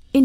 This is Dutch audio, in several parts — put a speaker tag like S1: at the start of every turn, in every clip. S1: verscheen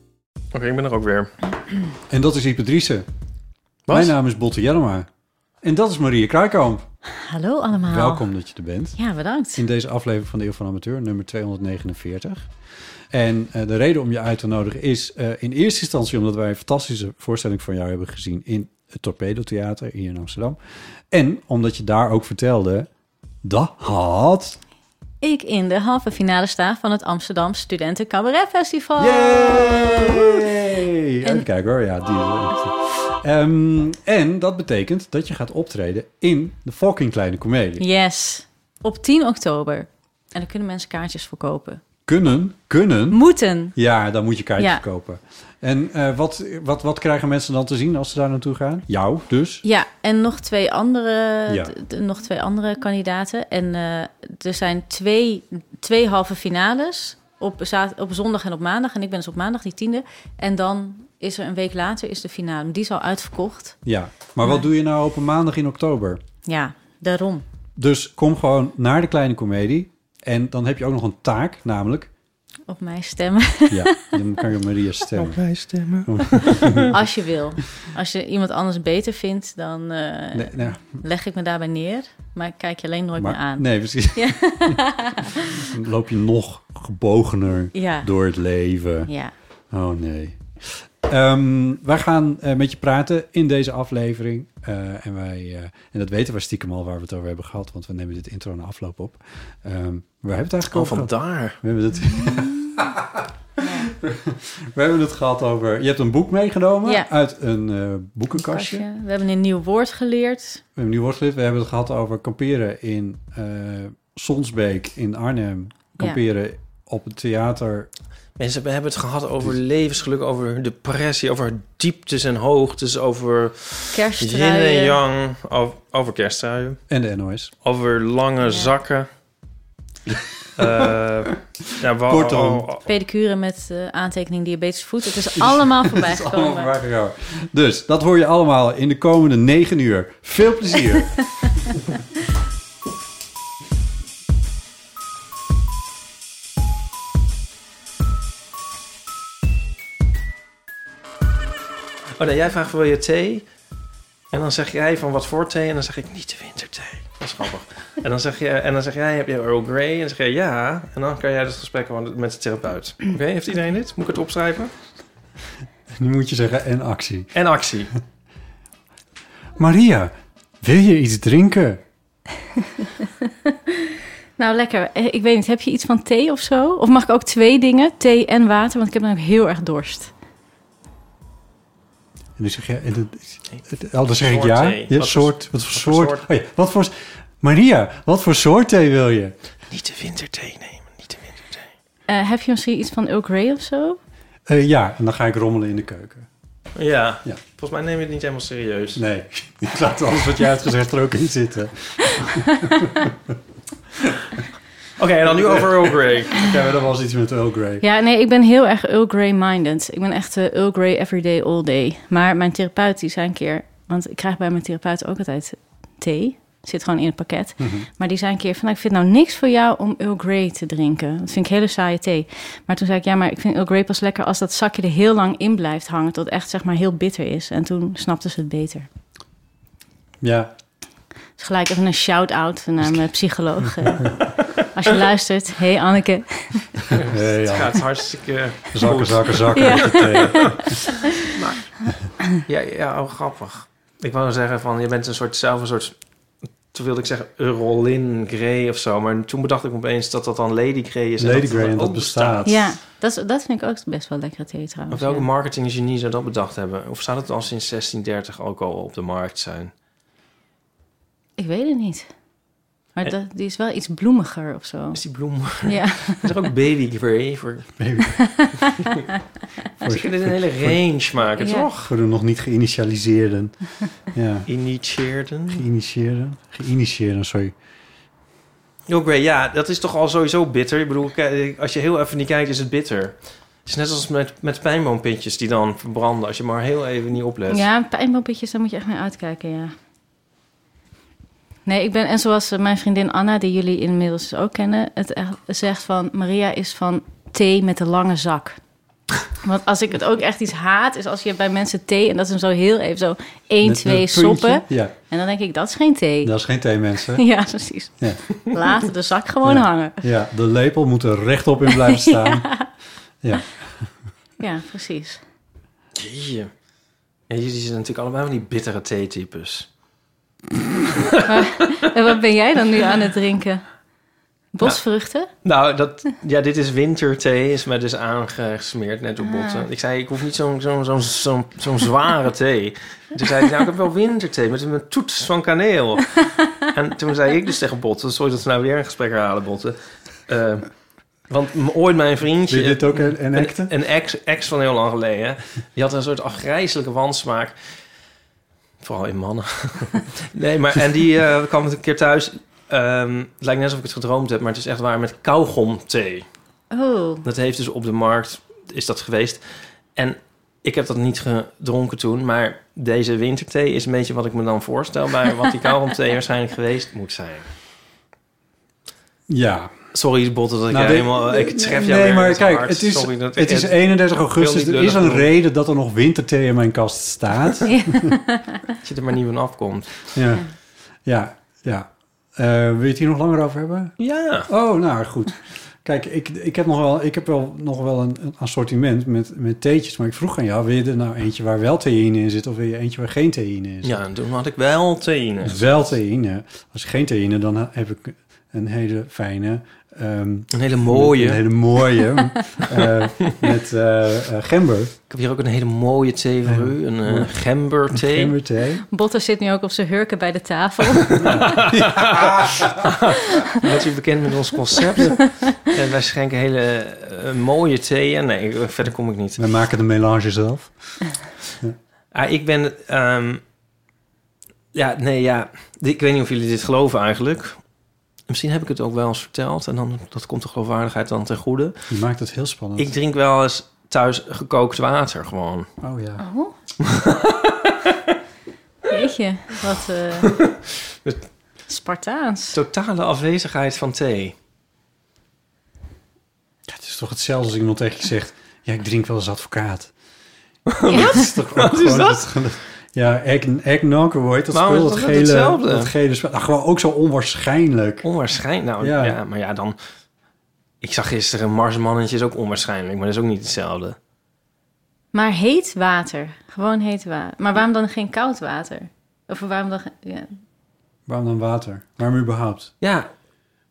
S2: Oké, ik ben er ook weer.
S3: En dat is Ipatrice. Mijn naam is Botte Jellema. En dat is Maria Kruikamp.
S4: Hallo allemaal.
S3: Welkom dat je er bent.
S4: Ja, bedankt.
S3: In deze aflevering van de Eeuw van Amateur, nummer 249. En eh, de reden om je uit te nodigen is eh, in eerste instantie omdat wij een fantastische voorstelling van jou hebben gezien in het Torpedo Theater hier in Amsterdam. En omdat je daar ook vertelde dat had.
S4: Ik in de halve finale sta van het Amsterdam Studenten Cabaret Festival.
S3: Yay!
S4: En-
S3: Even kijken hoor, ja. Die, Ehm, en dat betekent dat je gaat optreden in de fucking kleine comedie.
S4: Yes. Op 10 oktober. En daar kunnen mensen kaartjes voor kopen.
S3: Kunnen, kunnen.
S4: Moeten.
S3: Ja, dan moet je kaartjes
S4: Ja.
S3: kopen. En eh, wat, wat, wat krijgen mensen dan te zien als ze daar naartoe gaan? Jou dus.
S4: Ja, en nog twee andere,
S3: Ja.
S4: d- d- nog twee andere kandidaten. En eh, er zijn twee, twee halve finales op, za- op zondag en op maandag. En ik ben dus op maandag die tiende. En dan is er een week later is de finale. Die is al uitverkocht.
S3: Ja. Maar wat doe je nou op een maandag in oktober?
S4: Ja, daarom.
S3: Dus kom gewoon naar de kleine comedie. En dan heb je ook nog een taak, namelijk...
S4: Op mij stemmen.
S3: Ja, dan kan je Maria stemmen.
S2: Wij stemmen.
S4: Als je wil. Als je iemand anders beter vindt, dan eh,
S3: Nee, nou,
S4: leg ik me daarbij neer. Maar ik kijk je alleen nooit meer
S3: maar,
S4: aan.
S3: nee, precies. Dan loop je nog gebogener
S4: Ja.
S3: door het leven.
S4: Ja.
S3: Oh nee. Ehm, wij gaan eh, met je praten in deze aflevering. Eh, en, wij, eh, en dat weten we stiekem al waar we het over hebben gehad, want we nemen dit intro na afloop op. Ehm, waar hebben we het eigenlijk
S2: Kom
S3: over gehad?
S2: Oh, vandaar.
S3: We hebben, het, we hebben het gehad over. Je hebt een boek meegenomen
S4: Ja.
S3: uit een eh, boekenkastje. We
S4: We hebben een nieuw woord geleerd.
S3: hebben nu woordlid. We hebben het gehad over kamperen in eh Sonsbeek in Arnhem. Kamperen op het theater.
S2: Mensen, we hebben het gehad over levensgeluk, over depressie, over dieptes en hoogtes, over yin en
S4: Kersttruien.
S2: yang, over, over kerstruien,
S3: En de NOS.
S2: over lange zakken. Eh, ja, wa-
S3: Kortom.
S2: oh, oh,
S4: Pedicure met eh, aantekening diabetes voet. Het is allemaal voorbij
S3: Dat is allemaal
S4: gekomen.
S3: voorbij gekomen. Dus dat hoor je allemaal in de komende negen uur. Veel plezier.
S2: oh nee, jij vraagt wil je thee? En dan zeg jij van wat voor thee? En dan zeg ik niet de winterthee. Dat is grappig. en, dan zeg jij, en dan zeg jij, heb je Earl Grey? En dan zeg jij ja. En dan kan jij het gesprek gewoon met de therapeut. Oké, heeft iedereen dit? Moet ik het opschrijven?
S3: nu moet je zeggen en actie.
S2: En actie.
S3: Maria, wil je iets drinken?
S4: Nou, lekker. Eh, Ik weet niet, heb je iets van thee of zo? Of mag ik ook twee dingen? Thee en water, want ik heb namelijk heel erg dorst.
S3: En dan zeg je, en dat, oh, dan zeg ik
S2: Soort
S3: ja.
S2: thee.
S3: Ja,
S2: Wat voor-
S3: soort, wat voor
S2: voor
S3: soort? Oh ja, wat voor? Maria, wat voor soort thee wil je?
S2: Niet de winterthee nemen, niet de winterthee.
S4: Eh, heb je misschien iets van Earl Grey of zo?
S3: Eh, ja, en dan ga ik rommelen in de keuken.
S2: Ja,
S3: Ja.
S2: volgens mij neem je het niet helemaal serieus.
S3: Nee, ik laat alles wat jij hebt gezegd er ook in zitten.
S2: Oké, en dan nu over Earl Grey.
S3: Ja, maar dat was iets met Earl Grey.
S4: Ja, nee, ik ben heel erg Earl Grey-minded. Ik ben echt eh, Earl Grey everyday, all day. Maar mijn therapeut die zei een keer... Want ik krijg bij mijn therapeut ook altijd thee. Zit gewoon in het pakket.
S2: Mhm.
S4: Maar die zei een keer van... nou, ik vind nou niks voor jou om Earl Grey te drinken. Dat vind ik hele saaie thee. Maar toen zei ik... ja, maar ik vind Earl Grey pas lekker... als dat zakje er heel lang in blijft hangen... tot het echt zeg maar heel bitter is. En toen snapte ze het beter.
S3: Ja,
S4: Dus gelijk even een shout-out naar mijn psycholoog. eh. Als je luistert, hey Anneke.
S3: Hey,
S2: Het
S3: ja.
S2: gaat hartstikke
S3: Zakken, zakken, zakken.
S4: Ja.
S3: met de thee.
S2: Ja, ja oh, grappig. Ik wou zeggen van, je bent een soort, zelf een soort... Toen wilde ik zeggen Eurolyn Grey of zo. Maar toen bedacht ik me opeens dat dat dan Lady Grey is. en
S3: Lady
S2: dat
S3: Grey, en dat
S2: ook
S3: bestaat.
S4: Ja, dat, is- dat vind ik ook best wel lekker thee
S2: Of
S4: trouwens.
S2: welke
S4: ja.
S2: marketinggenie zou dat bedacht hebben? Of zou dat al sinds 1630 ook al op de markt zijn?
S4: Ik weet het niet. Maar dat, die is wel iets bloemiger of zo.
S2: Is die bloem...
S4: Ja,
S2: Is er ook Baby Grey voor...
S3: Baby.
S2: Ze kunnen een hele range maken,
S4: Ja.
S2: toch?
S3: Voor de nog niet geïnitialiseerden. Ja,
S2: Initieerden.
S3: geïnitieerden. Geïnitieerden, sorry.
S2: Earl Grey, ja, dat is toch al sowieso bitter. Ik bedoel, kijk, als je heel even niet kijkt, is het bitter. Het is net als met, met pijnboompintjes die dan verbranden... als je maar heel even niet oplet.
S4: ja pijnpompetjes, daar moet je echt mee uitkijken, ja. Nee, ik ben, en zoals eh, mijn vriendin Anna, die jullie inmiddels ook kennen, het echt zegt van Maria is van thee met een lange zak. Want als ik het ook echt iets haat, is als je bij mensen thee en dat ze hem zo heel even zo 1,
S3: Met een
S4: 2
S3: puntje.
S4: soppen.
S3: Ja,
S4: En dan denk ik, dat is geen thee.
S3: dat is geen thee, mensen.
S4: Ja, precies.
S3: Ja.
S4: Laat de zak gewoon
S3: Ja.
S4: hangen.
S3: Ja, de lepel moet er rechtop in blijven staan. Ja,
S4: Ja, precies.
S2: Jeetje. Ja, jullie zijn natuurlijk allemaal van die bittere theetypes.
S4: En wat ben jij dan nu aan het drinken? Bosvruchten?
S2: Nou, dat, ja, dit is winterthee, is mij dus aangesmeerd net op botten. Ik zei, ik hoef niet zo'n zo'n zo'n zo'n zo'n zware thee. Toen zei hij, nou, ik heb wel winterthee met een toets van kaneel. En toen zei ik dus tegen botten, sorry dat we nou weer een gesprek herhalen, botten. Eh, want m- ooit mijn vriendje...
S3: wil je dit ook een, een acte?
S2: Een, een ex, ex van heel lang geleden. Die had een soort afgrijzelijke wansmaak. Vooral in mannen. nee, maar en die eh, kwam een keer thuis. Ehm, het lijkt net alsof ik het gedroomd heb, maar het is echt waar met kauwgomthee.
S4: Oh,
S2: Dat heeft dus op de markt, is dat geweest. En ik heb dat niet gedronken toen, maar deze winterthee is een beetje wat ik me dan voorstel bij wat die kauwgomthee waarschijnlijk geweest moet zijn.
S3: Ja.
S2: Sorry, Botte, dat ik
S3: Nou,
S2: jou
S3: dit-
S2: helemaal... Ik tref jou
S3: nee,
S2: weer
S3: maar
S2: met
S3: kijk,
S2: hart.
S3: het is,
S2: Sorry dat ik
S3: het is 31 augustus.
S2: niet
S3: Er
S2: lullig
S3: is een
S2: doen.
S3: reden dat er nog winterthee in mijn kast staat. e-
S2: dat je er maar niet van afkomt.
S3: ja, ja. ja. Eh, wil je het hier nog langer over hebben?
S2: Ja.
S3: Oh, nou goed. Kijk, ik, ik heb nog wel, ik heb wel, nog wel een, een assortiment met, met theetjes. Maar ik vroeg aan jou, wil je er nou eentje waar wel theïne in zit... of wil je eentje waar geen theïne in zit? Dus
S2: Ja, en toen had ik wel tenen.
S3: Wel theïne. Als geen theïne, dan heb ik een hele fijne... ehm,
S2: Een hele mooie.
S3: Een hele mooie. eh, met eh, eh, gember.
S2: Ik heb hier ook een hele mooie thee voor u. Een eh, gemberthee.
S3: Gemberthee.
S4: Botter zit nu ook op zijn hurken bij de tafel.
S2: Bent u bekend met ons concept? en wij schenken hele eh, mooie theeën. Nee, ik- verder kom ik niet.
S3: We maken de melange zelf.
S2: Ah, ik ben... ehm, ja, nee, ja. Ik weet niet of jullie dit geloven eigenlijk. Misschien heb ik het ook wel eens verteld. En dan, dat komt de geloofwaardigheid dan ten goede.
S3: Je maakt het heel spannend.
S2: Ik drink wel eens thuis gekookt water gewoon.
S3: Oh ja.
S4: Oh. Jeetje, wat eh, Spartaans.
S2: Totale afwezigheid van thee.
S3: Het is toch hetzelfde als iemand tegen je zegt... Ja, ik drink wel eens advocaat.
S4: Ja.
S3: Dat is toch ook
S2: is
S3: gewoon
S2: dat?
S3: het- ja, egg- eggnog, hoe heet dat
S2: Waarom
S3: spul?
S2: is
S3: Dat
S2: dat net
S3: gele,
S2: hetzelfde?
S3: dat gele spul. Nou, gewoon ook zo onwaarschijnlijk.
S2: Onwaarschijnlijk. Nou,
S3: Ja.
S2: ja. maar ja, dan... Ik zag gisteren een Marsmannetje is ook onwaarschijnlijk, maar dat is ook niet hetzelfde.
S4: Maar heet water. Gewoon heet water. Maar waarom dan geen koud water? Of waarom dan... ge- Ja.
S3: Waarom dan water? Waarom überhaupt?
S2: Ja,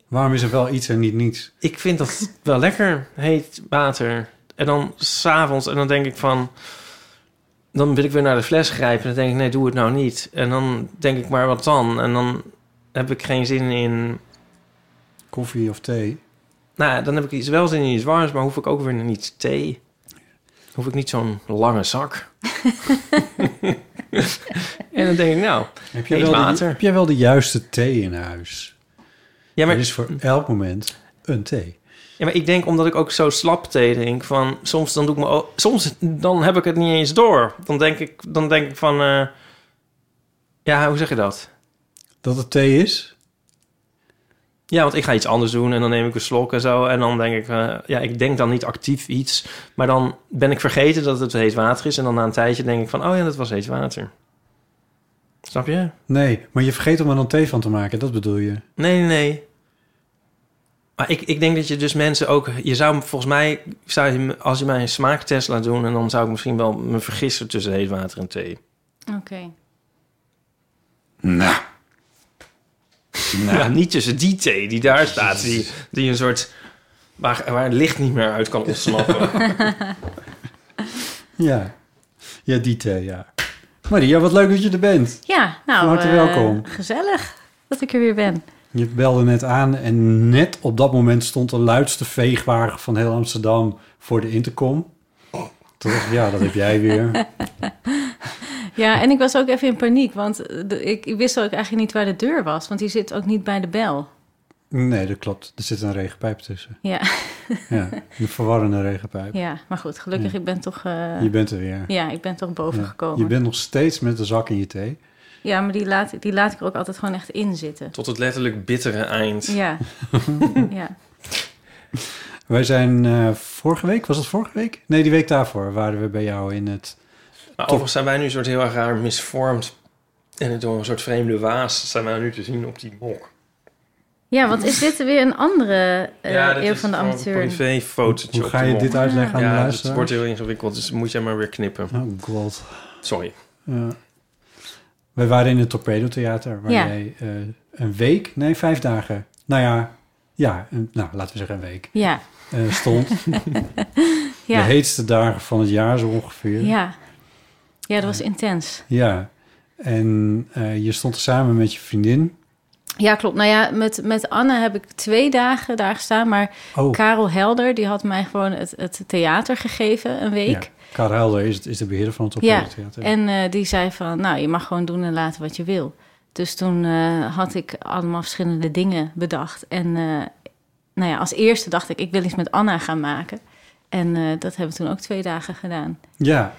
S3: Waarom is er wel iets en niet niets?
S2: ik vind dat wel lekker, heet water. En dan s'avonds, en dan denk ik van... Dan wil ik weer naar de fles grijpen. En dan denk ik, nee, doe het nou niet. En dan denk ik, maar wat dan? En dan heb ik geen zin in...
S3: Koffie of thee?
S2: Nou, ja, dan heb ik iets, wel zin in iets warms, maar hoef ik ook weer niet thee. Hoef ik niet zo'n lange zak. en dan denk ik, nou...
S3: Heb jij,
S2: Heet
S3: wel de,
S2: water.
S3: heb jij wel de juiste thee in huis?
S2: Ja, maar
S3: Er is voor elk moment een thee.
S2: Ja, maar ik denk omdat ik ook zo slap thee drink, van soms dan doe ik me o- soms dan heb ik het niet eens door. Dan denk ik, dan denk ik van, eh, ja, hoe zeg je dat?
S3: Dat het thee is?
S2: Ja, want ik ga iets anders doen en dan neem ik een slok en zo. En dan denk ik, eh, ja, ik denk dan niet actief iets, maar dan ben ik vergeten dat het heet water is. En dan na een tijdje denk ik van, oh ja, dat was heet water. Snap je?
S3: Nee, maar je vergeet om er dan thee van te maken, dat bedoel je.
S2: Nee, nee, nee. Maar ik, ik denk dat je dus mensen ook... Je zou hem volgens mij... Zou je, me- als je mij een smaaktest laat doen... en dan zou ik misschien wel me vergissen tussen heet water en thee.
S4: Oké.
S3: Nou.
S2: Ja, niet tussen die thee die daar staat. Die, die een soort... Waar, waar het licht niet meer uit kan ontsnappen.
S3: Ja. Ja, die thee, ja. Maria, wat leuk dat je er bent.
S4: Ja, nou...
S3: Van harte
S4: eh,
S3: welkom.
S4: Gezellig dat ik er weer ben.
S3: Je belde net aan en net op dat moment stond de luidste veegwagen van heel Amsterdam voor de intercom. Toen dacht ik, ja, dat heb jij weer.
S4: Ja, en ik was ook even in paniek, want eh, de- ik, ik wist ook eigenlijk niet waar de deur was, want die zit ook niet bij de bel.
S3: Nee, dat klopt. Er zit een regenpijp tussen.
S4: Ja,
S3: Ja, een verwarrende regenpijp.
S4: ja maar goed, gelukkig, ik ben toch, eh,
S3: Je bent er weer.
S4: ja, ik ben toch boven
S3: Ja.
S4: gekomen.
S3: Je bent nog steeds met de zak in je thee.
S4: Ja, maar die laat, die laat ik er ook altijd gewoon echt in zitten.
S2: Tot het letterlijk bittere eind.
S4: Ja, ja.
S3: Wij zijn eh, vorige week, was dat vorige week? Nee, die week daarvoor waren we bij jou in het...
S2: Maar overigens zijn wij nu een soort heel erg raar misvormd. En door een soort vreemde waas zijn wij nu te zien op die mok.
S4: ja, want is dit weer een andere eh eeuw van de
S2: gewoon
S4: amateur?
S2: een privéfotootje
S3: Hoe
S2: op
S3: ga
S2: de
S3: je
S2: mok.
S3: dit uitleggen aan de
S2: Ja, het
S3: luisteraar?
S2: wordt heel ingewikkeld, dus moet jij maar weer knippen.
S3: Oh god.
S2: Sorry.
S3: Ja. Eh, Wij waren in het Torpedo Theater, waar
S4: Ja.
S3: jij eh, een week, nee, vijf dagen. Nou ja, ja een- nou, laten we zeggen een week.
S4: Ja,
S3: eh, stond. De
S4: ja,
S3: heetste dagen van het jaar zo ongeveer.
S4: ja. Ja, dat was intens.
S3: Ja. En eh, je stond er samen met je vriendin.
S4: Ja, klopt. Nou ja, met, met Anne heb ik twee dagen daar gestaan, maar
S3: Oh,
S4: Karel Helder, die had mij gewoon het, het theater gegeven een week.
S3: ja. Karel Helder is, is de beheerder van het Torpedo
S4: Ja,
S3: Theater.
S4: En eh, die zei van, nou, je mag gewoon doen en laten wat je wil. Dus toen eh, had ik allemaal verschillende dingen bedacht. En eh, nou ja, als eerste dacht ik, ik wil iets met Anna gaan maken. En eh, dat hebben we toen ook twee dagen gedaan.
S3: Ja.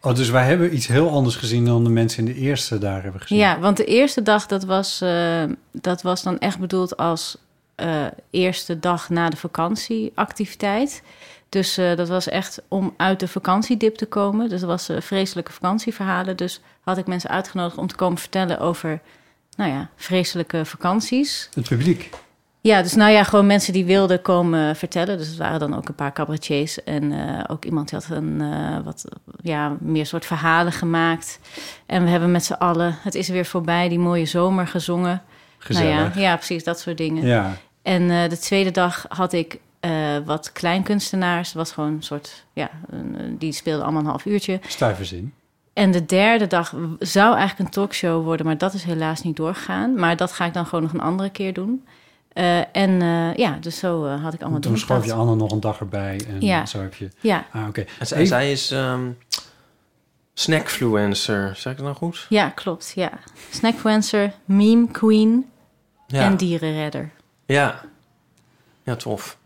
S3: Oh, dus wij hebben iets heel anders gezien dan de mensen in de eerste dagen hebben gezien.
S4: Ja, want de eerste dag, dat was, eh, dat was dan echt bedoeld als eh, eerste dag na de vakantieactiviteit. Dus eh, dat was echt om uit de vakantiedip te komen. Dus dat was eh, vreselijke vakantieverhalen. Dus had ik mensen uitgenodigd om te komen vertellen over, nou ja, vreselijke vakanties.
S3: Het publiek.
S4: Ja, dus nou ja, gewoon mensen die wilden komen vertellen. Dus er waren dan ook een paar cabaretiers. En eh, ook iemand die had een eh, wat ja, meer soort verhalen gemaakt. En we hebben met z'n allen, het is weer voorbij, die mooie zomer gezongen.
S3: Gezellig.
S4: Nou ja, ja, precies, dat soort dingen.
S3: ja.
S4: En eh, de tweede dag had ik eh, wat kleinkunstenaars. Dat was gewoon een soort, ja, een- die speelden allemaal een half uurtje.
S3: Stuiverzin.
S4: En de derde dag w- zou eigenlijk een talkshow worden, maar dat is helaas niet doorgegaan. Maar dat ga ik dan gewoon nog een andere keer doen. Eh, en eh, ja, dus zo eh, had ik allemaal
S3: Toen schoof je
S4: doorgedacht.
S3: Anne nog een dag erbij. En
S4: Ja.
S3: zo heb je...
S4: Ja,
S3: Ah, oké.
S2: En zij,
S3: Eén-
S2: zij is ehm, snackfluencer. Zeg ik dat nou goed?
S4: ja, klopt. Ja. Snackfluencer, meme queen
S2: Ja.
S4: en dierenredder.
S2: Ja. Ja, tof.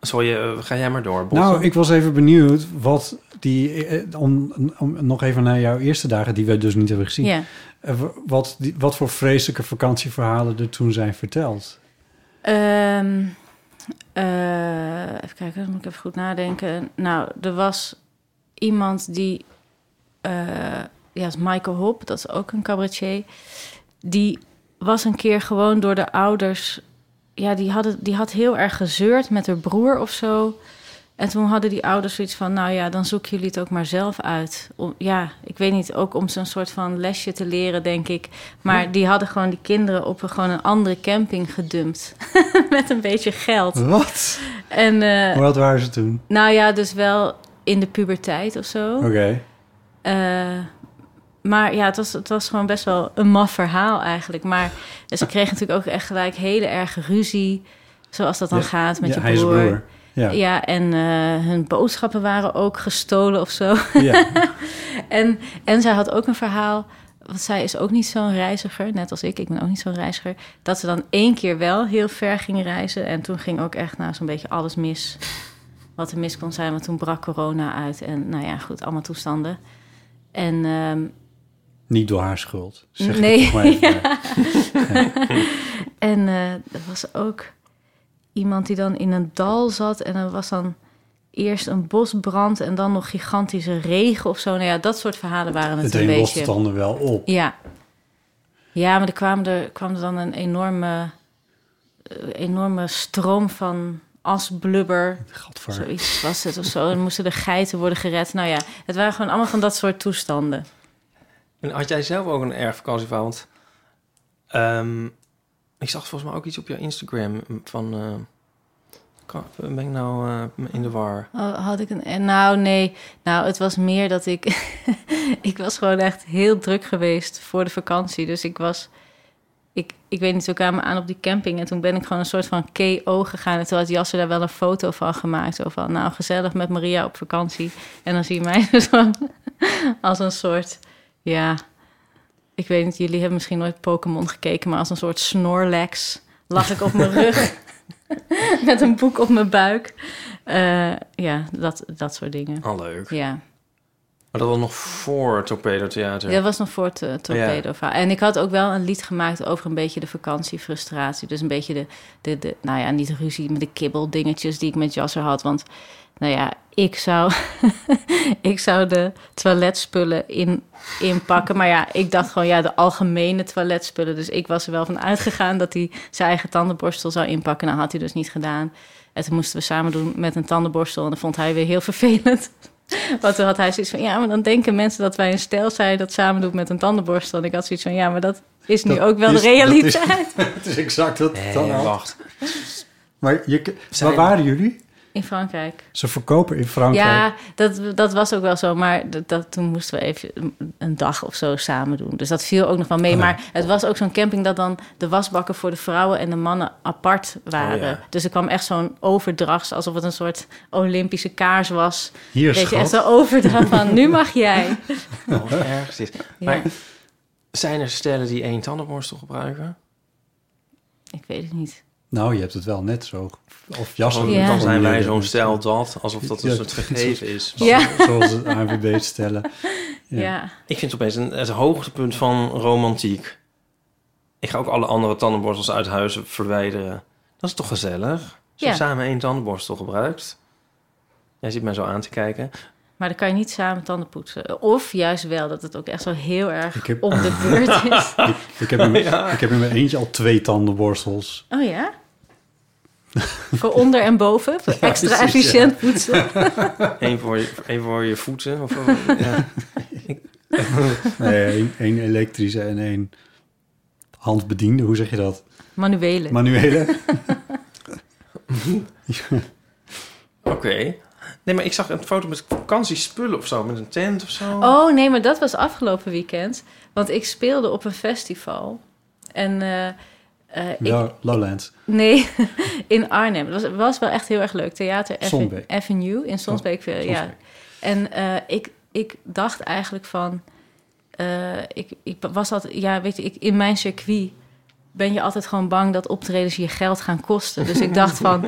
S2: Sorry, eh, ga jij maar door, Botte.
S3: Nou, ik was even benieuwd wat die... eh, Om, om nog even naar jouw eerste dagen, die we dus niet hebben gezien.
S4: Ja.
S3: Eh, w- Wat, die, wat voor vreselijke vakantieverhalen er toen zijn verteld.
S4: Ehm, eh, even kijken, dan moet ik even goed nadenken. Nou, er was iemand die... eh, ja, is Michael Hop, dat is ook een cabaretier. Die was een keer gewoon door de ouders... Ja, die, hadden, die had heel erg gezeurd met haar broer of zo. En toen hadden die ouders zoiets van... Nou ja, dan zoeken jullie het ook maar zelf uit. Om, ja, ik weet niet, ook om zo'n soort van lesje te leren, denk ik. Maar die hadden gewoon die kinderen op een, gewoon een andere camping gedumpt. met een beetje geld.
S3: Wat?
S4: En eh,
S3: Hoe oud waren ze toen?
S4: nou ja, dus wel in de puberteit of zo.
S3: Oké.
S4: Eh, maar ja, het was, het was gewoon best wel een maf verhaal eigenlijk. Maar ze kregen natuurlijk ook echt gelijk hele erge ruzie. Zoals dat dan
S3: Ja,
S4: gaat met
S3: Ja,
S4: je
S3: hij is
S4: broer.
S3: broer. Ja.
S4: Ja. en eh, hun boodschappen waren ook gestolen of zo.
S3: Ja.
S4: En, en zij had ook een verhaal. Want zij is ook niet zo'n reiziger, net als ik. Ik ben ook niet zo'n reiziger. Dat ze dan één keer wel heel ver ging reizen. En toen ging ook echt nou, zo'n beetje alles mis. Wat er mis kon zijn, want toen brak corona uit. En nou ja, goed, allemaal toestanden. En ehm,
S3: Niet door haar schuld. Zeg
S4: Nee.
S3: nee. maar even.
S4: En eh, er was ook iemand die dan in een dal zat en er was dan eerst een bosbrand en dan nog gigantische regen of zo. Nou ja, dat soort verhalen waren het,
S3: Het
S4: een
S3: een lost
S4: beetje.
S3: het ander wel op.
S4: Ja. Ja, maar er kwam er, kwam er dan een enorme, eh, enorme stroom van asblubber.
S3: Gadver.
S4: Zoiets was het of zo. En moesten de geiten worden gered. Nou ja, het waren gewoon allemaal van dat soort toestanden.
S2: En had jij zelf ook een erg vakantieverhaal? Want ehm, ik zag volgens mij ook iets op jouw Instagram van... eh, kan- ben ik nou eh, in de war?
S4: Oh, had ik een... eh, Nou, nee. Nou, het was meer dat ik... ik was gewoon echt heel druk geweest voor de vakantie. Dus ik was... Ik, ik weet niet, toen kwamen we aan op die camping... en toen ben ik gewoon een soort van KO gegaan. En toen had Jasser daar wel een foto van gemaakt. Zo van, nou, gezellig met Maria op vakantie. En dan zie je mij dus gewoon als een soort... Ja, ik weet niet, jullie hebben misschien nooit Pokémon gekeken... maar als een soort Snorlax lag ik op mijn rug... met een boek op mijn buik. Eh, ja, dat, dat soort dingen.
S2: Al Oh, leuk.
S4: Ja.
S2: Maar dat was nog voor het Torpedo Theater.
S4: dat was nog voor het eh, torpedo verhaal. En ik had ook wel een lied gemaakt over een beetje de vakantiefrustratie. Dus een beetje de, de, de nou ja, niet de ruzie, maar de kibbeldingetjes die ik met Jasser had. Want, nou ja, ik zou, ik zou de toiletspullen in, inpakken. Maar ja, ik dacht gewoon, ja, de algemene toiletspullen. Dus ik was er wel van uitgegaan dat hij zijn eigen tandenborstel zou inpakken. Nou, had hij dus niet gedaan. En toen moesten we samen doen met een tandenborstel. En dat vond hij weer heel vervelend. Want toen had hij zoiets van, ja, maar dan denken mensen dat wij een stijl zijn dat samen doet met een tandenborstel. En ik had zoiets van, ja, maar dat is nu
S3: Dat
S4: ook wel
S3: is-
S4: de
S3: dat is-
S4: realiteit.
S3: Het is exact wat het
S2: Nee,
S3: dan had.
S2: wacht.
S3: Maar je, waar
S2: Zijn-
S3: waren jullie?
S4: In Frankrijk.
S3: Ze verkopen in Frankrijk.
S4: Ja, dat, dat was ook wel zo. Maar dat, dat, toen moesten we even een dag of zo samen doen. Dus dat viel ook nog wel mee.
S3: Oh.
S4: Maar het was ook zo'n camping dat dan de wasbakken voor de vrouwen en de mannen apart waren.
S2: Oh ja.
S4: Dus er kwam echt zo'n overdrachts, alsof het een soort Olympische kaars was.
S3: Hier,
S4: Weet je,
S3: schat.
S4: echt zo'n overdracht van nu mag jij.
S2: Oh, wat erg is dit.
S4: Ja,
S2: Maar zijn er stellen die één tandenborstel gebruiken?
S4: ik weet het niet.
S3: Nou, je hebt het wel net zo. Of jas.
S2: Oh, Dan-
S4: Ja.
S2: Dan zijn wij zo'n stel dat, alsof dat een
S3: Ja,
S2: soort gegeven is.
S4: Ja.
S3: Zoals het ANWB stellen. Ja.
S4: Ja.
S2: Ik vind het opeens een, het hoogtepunt van romantiek. Ik ga ook alle andere tandenborstels uit huizen verwijderen. Dat is toch gezellig? Als je
S4: Ja.
S2: samen één tandenborstel gebruikt. Jij zit mij zo aan te kijken.
S4: Maar dan kan je niet samen tanden poetsen. Of juist wel, dat het ook echt zo heel erg
S3: Ik heb-
S4: op de beurt is.
S3: Ik, heb in mijn, ik heb in mijn eentje al twee tandenborstels.
S4: Oh ja? Voor onder en boven? Voor extra
S3: precies,
S4: efficiënt poetsen?
S2: Eén voor je, één voor je voeten. Of, of- ja.
S3: Nee, één- één elektrische en één handbediende. Hoe zeg je dat?
S4: Manuele.
S3: Manuele.
S2: Oké. Nee, maar ik zag een foto met vakantiespullen of zo. Met een tent of zo.
S4: Oh nee, maar dat was afgelopen weekend. Want ik speelde op een festival. En eh, eh, ik,
S3: Ja, Lowlands.
S4: nee, in Arnhem. Het was, was wel echt heel erg leuk. Theater Ave-
S3: Sonsbeek.
S4: Avenue in Sonsbeek. eh, ja.
S3: Sonsbeek.
S4: En eh, ik, ik dacht eigenlijk van... eh, ik, ik was altijd... Ja, weet je, ik, in mijn circuit ben je altijd gewoon bang dat optredens je geld gaan kosten. Dus ik dacht van,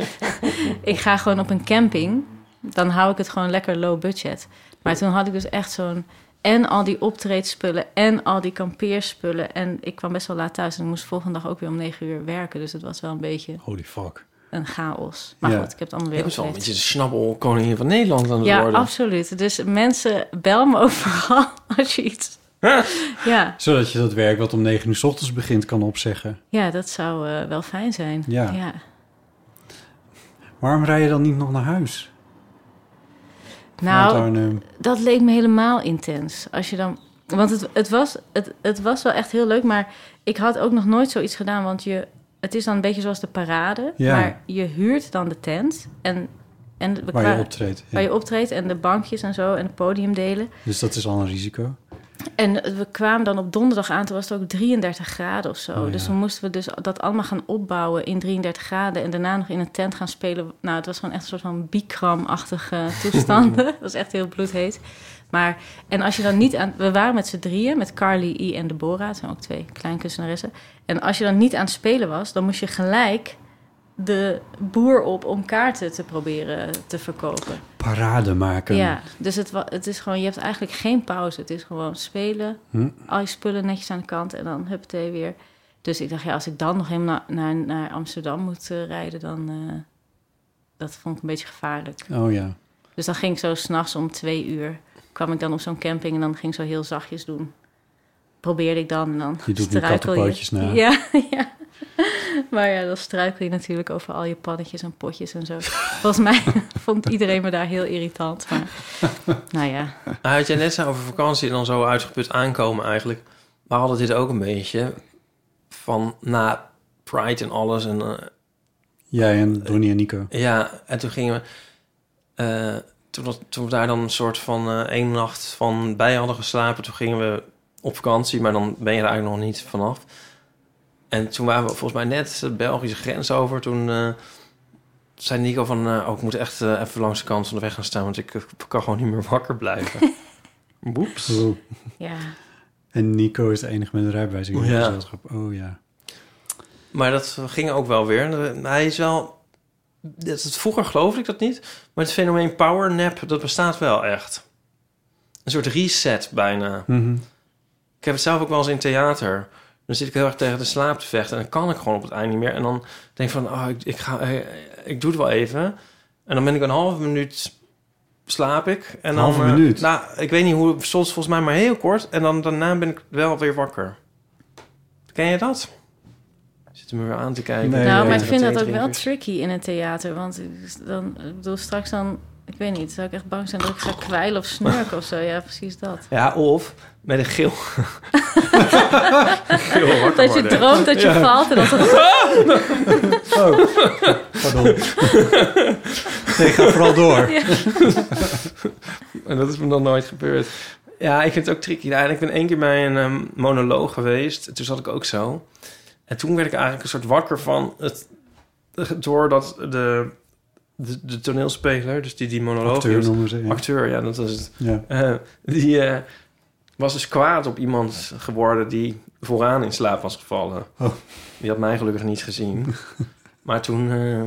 S4: ik ga gewoon op een camping. Dan hou ik het gewoon lekker low budget. Maar toen had ik dus echt zo'n... En al die optreedspullen en al die kampeerspullen. En ik kwam best wel laat thuis en ik moest de volgende dag ook weer om negen uur werken. Dus het was wel een beetje
S3: Holy fuck.
S4: een chaos. Maar
S3: Ja.
S4: goed, ik heb het allemaal
S2: Ik
S4: weer
S2: ben wel een beetje
S4: opgelegd.
S2: de snabbel koningin van Nederland aan het
S4: Ja,
S2: worden.
S4: absoluut. Dus mensen, bel me overal als je iets... ja,
S3: Zodat je dat werk wat om negen uur 's ochtends begint kan opzeggen.
S4: ja, dat zou eh, wel fijn zijn.
S3: Ja.
S4: ja.
S3: Waarom rij je dan niet nog naar huis?
S4: Nou,
S3: Want Arnhem-
S4: dat leek me helemaal intens. Als je dan, want het, het, was, het, het was wel echt heel leuk, maar ik had ook nog nooit zoiets gedaan. Want je, het is dan een beetje zoals de parade.
S3: Ja.
S4: Maar je huurt dan de tent en, en we
S3: waar
S4: kwa-
S3: je optreedt. ja.
S4: waar je optreedt en de bankjes en zo en het podiumdelen.
S3: Dus dat is al een risico.
S4: En we kwamen dan op donderdag aan, toen was het ook 33 graden of zo.
S3: Oh, ja.
S4: Dus toen moesten we dus dat allemaal gaan opbouwen in 33 graden. En daarna nog in een tent gaan spelen. Nou, het was gewoon echt een soort van biekramachtige toestanden. Het was echt heel bloedheet. Maar, en als je dan niet aan... We waren met z'n drieën, met Carly, I en Deborah. Het zijn ook twee kleinkunstenaressen. En als je dan niet aan het spelen was, dan moest je gelijk de boer op om kaarten te proberen te verkopen.
S3: Parade maken.
S4: Ja, dus het, wa- het is gewoon, je hebt eigenlijk geen pauze. Het is gewoon spelen,
S3: Hm.
S4: al je spullen netjes aan de kant en dan huppatee weer. Dus ik dacht, ja, als ik dan nog helemaal na- naar, naar Amsterdam moet eh, rijden, dan... eh, dat vond ik een beetje gevaarlijk.
S3: Oh ja.
S4: Dus dan ging ik zo s'nachts om twee uur. kwam ik dan op zo'n camping en dan ging ik zo heel zachtjes doen. Probeerde ik dan en dan.
S3: Je doet nu
S4: struikel
S3: kattenpootjes na.
S4: Ja, ja. Maar ja, dan struikel je natuurlijk over al je pannetjes en potjes en zo. Volgens mij vond iedereen me daar heel irritant. Maar nou ja.
S2: Nou, had jij net zei over vakantie en dan zo uitgeput aankomen eigenlijk. We hadden dit ook een beetje van na Pride en alles. En, eh,
S3: Jij en Donnie en Nico.
S2: ja, en toen gingen we... eh, toen, dat- toen we daar dan een soort van eh, één nacht van bij hadden geslapen... toen gingen we op vakantie, maar dan ben je er eigenlijk nog niet vanaf. En toen waren we volgens mij net de Belgische grens over. Toen eh, zei Nico van... eh, oh, ik moet echt eh, even langs de kant van de weg gaan staan... want ik eh, kan gewoon niet meer wakker blijven. Boeps.
S3: Oh.
S4: ja.
S3: En Nico is de enige met een rijbewijs in het
S2: Ja.
S3: gezelschap. Oh ja.
S2: Maar dat ging ook wel weer. En, eh, Hij is wel... Dat, dat- vroeger geloofde ik dat niet. Maar het fenomeen power nap, dat bestaat wel echt. Een soort reset bijna.
S3: Mhm.
S2: Ik heb het zelf ook wel eens in theater. Dan zit ik heel erg tegen de slaap te vechten. En dan kan ik gewoon op het eind niet meer. En dan denk ik van, oh, ik, ik, ga, eh, ik doe het wel even. En dan ben ik een halve minuut... Slaap ik. En
S3: Een
S2: dan,
S3: halve
S2: eh,
S3: minuut?
S2: nou, ik weet niet hoe... Soms volgens mij maar heel kort. En dan daarna ben ik wel weer wakker. Ken je dat? Zit hem weer aan te kijken.
S3: Nee,
S4: nou,
S3: nee,
S4: maar
S3: nee.
S4: ik vind dat ook wel
S2: Theedrinkers.
S4: tricky in het theater. Want ik- dan, ik bedoel, straks dan... Ik weet niet, zou ik echt bang zijn dat ik ga kwijlen of snurken of zo? Ja, precies dat.
S2: Ja, of met een geel. geel wakker
S4: Dat je
S2: worden.
S4: droomt dat je valt en dat het...
S3: Oh, pardon. Nee, ga vooral door.
S2: En dat is me nog nooit gebeurd. Ja, ik vind het ook tricky. Ja, en ik ben één keer bij een ehm, monoloog geweest. En Toen zat ik ook zo. En toen werd ik eigenlijk een soort wakker van het... Doordat de, de, de toneelspeler, dus die die monoloog
S3: Acteur
S2: hield-
S3: noemen ze. Ja.
S2: Acteur, ja, dat is het.
S3: Ja.
S2: Eh, die eh, was dus kwaad op iemand geworden die vooraan in slaap was gevallen.
S3: Oh.
S2: Die had mij gelukkig niet gezien. maar toen, eh,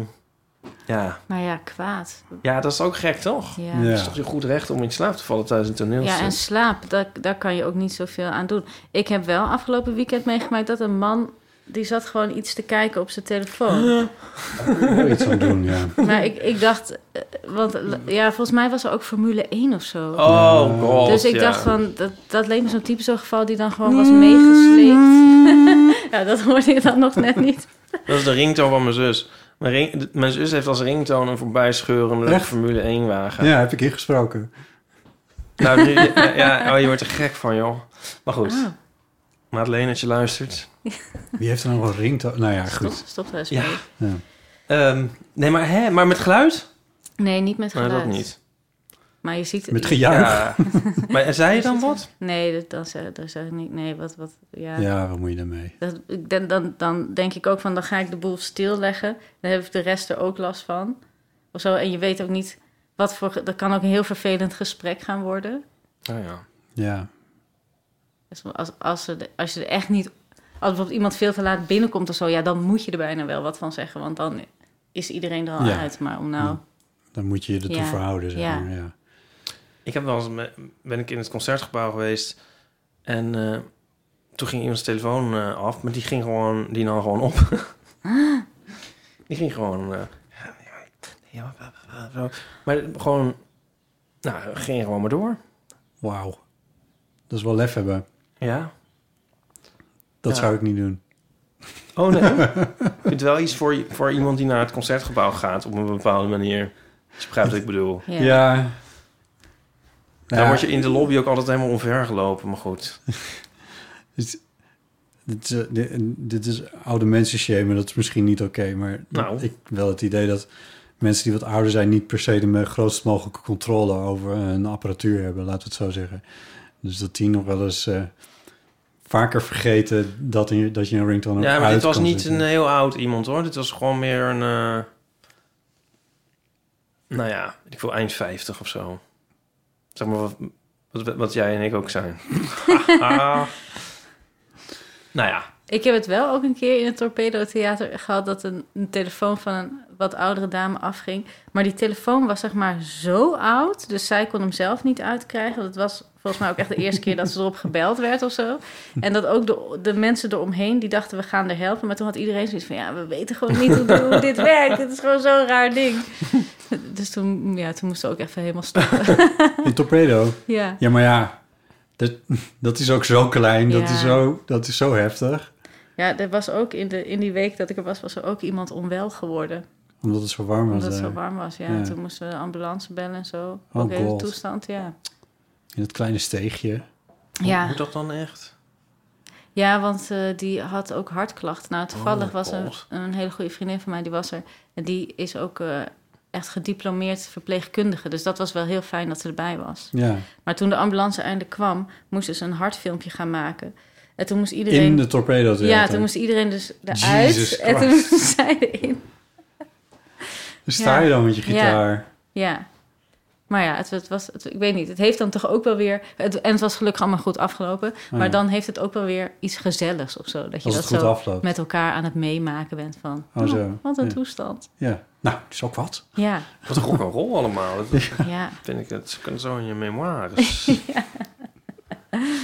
S2: ja.
S4: Maar ja, kwaad.
S2: ja, dat is ook gek toch?
S4: Ja.
S3: Ja.
S2: Het is toch je goed recht om in slaap te vallen tijdens een
S4: Ja, en
S2: toneelstuk?
S4: slaap, daar, daar kan je ook niet zoveel aan doen. Ik heb wel afgelopen weekend meegemaakt dat een man... die zat gewoon iets te kijken op zijn telefoon.
S3: Oh, iets aan doen, ja.
S4: Maar ik, ik dacht... eh, Want ja, volgens mij was er ook Formule 1 of zo.
S2: Oh god,
S4: dus ik
S2: ja.
S4: dacht van, dat, dat leek me zo'n typisch zo'n geval... die dan gewoon was meegesleept. ja, dat hoorde je dan nog net niet.
S2: Dat is de ringtoon van mijn zus. Mijn, ring, de- mijn zus heeft als ringtoon een voorbijscheurende
S3: Echt?
S2: Formule 1 wagen.
S3: Ja, heb ik ingesproken.
S2: Nou, nu- ja, ja, oh, je wordt er gek van joh. Maar goed,
S4: Ah,
S2: Madeleine, als je luistert...
S3: Wie heeft er nou wel ringtoon? Nou ja,
S4: stop,
S3: goed.
S4: stop daar eens
S2: Ja.
S4: mee.
S3: Ja.
S2: Ehm, nee, maar, hè, maar met geluid?
S4: Nee, niet met
S2: Nee,
S4: geluid.
S2: dat niet.
S4: Maar je ziet...
S3: Met gejuich. Ja.
S2: maar zei je dan wat?
S4: Nee, dat, dan zeg, dan zeg ik niet. Nee, wat... wat ja.
S3: wat moet je daarmee?
S4: Dat, ik denk- dan, dan denk ik ook van, dan ga ik de boel stilleggen. Dan heb ik de rest er ook last van. Of zo. En je weet ook niet wat voor... ge- Dat kan ook een heel vervelend gesprek gaan worden.
S2: Oh ja.
S3: Ja.
S4: Dus als, als, er, als je er echt niet... Als bijvoorbeeld iemand veel te laat binnenkomt of zo... Ja, dan moet je er bijna wel wat van zeggen. Want dan is iedereen er al
S3: Ja.
S4: uit. Maar om nou...
S3: Dan moet je je ertoe
S4: Ja.
S3: verhouden, zeg
S4: Ja.
S3: maar. Ja.
S2: Ik heb wel eens me- ben ik in het concertgebouw geweest en eh, toen ging iemands telefoon eh, af, maar die ging gewoon, die nam gewoon op. die ging gewoon, eh, ja, ja, ja, ja, zo. maar gewoon, nou, ging gewoon maar door.
S3: Wauw. Dat is wel lef hebben.
S2: Ja.
S3: Dat
S2: Ja.
S3: zou ik niet doen.
S2: Oh nee. Ik vind wel iets voor, voor iemand die naar het concertgebouw gaat op een bepaalde manier. Als je begrijpt wat ik bedoel.
S4: Ja.
S3: Ja. ja.
S2: Dan word je in de lobby ook altijd helemaal omvergelopen, maar goed.
S3: Dit, dit, is, eh, dit, dit is oude mensen shamen, dat is misschien niet oké, maar
S2: Nou.
S3: ik heb wel het idee dat mensen die wat ouder zijn niet per se de me- grootst mogelijke controle over hun apparatuur hebben, laten we het zo zeggen. Dus dat die nog wel eens eh, vaker vergeten dat, in, dat je een ringtone ook
S2: Ja, maar dit
S3: uit
S2: was
S3: kan
S2: niet
S3: zetten.
S2: een heel oud iemand hoor. Dit was gewoon meer een. eh, nou ja, weet ik wil eind 50 of zo. Zeg maar wat, wat, wat jij en ik ook zijn. Ah. nou ja,
S4: Ik heb het wel ook een keer in het Torpedo Theater gehad dat een, een telefoon van een wat oudere dame afging. Maar die telefoon was zeg maar zo oud, dus zij kon hem zelf niet uitkrijgen. Dat was volgens mij ook echt de eerste keer dat ze erop gebeld werd of zo. En dat ook de, de mensen eromheen, die dachten we gaan er helpen. Maar toen had iedereen zoiets van, ja, we weten gewoon niet hoe, hoe dit werkt. Het is gewoon zo'n raar ding. Dus toen, ja, toen moesten we ook even helemaal stoppen.
S2: eh,
S3: Een torpedo.
S4: Ja.
S3: Ja, maar ja, dat, dat is ook zo klein. Dat,
S4: Ja.
S3: is zo, dat is zo heftig.
S4: Ja, er was ook in, de, in die week dat ik er was, was er ook iemand onwel geworden.
S3: Omdat het zo warm was. eh,
S4: Omdat het zo
S3: daar.
S4: warm was, ja.
S3: Ja.
S4: Toen moesten we de ambulance bellen en zo.
S3: Oh,
S4: ook hele
S3: God.
S4: toestand, ja.
S3: In dat kleine steegje.
S4: Ja,
S2: Moet dat dan echt?
S4: ja want eh, die had ook hartklachten. Nou, toevallig
S2: Oh,
S4: was een,
S2: God.
S4: een hele goede vriendin van mij, die was er. En die is ook eh, echt gediplomeerd verpleegkundige. Dus dat was wel heel fijn dat ze erbij was.
S3: Ja,
S4: Maar toen de ambulance eindelijk kwam, moesten ze dus een hartfilmpje gaan maken. En toen moest iedereen...
S3: in de torpedo.
S4: ja, toen moest iedereen dus
S3: Jesus
S4: eruit. En toen
S3: Christ.
S4: moesten zij erin.
S3: sta je dan met je
S4: Ja.
S3: gitaar.
S4: Ja. Maar ja, het, het was, het- ik weet niet. Het heeft dan toch ook wel weer. Het, en het was gelukkig allemaal goed afgelopen. maar
S3: Oh ja.
S4: dan heeft het ook wel weer iets gezelligs of zo. Dat je
S3: Als
S4: dat
S3: het goed
S4: zo
S3: afloopt.
S4: met elkaar aan het meemaken bent van.
S3: Oh,
S4: Oh,
S3: zo.
S4: wat een
S3: Ja.
S4: toestand.
S3: Ja. Nou, dat is ook wat.
S4: Ja,
S2: Wat een rock'n'roll allemaal. Dat
S4: ja.
S2: vind ik, het kan zo in je memoires.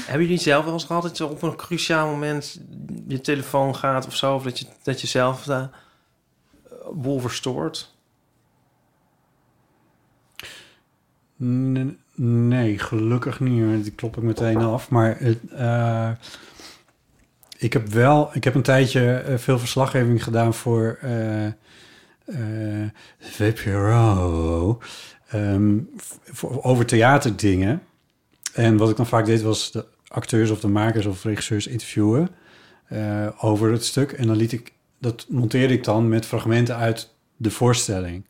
S2: Hebben jullie zelf wel eens gehad dat je op een cruciaal moment je telefoon gaat of zo? Of dat je, dat je zelf de boel verstoort?
S3: N- Nee, gelukkig niet. hoor. Die klop ik meteen af. Maar het, eh, ik heb wel, ik heb een tijdje eh, veel verslaggeving gedaan voor eh, eh, VPRO ehm, v- voor- over theaterdingen. En wat ik dan vaak deed was de acteurs of de makers of regisseurs interviewen eh, over het stuk. En dan liet ik dat monteerde ik dan met fragmenten uit de voorstelling.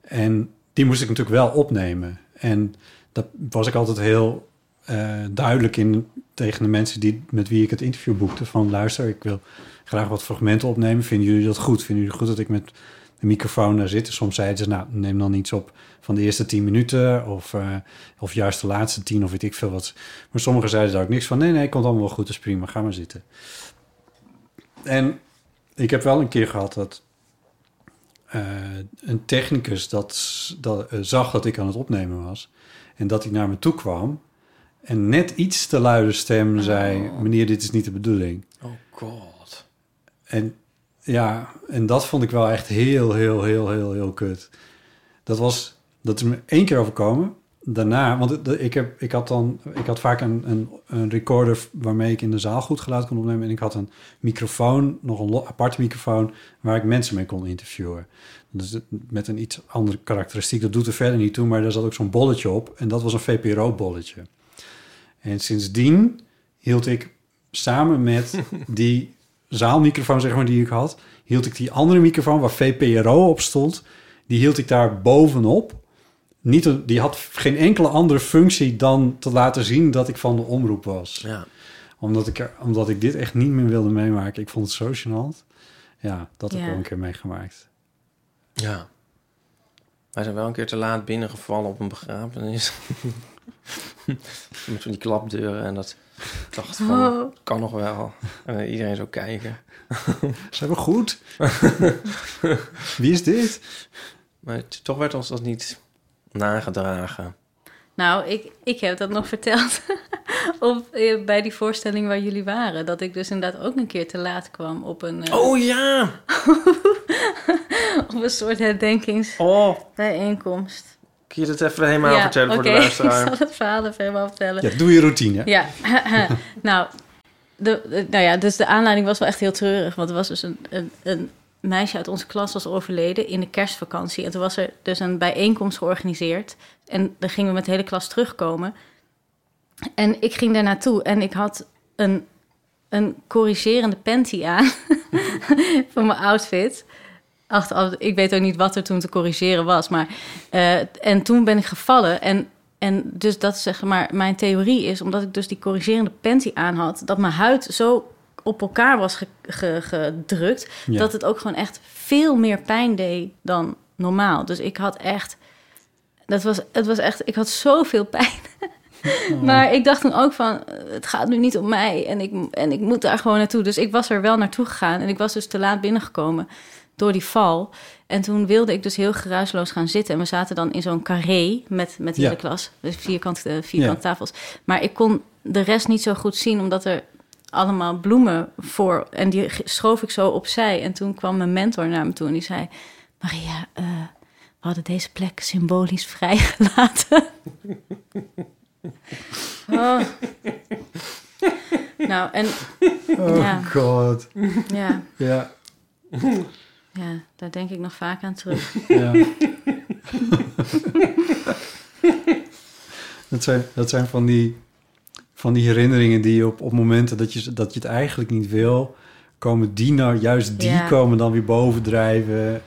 S3: En die moest ik natuurlijk wel opnemen. En dat was ik altijd heel eh, duidelijk in tegen de mensen die, met wie ik het interview boekte. Van luister, ik wil graag wat fragmenten opnemen. Vinden jullie dat goed? Vinden jullie goed dat ik met de microfoon daar zit? Soms zeiden ze, nou, neem dan iets op van de eerste tien minuten. Of, eh, of juist de laatste tien, of weet ik veel wat. Maar sommigen zeiden daar ook niks van. Nee, nee, komt allemaal wel goed, dat is prima. Ga maar zitten. En ik heb wel een keer gehad dat eh, een technicus dat, dat eh, zag dat ik aan het opnemen was. En dat hij naar me toe kwam. En net iets te luide stem zei: Meneer, dit is niet de bedoeling.
S2: Oh god.
S3: En ja, en dat vond ik wel echt heel, heel, heel, heel, heel kut. Dat was, dat is me één keer overkomen. Daarna, want het- ik, heb, ik had dan, ik had vaak een, een, een recorder waarmee ik in de zaal goed geluid kon opnemen. En ik had een microfoon, nog een lo- aparte microfoon, waar ik mensen mee kon interviewen. Dus het- met een iets andere karakteristiek. Dat doet er verder niet toe, maar daar zat ook zo'n bolletje op. En dat was een VPRO-bolletje. En sindsdien hield ik samen met die zaalmicrofoon, zeg maar, die ik had, hield ik die andere microfoon waar VPRO op stond, die hield ik daar bovenop. Niet, een- die had geen enkele andere functie dan te laten zien dat ik van de omroep was.
S2: Ja.
S3: Omdat, ik, er- omdat ik dit echt niet meer wilde meemaken. Ik vond het zo gênant. Ja, dat heb ik
S4: Ja.
S3: wel een keer meegemaakt.
S2: Ja. Wij zijn wel een keer te laat binnengevallen op een begrafenis. Met van die klapdeuren en dat ik dacht van,
S4: Oh.
S2: kan nog wel. En dan iedereen zo kijken.
S3: Zijn we goed? Wie is dit?
S2: Maar t- toch werd ons dat niet nagedragen.
S4: Nou, ik, ik heb dat nog verteld op, eh, bij die voorstelling waar jullie waren. Dat ik dus inderdaad ook een keer te laat kwam op een, eh,
S2: Oh ja!
S4: op een soort herdenkingsbijeenkomst.
S2: Oh, kun je dat even helemaal vertellen voor de
S4: oké, ik
S2: luisteraar?
S4: zal het verhaal even helemaal vertellen.
S3: Ja, doe je routine.
S4: Ja, nou, de, de- nou ja, dus de aanleiding was wel echt heel treurig. Want er was dus een, een, een meisje uit onze klas was overleden in de kerstvakantie. En toen was er dus een bijeenkomst georganiseerd. En dan gingen we met de hele klas terugkomen. En ik ging daar naartoe en ik had een, een corrigerende panty aan voor mijn outfit. Achteraf, ik weet ook niet wat er toen te corrigeren was. Maar, eh, en toen ben ik gevallen. En, en dus dat is zeg maar mijn theorie is, omdat ik dus die corrigerende panty aan had, dat mijn huid zo op elkaar was ge- ge- gedrukt,
S3: Ja.
S4: dat het ook gewoon echt veel meer pijn deed dan normaal. Dus ik had echt, dat was, het was echt, ik had zoveel pijn. Maar ik dacht toen ook van, eh, het gaat nu niet om mij en ik, en ik moet daar gewoon naartoe. Dus ik was er wel naartoe gegaan en ik was dus te laat binnengekomen door die val. En toen wilde ik dus heel geruisloos gaan zitten. En we zaten dan in zo'n carré met, met de
S3: Ja.
S4: hele klas. Dus vierkant, eh, vierkant
S3: Ja.
S4: tafels. Maar ik kon de rest niet zo goed zien, omdat er allemaal bloemen voor... En die ge- schoof ik zo opzij. En toen kwam mijn mentor naar me toe en die zei... Maria, eh, we hadden deze plek symbolisch vrijgelaten. Oh. Nou, en
S3: Oh
S4: Ja.
S3: god.
S4: ja,
S3: Ja.
S4: ja, daar denk ik nog vaak aan terug.
S3: ja. dat, zijn, dat zijn van die, van die herinneringen die je op, op momenten dat je, dat je het eigenlijk niet wil... komen die nou, juist die
S4: Ja.
S3: komen dan weer bovendrijven.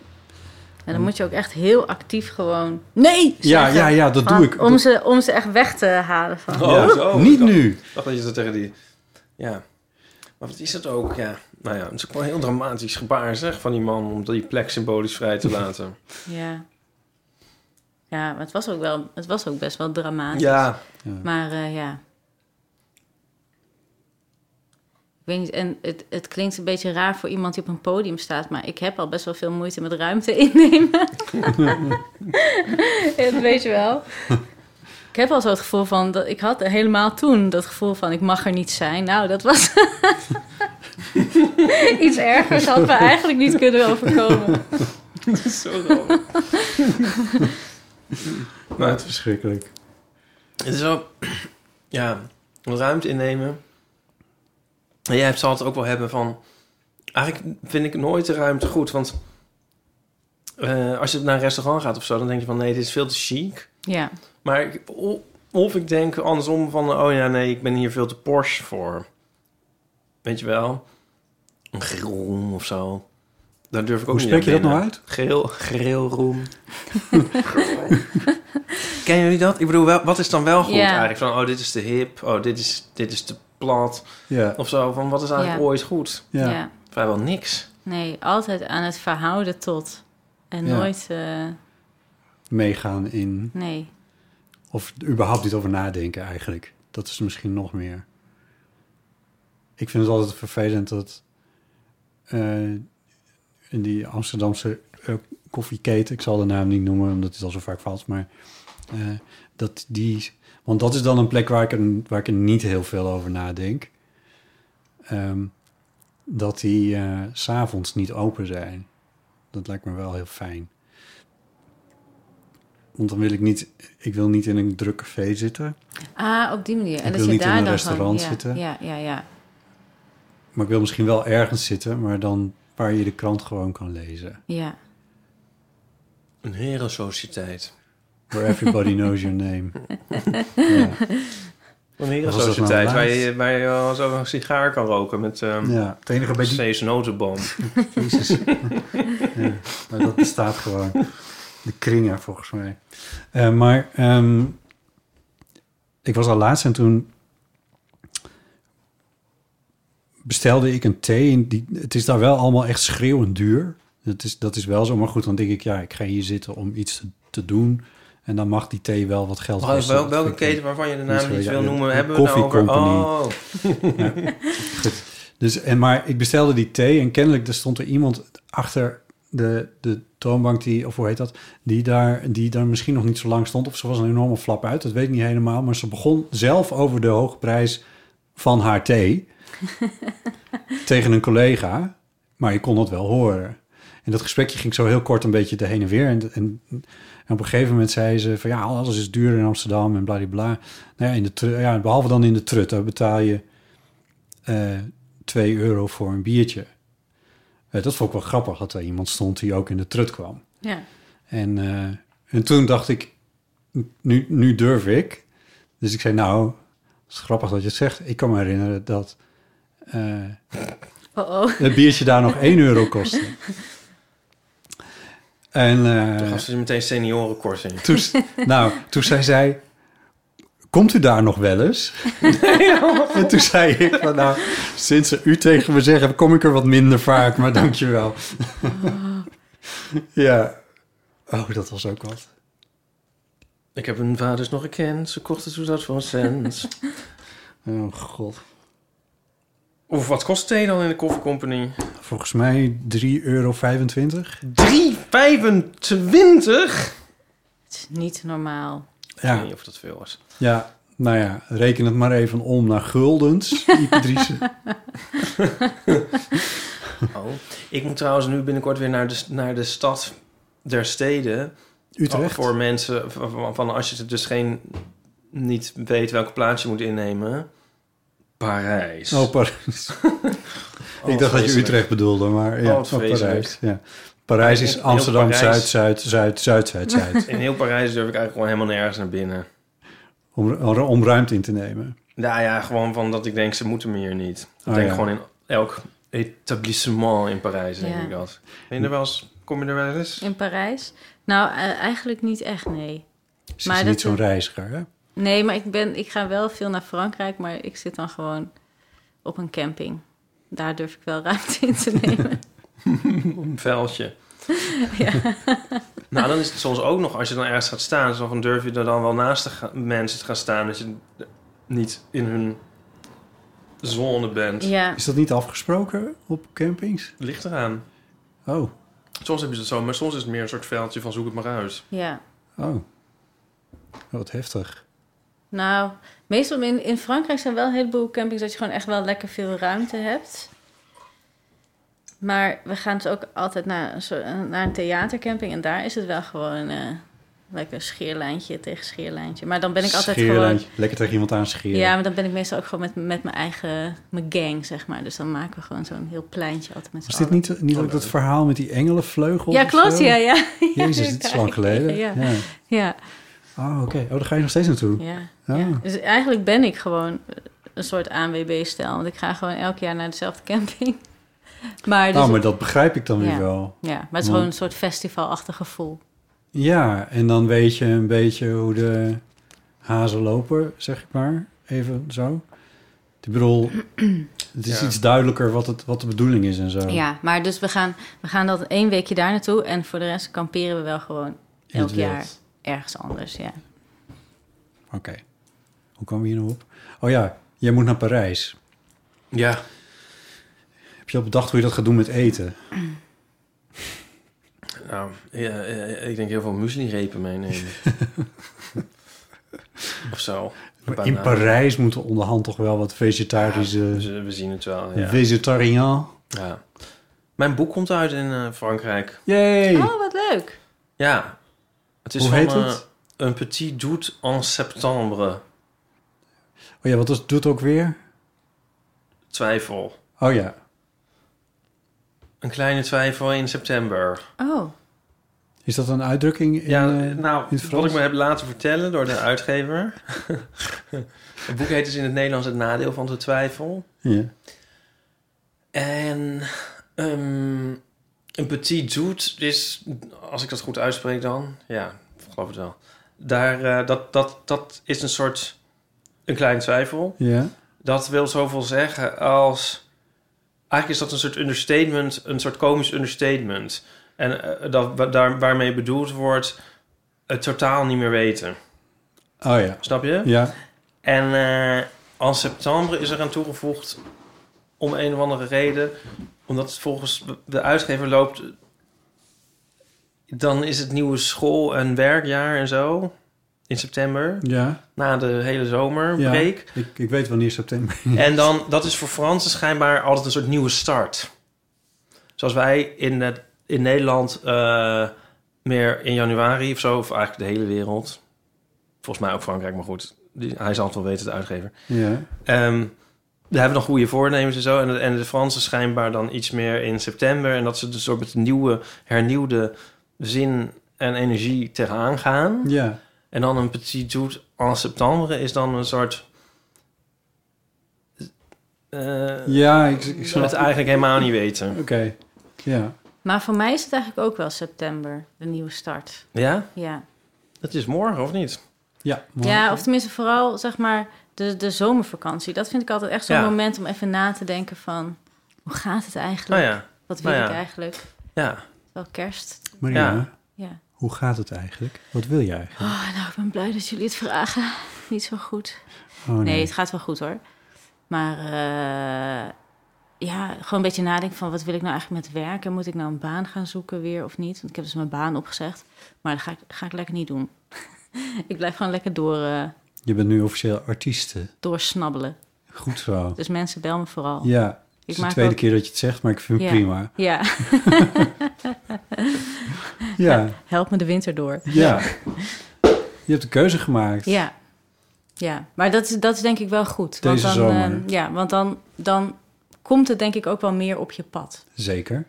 S4: En dan moet je ook echt heel actief gewoon... Nee!
S3: Ja,
S4: zeggen.
S3: ja, ja, dat doe
S4: Van-
S3: ik.
S4: Om ze, om ze echt weg te halen van...
S2: Oh,
S3: Ja.
S2: zo.
S3: niet
S2: Ik dacht-
S3: nu.
S2: Ik dacht dat je zo tegen die... Ja. Maar wat is dat ook? Ja. Nou ja, het is ook wel een heel dramatisch gebaar, zeg, van die man... om die plek symbolisch vrij te laten.
S4: Ja. Ja, maar het was ook, wel, het was ook best wel dramatisch.
S2: ja.
S4: Maar eh, ja. Ik weet niet, en het, het klinkt een beetje raar voor iemand die op een podium staat, maar ik heb al best wel veel moeite met ruimte innemen. Ja, dat weet je wel. Ik heb al zo het gevoel van, dat, ik had helemaal toen dat gevoel van, ik mag er niet zijn. Nou, dat was iets ergers had me eigenlijk niet kunnen overkomen.
S2: Zo raar. maar het,
S3: Verschrikkelijk.
S2: het is wel... Ja, ruimte innemen. En jij hebt- zal het ook wel hebben van... Eigenlijk vind ik nooit de ruimte goed, want... eh, als je naar een restaurant gaat of zo, dan denk je van... nee, dit is veel te chic.
S4: Ja,
S2: Maar ik, o- of ik denk andersom van... oh ja, nee, ik ben hier veel te Porsche voor. Weet je wel? Een grillroom of zo. Daar durf ik ook niet
S3: Hoe spreek je
S2: aan
S3: dat nou
S2: binnen.
S3: uit?
S2: Grill, grillroom. Kennen jullie dat? Ik bedoel, wel, wat is dan wel goed
S4: Ja.
S2: eigenlijk? Van, oh, dit is te hip. Oh, dit is, dit is te plat.
S3: Ja.
S2: Of zo, van wat is eigenlijk
S4: Ja.
S2: ooit goed?
S3: Ja.
S4: ja.
S2: Vrijwel niks.
S4: Nee, altijd aan het verhouden tot. En
S3: Ja.
S4: nooit, eh,
S3: Meegaan in...
S4: nee.
S3: Of er überhaupt niet over nadenken eigenlijk. Dat is misschien nog meer. Ik vind het altijd vervelend dat... eh, in die Amsterdamse eh, koffieketen... Ik zal de naam niet noemen, omdat het al zo vaak valt. Maar eh, dat die... Want dat is dan een plek waar ik er, waar ik er niet heel veel over nadenk. Ehm, dat die eh, s s'avonds niet open zijn. Dat lijkt me wel heel fijn. Want dan wil ik niet, ik wil niet in een druk café zitten.
S4: Ah, op die manier. En
S3: Ik
S4: dat
S3: wil
S4: je
S3: niet in
S4: daar
S3: een
S4: dan
S3: restaurant
S4: gewoon,
S3: zitten.
S4: Ja, ja, ja, ja.
S3: Maar ik wil misschien wel ergens zitten, maar dan waar je de krant gewoon kan lezen.
S4: ja.
S2: Een herensociëteit.
S3: Where everybody knows your name. ja,
S2: Een
S3: was dat nou
S2: herensociëteit waar
S3: laatst?
S2: je, waar je wel zo een sigaar kan roken met ehm
S3: ja, het enige bij die...
S2: steeds notenboom.
S3: Ja, maar dat bestaat gewoon. De kringen, volgens mij. Eh, maar ehm, ik was al laatst en toen bestelde ik een thee. En die, het is daar wel allemaal echt schreeuwend duur. Dat is, dat is wel zo. Maar goed, dan denk ik, ja, ik ga hier zitten om iets te, te doen. En dan mag die thee wel wat geld
S2: Oh,
S3: kosten.
S2: wel, welke
S3: Dat vind ik-
S2: keten waarvan je de
S3: Niet zo,
S2: naam niet
S3: ja,
S2: wil
S3: een-
S2: noemen,
S3: een
S2: hebben we het nou over?
S3: koffie company.
S2: Oh,
S3: Dus, en, maar ik bestelde die thee en kennelijk er stond er iemand achter de, de toonbank, die, of hoe heet dat, die daar, die daar misschien nog niet zo lang stond. Of ze was een enorme flap uit, dat weet ik niet helemaal. Maar ze begon zelf over de hoge prijs van haar thee tegen een collega. Maar je kon dat wel horen. En dat gesprekje ging zo heel kort een beetje de heen en weer. En, en, en op een gegeven moment zei ze van ja, alles is duur in Amsterdam en bladibla. Nou ja, in de, tru- ja, behalve dan in de trut, daar betaal je eh 2 euro voor een biertje. Eh, dat vond ik wel grappig dat er iemand stond die ook in de trut kwam.
S4: ja.
S3: En, eh, en toen dacht ik, nu, nu durf ik. Dus ik zei, nou, het is grappig dat je het zegt. Ik kan me herinneren dat eh,
S4: Oh, oh.
S3: het biertje daar nog 1 euro kostte. En, eh,
S2: dan gaan ze meteen seniorenkorting.
S3: toen, nou, toen zei zij, komt u daar nog wel eens? en toen zei ik, van, nou, sinds ze u tegen me zeggen, kom ik er wat minder vaak, maar dankjewel. ja, oh, dat was ook wat.
S2: Ik heb hun vaders nog gekend. Ze kochten toen dat voor een cent.
S3: Oh god.
S2: Of wat kost thee dan in de koffiecompany?
S3: Volgens mij 3,25 euro.
S2: 3,25?
S4: Het is niet normaal.
S2: Ja. Ik weet
S3: Ja,
S2: niet of dat veel was.
S3: ja, nou ja, reken het maar even om naar guldens. Ipatrice.
S2: Oh. Ik moet trouwens nu binnenkort weer naar de, naar de stad der steden.
S3: Utrecht.
S2: Voor mensen van- van, van als je dus geen, niet weet welke plaats je moet innemen. Parijs.
S3: Oh, Parijs.
S2: Oh,
S3: ik dacht dat je
S2: vreselijk.
S3: Utrecht bedoelde, maar ja,
S2: Oh, wat
S3: van
S2: vreselijk.
S3: Parijs. Ja. Parijs
S2: Heel
S3: is Amsterdam,
S2: Parijs.
S3: Zuid, Zuid, Zuid, Zuid, Zuid, Zuid.
S2: In heel Parijs durf ik eigenlijk gewoon helemaal nergens naar binnen.
S3: om, om ruimte in te nemen.
S2: Nou ja, gewoon van dat ik denk, ze moeten me hier niet. Dat
S3: Oh,
S2: denk
S3: ja.
S2: ik gewoon in elk etablissement in Parijs, denk
S4: Ja.
S2: ik dat. Ben je er wel eens, kom je er wel eens?
S4: In Parijs? Nou, eh, eigenlijk niet echt, nee.
S3: Ze
S4: Maar
S3: is
S4: dat
S3: niet zo'n
S4: is-
S3: reiziger, hè?
S4: Nee, maar ik, ben, ik ga wel veel naar Frankrijk, maar ik zit dan gewoon op een camping. Daar durf ik wel ruimte in te nemen.
S2: Een vuiltje. nou, dan is het soms ook nog, als je dan ergens gaat staan, zo van durf je er dan wel naast de ga- mensen te gaan staan, dat je niet in hun zone bent.
S4: ja,
S3: Is dat niet afgesproken op campings?
S2: Ligt eraan.
S3: Oh,
S2: Soms heb je dat zo, maar soms is het meer een soort veldje van zoek het maar uit.
S4: ja.
S3: oh. Wat heftig.
S4: Nou, meestal in, in Frankrijk zijn wel een heleboel campings dat je gewoon echt wel lekker veel ruimte hebt. Maar we gaan dus ook altijd naar een, soort- naar een theatercamping en daar is het wel gewoon eh, lekker scheerlijntje tegen scheerlijntje. Maar dan ben ik altijd gewoon.
S3: Scheerlijntje. Lekker tegen iemand aan scheren.
S4: Ja, maar dan ben ik meestal ook gewoon met, met mijn eigen mijn gang, zeg maar. Dus dan maken we gewoon zo'n heel pleintje altijd met z'n
S3: Was dit
S4: allen.
S3: niet, niet
S2: Oh,
S3: ook dat verhaal met die engelenvleugels?
S4: Ja,
S3: of
S4: klopt,
S3: zo?
S4: ja, ja.
S3: Jezus, het is lang geleden.
S4: Ja,
S3: Ja.
S4: ja. ja.
S3: Oh, oké. Oh, daar ga je nog steeds naartoe.
S4: Ja,
S3: Ah.
S4: ja. Dus eigenlijk ben ik gewoon een soort ANWB-stijl. Want ik ga gewoon elk jaar naar dezelfde camping. Maar, dus,
S3: nou, maar dat begrijp ik dan weer
S4: Ja.
S3: wel.
S4: ja, maar het is gewoon een soort festivalachtig gevoel.
S3: Ja, en dan weet je een beetje hoe de hazen lopen, zeg ik maar. Even zo. Ik bedoel, het is
S2: Ja.
S3: iets duidelijker wat, het, wat de bedoeling is en zo.
S4: Ja, maar dus we gaan, we gaan dat één weekje daar naartoe. En voor de rest kamperen we wel gewoon
S3: In het
S4: elk jaar
S3: wild.
S4: ergens anders. Ja.
S3: Oké. Hoe kwamen we hier nou op? Oh ja, jij moet naar Parijs.
S2: Ja.
S3: Heb je al bedacht hoe je dat gaat doen met eten?
S2: Nou, ja, eh, ik denk heel veel muesli-repen meenemen. of zo.
S3: In
S2: Banaan.
S3: Parijs moeten onderhand toch wel wat eh, vegetarische...
S2: We we zien het wel, ja.
S3: Vegetarian.
S2: Ja. Mijn boek komt uit in eh, Frankrijk.
S3: Yay!
S4: Oh, wat leuk.
S2: Ja. Het is
S3: Hoe
S2: van,
S3: heet
S2: eh,
S3: het?
S2: Een petit doute en septembre.
S3: Oh ja, wat is, doet ook weer?
S2: Twijfel.
S3: Oh ja.
S2: Een kleine twijfel in september.
S4: Oh,
S3: Is dat een uitdrukking in,
S2: ja,
S3: eh,
S2: nou,
S3: in het
S2: wat
S3: Frans?
S2: ik me heb laten vertellen door de uitgever. het boek heet dus in het Nederlands Het Nadeel van de Twijfel.
S3: Ja.
S2: En ehm, een petit doet is, als ik dat goed uitspreek dan, ja, ik geloof het wel. Daar, eh, dat, dat, dat is een soort, een klein twijfel.
S3: ja.
S2: Dat wil zoveel zeggen als, eigenlijk is dat een soort understatement, een soort komisch understatement. En eh, dat, wa- daar, waarmee bedoeld wordt, het totaal niet meer weten.
S3: Oh ja.
S2: Snap je?
S3: Ja.
S2: En eh aan september is eraan toegevoegd om een of andere reden, omdat het volgens de uitgever loopt, dan is het nieuwe school- en werkjaar en zo in september,
S3: Ja.
S2: na de hele
S3: Ja,
S2: zomerbreek.
S3: ik, ik weet wanneer september.
S2: En dan, dat is voor Fransen schijnbaar altijd een soort nieuwe start. Zoals wij in, het, in Nederland eh, meer in januari of zo, of eigenlijk de hele wereld. Volgens mij ook Frankrijk, maar goed. die- hij zal het wel weten, de uitgever.
S3: Ja.
S2: Ehm we hebben nog goede voornemens en zo. En de, en de Fransen schijnbaar dan iets meer in september. En dat ze dus ook met een nieuwe, hernieuwde zin en energie tegenaan gaan.
S3: Ja.
S2: En dan een petit doet en september is dan een soort... eh,
S3: Ja, ik, ik
S2: ik
S3: snap
S2: zou het eigenlijk helemaal niet weten.
S3: Oké. Ja.
S4: maar voor mij is het eigenlijk ook wel september, de nieuwe start.
S2: Ja?
S4: Ja.
S2: Dat is morgen, of niet?
S3: Ja. maar-
S4: Ja, of tenminste vooral zeg maar de, de zomervakantie. Dat vind ik altijd echt zo'n
S2: Ja.
S4: moment om even na te denken van... hoe gaat het
S2: Nou
S4: eigenlijk?
S2: ja,
S4: Wat wil
S2: nou
S4: ik
S2: ja.
S4: eigenlijk?
S2: ja.
S4: Wel kerst.
S3: Marina,
S2: ja.
S4: Ja.
S3: Hoe gaat het eigenlijk? Wat wil je eigenlijk?
S4: Oh, nou, ik ben blij dat jullie het vragen. Niet zo goed.
S3: Oh, nee.
S4: Nee, het gaat wel goed hoor. Maar eh, ja, gewoon een beetje nadenken van wat wil ik nou eigenlijk met werken? Moet ik nou een baan gaan zoeken weer of niet? Want ik heb dus mijn baan opgezegd. Maar dat ga ik, ga ik lekker niet doen. ik blijf gewoon lekker door, eh,
S3: Je bent nu officieel artieste.
S4: doorsnabbelen.
S3: Goed zo.
S4: Dus mensen bel me vooral.
S3: Ja, het is de
S4: maak
S3: tweede
S4: ook-
S3: keer dat je het zegt, maar ik vind het
S4: Ja.
S3: prima.
S4: Ja,
S3: Ja,
S4: help me de winter door.
S3: ja. Je hebt de keuze gemaakt.
S4: Ja, ja. maar dat is, dat is denk ik wel goed.
S3: Deze
S4: want dan,
S3: zomer.
S4: eh, ja, want dan, dan komt het denk ik ook wel meer op je pad.
S3: Zeker.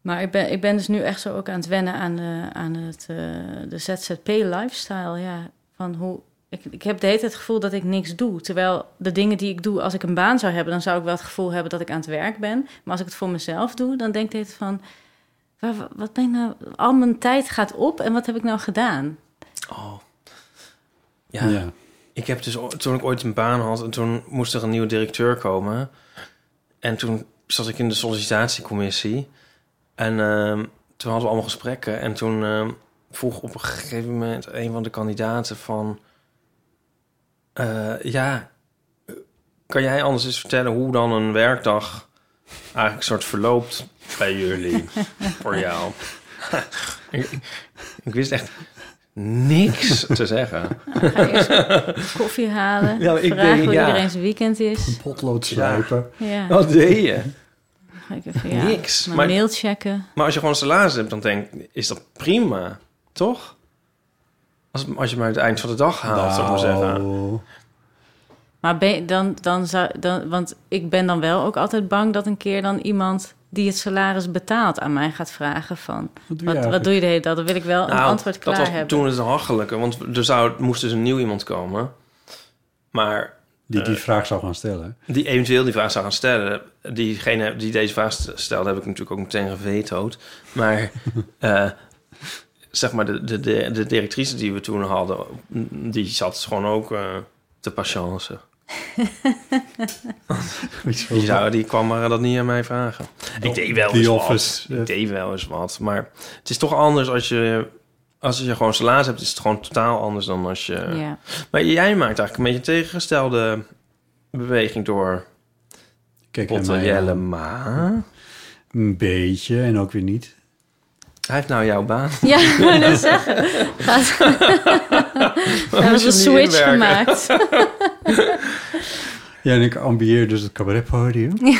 S4: Maar ik ben, ik ben dus nu echt zo ook aan het wennen aan de, aan het, eh, de ZZP-lifestyle. Ja, van hoe... Ik, ik heb de hele tijd het gevoel dat ik niks doe. Terwijl de dingen die ik doe, als ik een baan zou hebben... dan zou ik wel het gevoel hebben dat ik aan het werk ben. Maar als ik het voor mezelf doe, dan denk ik de hele tijd van... waar- wat ben ik nou... Al mijn tijd gaat op en wat heb ik nou gedaan?
S2: Oh.
S3: Ja.
S2: ja. Ik heb dus o- toen ik ooit een baan had en toen moest er een nieuwe directeur komen. En toen zat ik in de sollicitatiecommissie. En ehm, toen hadden we allemaal gesprekken. En toen ehm, vroeg op een gegeven moment een van de kandidaten van... eh, ja, eh, kan jij anders eens vertellen hoe dan een werkdag eigenlijk soort verloopt bij jullie, voor jou? ik, ik wist echt niks te zeggen.
S4: Ga je eens koffie halen?
S2: Ja, maar Nou, ik
S4: vragen
S2: denk,
S4: hoe
S2: ja.
S4: iedereen zijn weekend is?
S3: Potlood slijpen.
S4: Ja,
S2: Wat deed je?
S4: dan ga ik even, ja.
S2: Niks.
S4: Mijn
S2: Maar-
S4: mail checken.
S2: Maar als je gewoon een salaris hebt, dan denk ik, is dat prima, toch? Als, als je maar het eind van de dag haalt, zou ik maar zeggen.
S3: Nou,
S4: Maar ben, je- dan, dan zou, dan, want ik ben dan wel ook altijd bang dat een keer dan iemand die het salaris betaalt aan mij gaat vragen van...
S3: Wat doe je
S4: Wat, wat
S3: eigenlijk?
S4: doe je de hele dag? Dan wil ik wel een
S2: Nou,
S4: antwoord klaar
S2: dat was
S4: hebben.
S2: toen het hachelijke, want er zou, moest dus een nieuw iemand komen. Maar
S3: Die die vraag zou gaan stellen.
S2: die eventueel die vraag zou gaan stellen, diegene die deze vraag st- stelde, heb ik natuurlijk ook meteen gevetood. Maar eh, zeg maar, de, de, de, de directrice die we toen hadden, die zat gewoon ook eh, te patience. Die, zou, die kwam maar dat niet aan mij vragen. ik deed wel
S3: The
S2: eens
S3: Office,
S2: wat.
S3: eh.
S2: Ik deed wel eens wat. Maar het is toch anders als je... Als je gewoon salaris hebt, is het gewoon totaal anders dan als je...
S4: Ja.
S2: Maar jij maakt eigenlijk een beetje tegengestelde beweging door
S3: Kijk, en
S2: Potter
S3: mij
S2: Jellema.
S3: Een beetje en ook weer niet.
S2: Hij heeft nou jouw baan.
S4: Ja, ik wou net zeggen. Gaat... Daar is
S2: je
S4: een
S2: niet
S4: switch
S2: inwerken?
S4: gemaakt.
S3: Ja, en ik ambieer dus het cabaretpodium.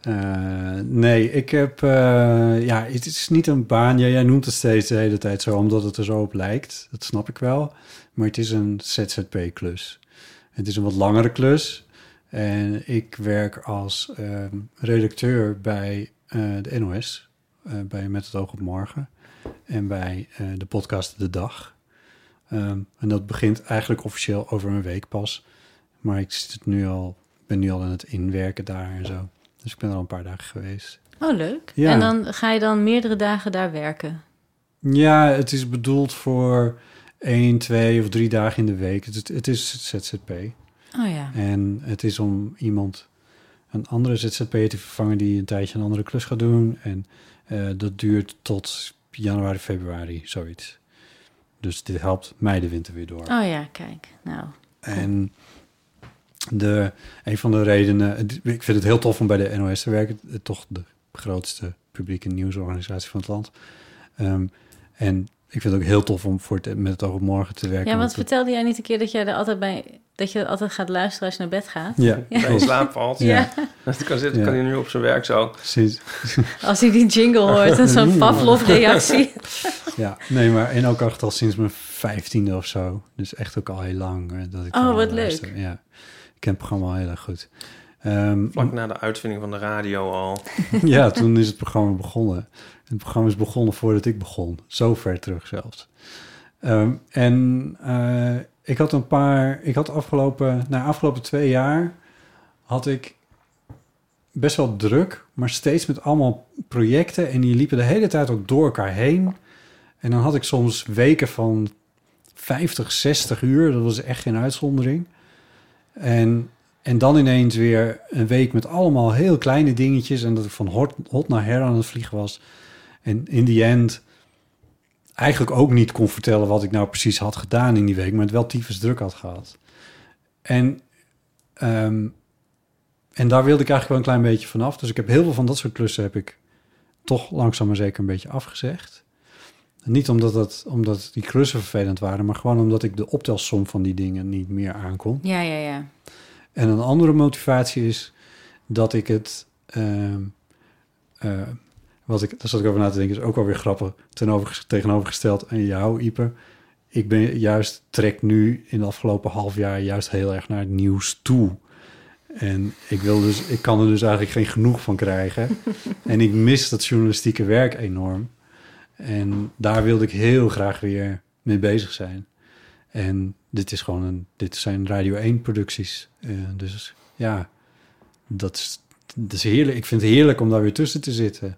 S3: Eh, nee, ik heb... eh, ja, het is niet een baan. Ja, jij noemt het steeds de hele tijd zo, omdat het er zo op lijkt. Dat snap ik wel. Maar het is een ZZP-klus. Het is een wat langere klus. En ik werk als ehm, redacteur bij eh, de NOS. eh, bij Met het oog op morgen. En bij eh, de podcast De Dag. Ehm, en dat begint eigenlijk officieel over een week pas. Maar ik zit het nu al, ik ben nu al aan het inwerken daar en zo. Dus ik ben er al een paar dagen geweest.
S4: Oh, leuk.
S3: Ja.
S4: En dan ga je dan meerdere dagen daar werken.
S3: Ja, het is bedoeld voor één, twee of drie dagen in de week. Het, het is ZZP.
S4: Oh ja.
S3: En het is om iemand, een andere ZZP te vervangen die een tijdje een andere klus gaat doen. En eh, dat duurt tot januari, februari, zoiets. Dus dit helpt mij de winter weer door.
S4: Oh ja, kijk. Nou,
S3: En de, een van de redenen... Ik vind het heel tof om bij de NOS te werken. Eh, Toch de grootste publieke nieuwsorganisatie van het land. Ehm, en ik vind het ook heel tof om voor het, met het oog op morgen te werken.
S4: Ja, want
S3: want dat-
S4: vertelde jij niet een keer dat jij er altijd bij dat je altijd gaat luisteren als je naar bed gaat?
S3: Ja,
S2: Hij in
S3: klopt.
S2: slaap valt.
S3: Ja.
S2: Dat kan, zitten,
S3: Ja.
S2: kan hij nu op zijn werk zo.
S3: Sinds,
S4: Als hij die jingle hoort en zo'n Pavlov-reactie.
S3: ja, nee, maar en ook echt al sinds mijn vijftiende of zo. Dus echt ook al heel lang. eh, Dat ik
S4: Oh,
S3: daar
S4: wat
S3: luister.
S4: leuk.
S3: Ja, ik ken het programma al heel erg goed. Ehm,
S2: Vlak na de uitvinding van de radio al.
S3: Ja, toen is het programma begonnen. Het programma is begonnen voordat ik begon. Zo ver terug zelfs. Ehm, en eh, ik had een paar... Ik had afgelopen... Na afgelopen twee jaar had ik best wel druk... maar steeds met allemaal projecten... en die liepen de hele tijd ook door elkaar heen. En dan had ik soms weken van 50, 60 uur. Dat was echt geen uitzondering. En en dan ineens weer een week met allemaal heel kleine dingetjes. En dat ik van hot, hot naar her aan het vliegen was. En in die end eigenlijk ook niet kon vertellen wat ik nou precies had gedaan in die week, maar het wel tyfus druk had gehad. En, ehm, en daar wilde ik eigenlijk wel een klein beetje vanaf. Dus ik heb heel veel van dat soort klussen heb ik toch langzaam maar zeker een beetje afgezegd. Niet omdat, dat, omdat die klussen vervelend waren, maar gewoon omdat ik de optelsom van die dingen niet meer aankon.
S4: Ja, ja, ja.
S3: En een andere motivatie is dat ik het. ehm, eh, wat ik, daar zat ik over na te denken, is ook wel weer grappig. ten over- tegenovergesteld aan jou, Ieper. Ik ben juist trek nu in het afgelopen half jaar juist heel erg naar het nieuws toe. En ik, wil dus, ik kan er dus eigenlijk geen genoeg van krijgen. en ik mis dat journalistieke werk enorm. En daar wilde ik heel graag weer mee bezig zijn. En dit is gewoon een, dit zijn Radio 1 producties. Eh, dus ja, dat is, dat is heerlijk. Ik vind het heerlijk om daar weer tussen te zitten.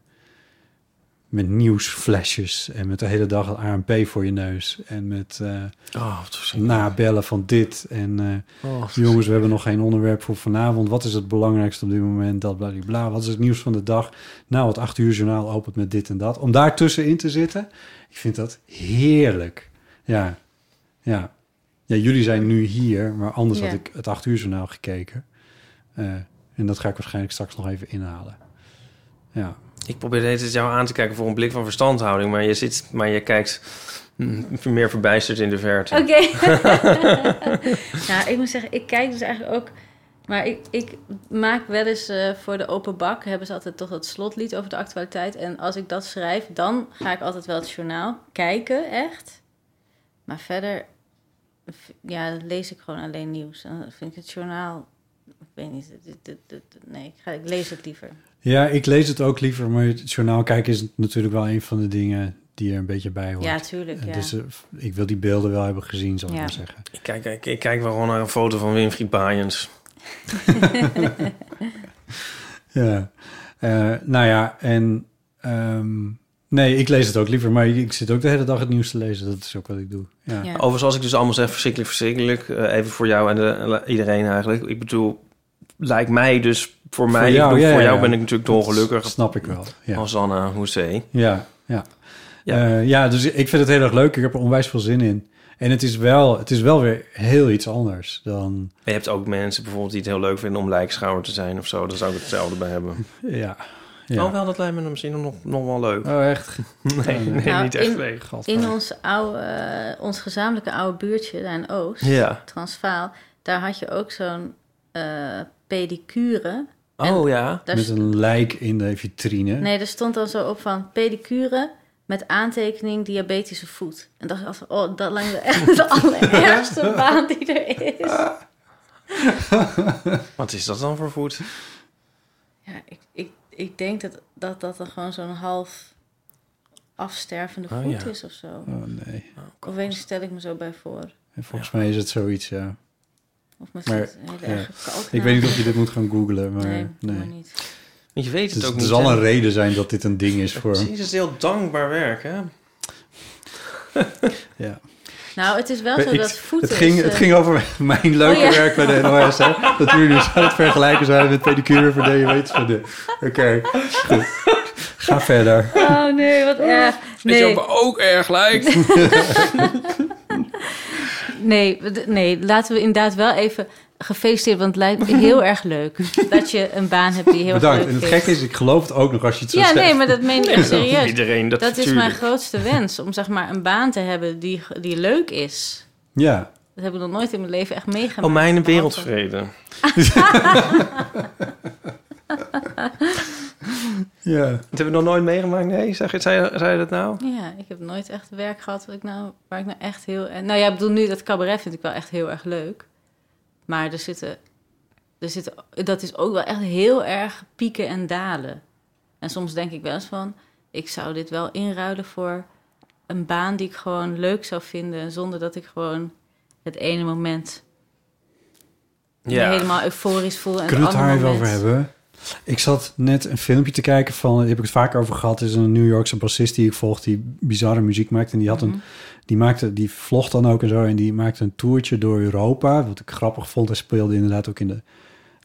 S3: Met nieuwsflesjes en met de hele dag het ANP voor je neus. En met eh,
S2: Oh, wat verschrikkelijk.
S3: nabellen van dit. En eh,
S2: Oh, wat
S3: jongens, we hebben nog geen onderwerp voor vanavond. Wat is het belangrijkste op dit moment? Dat bla bla, bla. Wat is het nieuws van de dag? Nou, het acht uur journaal opent met dit en dat. Om daar tussenin te zitten, ik vind dat heerlijk. Ja, ja. Ja, jullie zijn nu hier, maar anders
S4: Ja.
S3: had ik het acht uur journaal gekeken. Eh, en dat ga ik waarschijnlijk straks nog even inhalen. Ja.
S2: Ik probeer deze jou aan te kijken voor een blik van verstandhouding, maar je, zit, maar je kijkt mm, meer verbijsterd in de verte.
S4: Oké. nou, ik moet zeggen, ik kijk dus eigenlijk ook... Maar ik, ik maak wel eens eh, voor de open bak... hebben ze altijd toch dat slotlied over de actualiteit. En als ik dat schrijf, dan ga ik altijd wel het journaal kijken, echt. Maar verder v- ja, lees ik gewoon alleen nieuws. En dan vind ik het journaal... Ik weet niet, dit- dit- dit- dit- nee, ik, ga, ik lees het liever.
S3: ja, ik lees het ook liever, maar het journaal kijken is natuurlijk wel een van de dingen die er een beetje bij hoort.
S4: Ja, tuurlijk, ja.
S3: Dus eh, ik wil die beelden wel hebben gezien, zal ik
S4: Ja.
S3: maar zeggen.
S2: Ik, kijk, ik, ik kijk wel gewoon naar een foto van Winfried Baaiens.
S3: Ja. Eh, nou ja, en... ehm, nee, ik lees het ook liever, maar ik zit ook de hele dag het nieuws te lezen. Dat is ook wat ik doe. Ja.
S4: Ja.
S2: Overigens, als ik dus allemaal zeg verschrikkelijk, verschrikkelijk, eh, even voor jou en de- iedereen eigenlijk. Ik bedoel, lijkt mij dus voor, mij, ik
S3: jou,
S2: bedoel,
S3: ja,
S2: voor
S3: ja,
S2: jou
S3: ja.
S2: ben ik natuurlijk
S3: Dat
S2: dolgelukkig.
S3: snap ik wel. Ja.
S2: Hosanna, hoezee.
S3: Ja, ja.
S2: Ja.
S3: Ja. ja, dus ik vind het heel erg leuk. Ik heb er onwijs veel zin in. En het is wel, het is wel weer heel iets anders dan...
S2: Maar Je hebt ook mensen bijvoorbeeld die het heel leuk vinden om lijkschouwer te zijn of zo. Daar zou ik hetzelfde bij hebben.
S3: Ja. ja.
S2: Oh, wel, dat lijkt me dan misschien nog, nog wel leuk.
S3: Oh, echt?
S2: nee, nee,
S4: Nou,
S2: niet echt
S4: in-
S2: leuk.
S4: In ons, oude, eh, ons gezamenlijke oude buurtje daar in Oost...
S2: Ja.
S4: Transvaal, daar had je ook zo'n eh, pedicure.
S2: Oh ja.
S4: Daar
S3: Met
S4: st-
S3: een lijk in de vitrine.
S4: Nee, er stond dan zo op van pedicure met aantekening diabetische voet. En dacht ik altijd, oh, dat lijkt me echt de allerergste baan die er is.
S2: Wat is dat dan voor voet?
S4: Ja, ik, ik, ik denk dat dat, dat dan gewoon zo'n half afstervende
S2: Oh,
S4: voet
S2: ja.
S4: is of zo.
S3: Oh, nee.
S4: Of weet niet, stel ik me zo bij voor.
S3: En volgens mij is het zoiets, ja.
S4: Of met
S3: Maar,
S4: zo'n hele
S3: ja.
S4: erge kalk.
S3: Ik weet niet of je dit moet gaan googlen, maar
S4: Nee,
S3: nee.
S4: doe maar niet.
S2: Want je weet het
S3: Dus
S2: ook
S3: er
S2: niet.
S3: zal
S2: hè?
S3: een reden zijn dat dit een ding is voor hem.
S2: Precies, het is heel dankbaar werk, hè?
S3: Ja.
S4: Nou, het is wel zo
S3: Ik-
S4: dat voeten...
S3: het, ging,
S4: is,
S3: het
S4: eh,
S3: ging over mijn leuke
S4: Oh, ja.
S3: werk bij de NOS. Hè? Dat jullie dus aan het vergelijken zijn met pedicure voor diabetes. van de- Oké, goed. Ga verder.
S4: Oh nee, wat erg. Nee.
S2: wat me ook erg lijkt?
S4: Nee, we- nee, laten we inderdaad wel even gefeliciteerd, want het lijkt me heel erg leuk dat je een baan hebt die heel
S3: Bedankt.
S4: erg
S3: En
S4: leuk
S3: het gekke is, ik geloof het ook nog als je het zo
S4: Ja,
S3: zegt.
S4: nee, maar dat meen ik echt serieus.
S2: Iedereen, dat,
S4: Dat is mijn
S2: tuurlijk.
S4: grootste wens, om zeg maar een baan te hebben die, die leuk is.
S3: Ja,
S4: Dat heb ik nog nooit in mijn leven echt meegemaakt.
S2: Oh, mijn
S4: Behalve-
S2: wereldvrede.
S3: ja.
S2: Dat hebben we nog nooit meegemaakt, nee? Zeg, je- zei, zei je dat nou?
S4: Ja, ik heb nooit echt werk gehad wat ik nou, waar ik nou echt heel... en- Nou ja, ik bedoel nu, dat cabaret vind ik wel echt heel erg leuk. Maar er zitten, er zitten... Dat is ook wel echt heel erg pieken en dalen. En soms denk ik wel eens van... Ik zou dit wel inruilen voor een baan die ik gewoon leuk zou vinden... zonder dat ik gewoon het ene moment me helemaal euforisch voel... En
S3: Kunnen we
S4: het
S3: het daar
S4: andere
S3: even over
S4: moment-
S3: hebben? Ik zat net een filmpje te kijken van, daar heb ik het vaak over gehad, is een New Yorkse bassist die ik volg die bizarre muziek maakt en die had een, die maakte, die vlog dan ook en zo en die maakte een toertje door Europa, wat ik grappig vond. Hij speelde inderdaad ook in de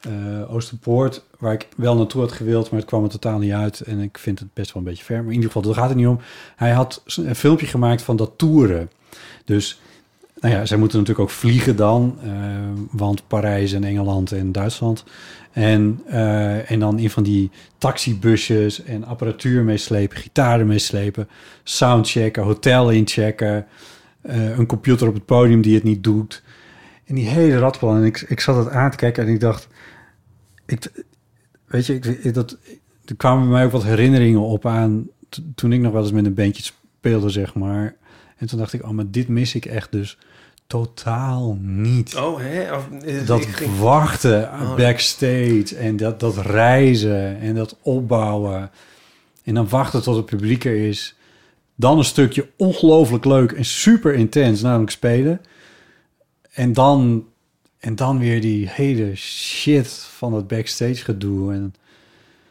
S3: eh, Oosterpoort, waar ik wel naartoe had gewild, maar het kwam er totaal niet uit. En ik vind het best wel een beetje ver. Maar in ieder geval, daar gaat het niet om. Hij had z- een filmpje gemaakt van dat toeren. Dus, nou ja, zij moeten natuurlijk ook vliegen dan. eh, want Parijs en Engeland en Duitsland. En, eh, en dan in van die taxibusjes en apparatuur meeslepen, gitaren meeslepen, soundchecken, hotel inchecken, eh, een computer op het podium die het niet doet. En die hele ratplan. En ik, ik zat dat aan te kijken en ik dacht... Ik, weet je, ik, ik- dat, er kwamen bij mij ook wat herinneringen op aan... t- toen ik nog wel eens met een bandje speelde, zeg maar. En toen dacht ik, oh, maar dit mis ik echt dus totaal niet.
S2: Oh, hè? Of, eh,
S3: Dat
S2: ik ging-
S3: wachten
S2: Oh.
S3: backstage en dat, dat reizen en dat opbouwen. En dan wachten tot het publiek er is. Dan een stukje ongelooflijk leuk en super intens, namelijk spelen. En dan, en dan weer die hele shit van het backstage gedoe. En Nou,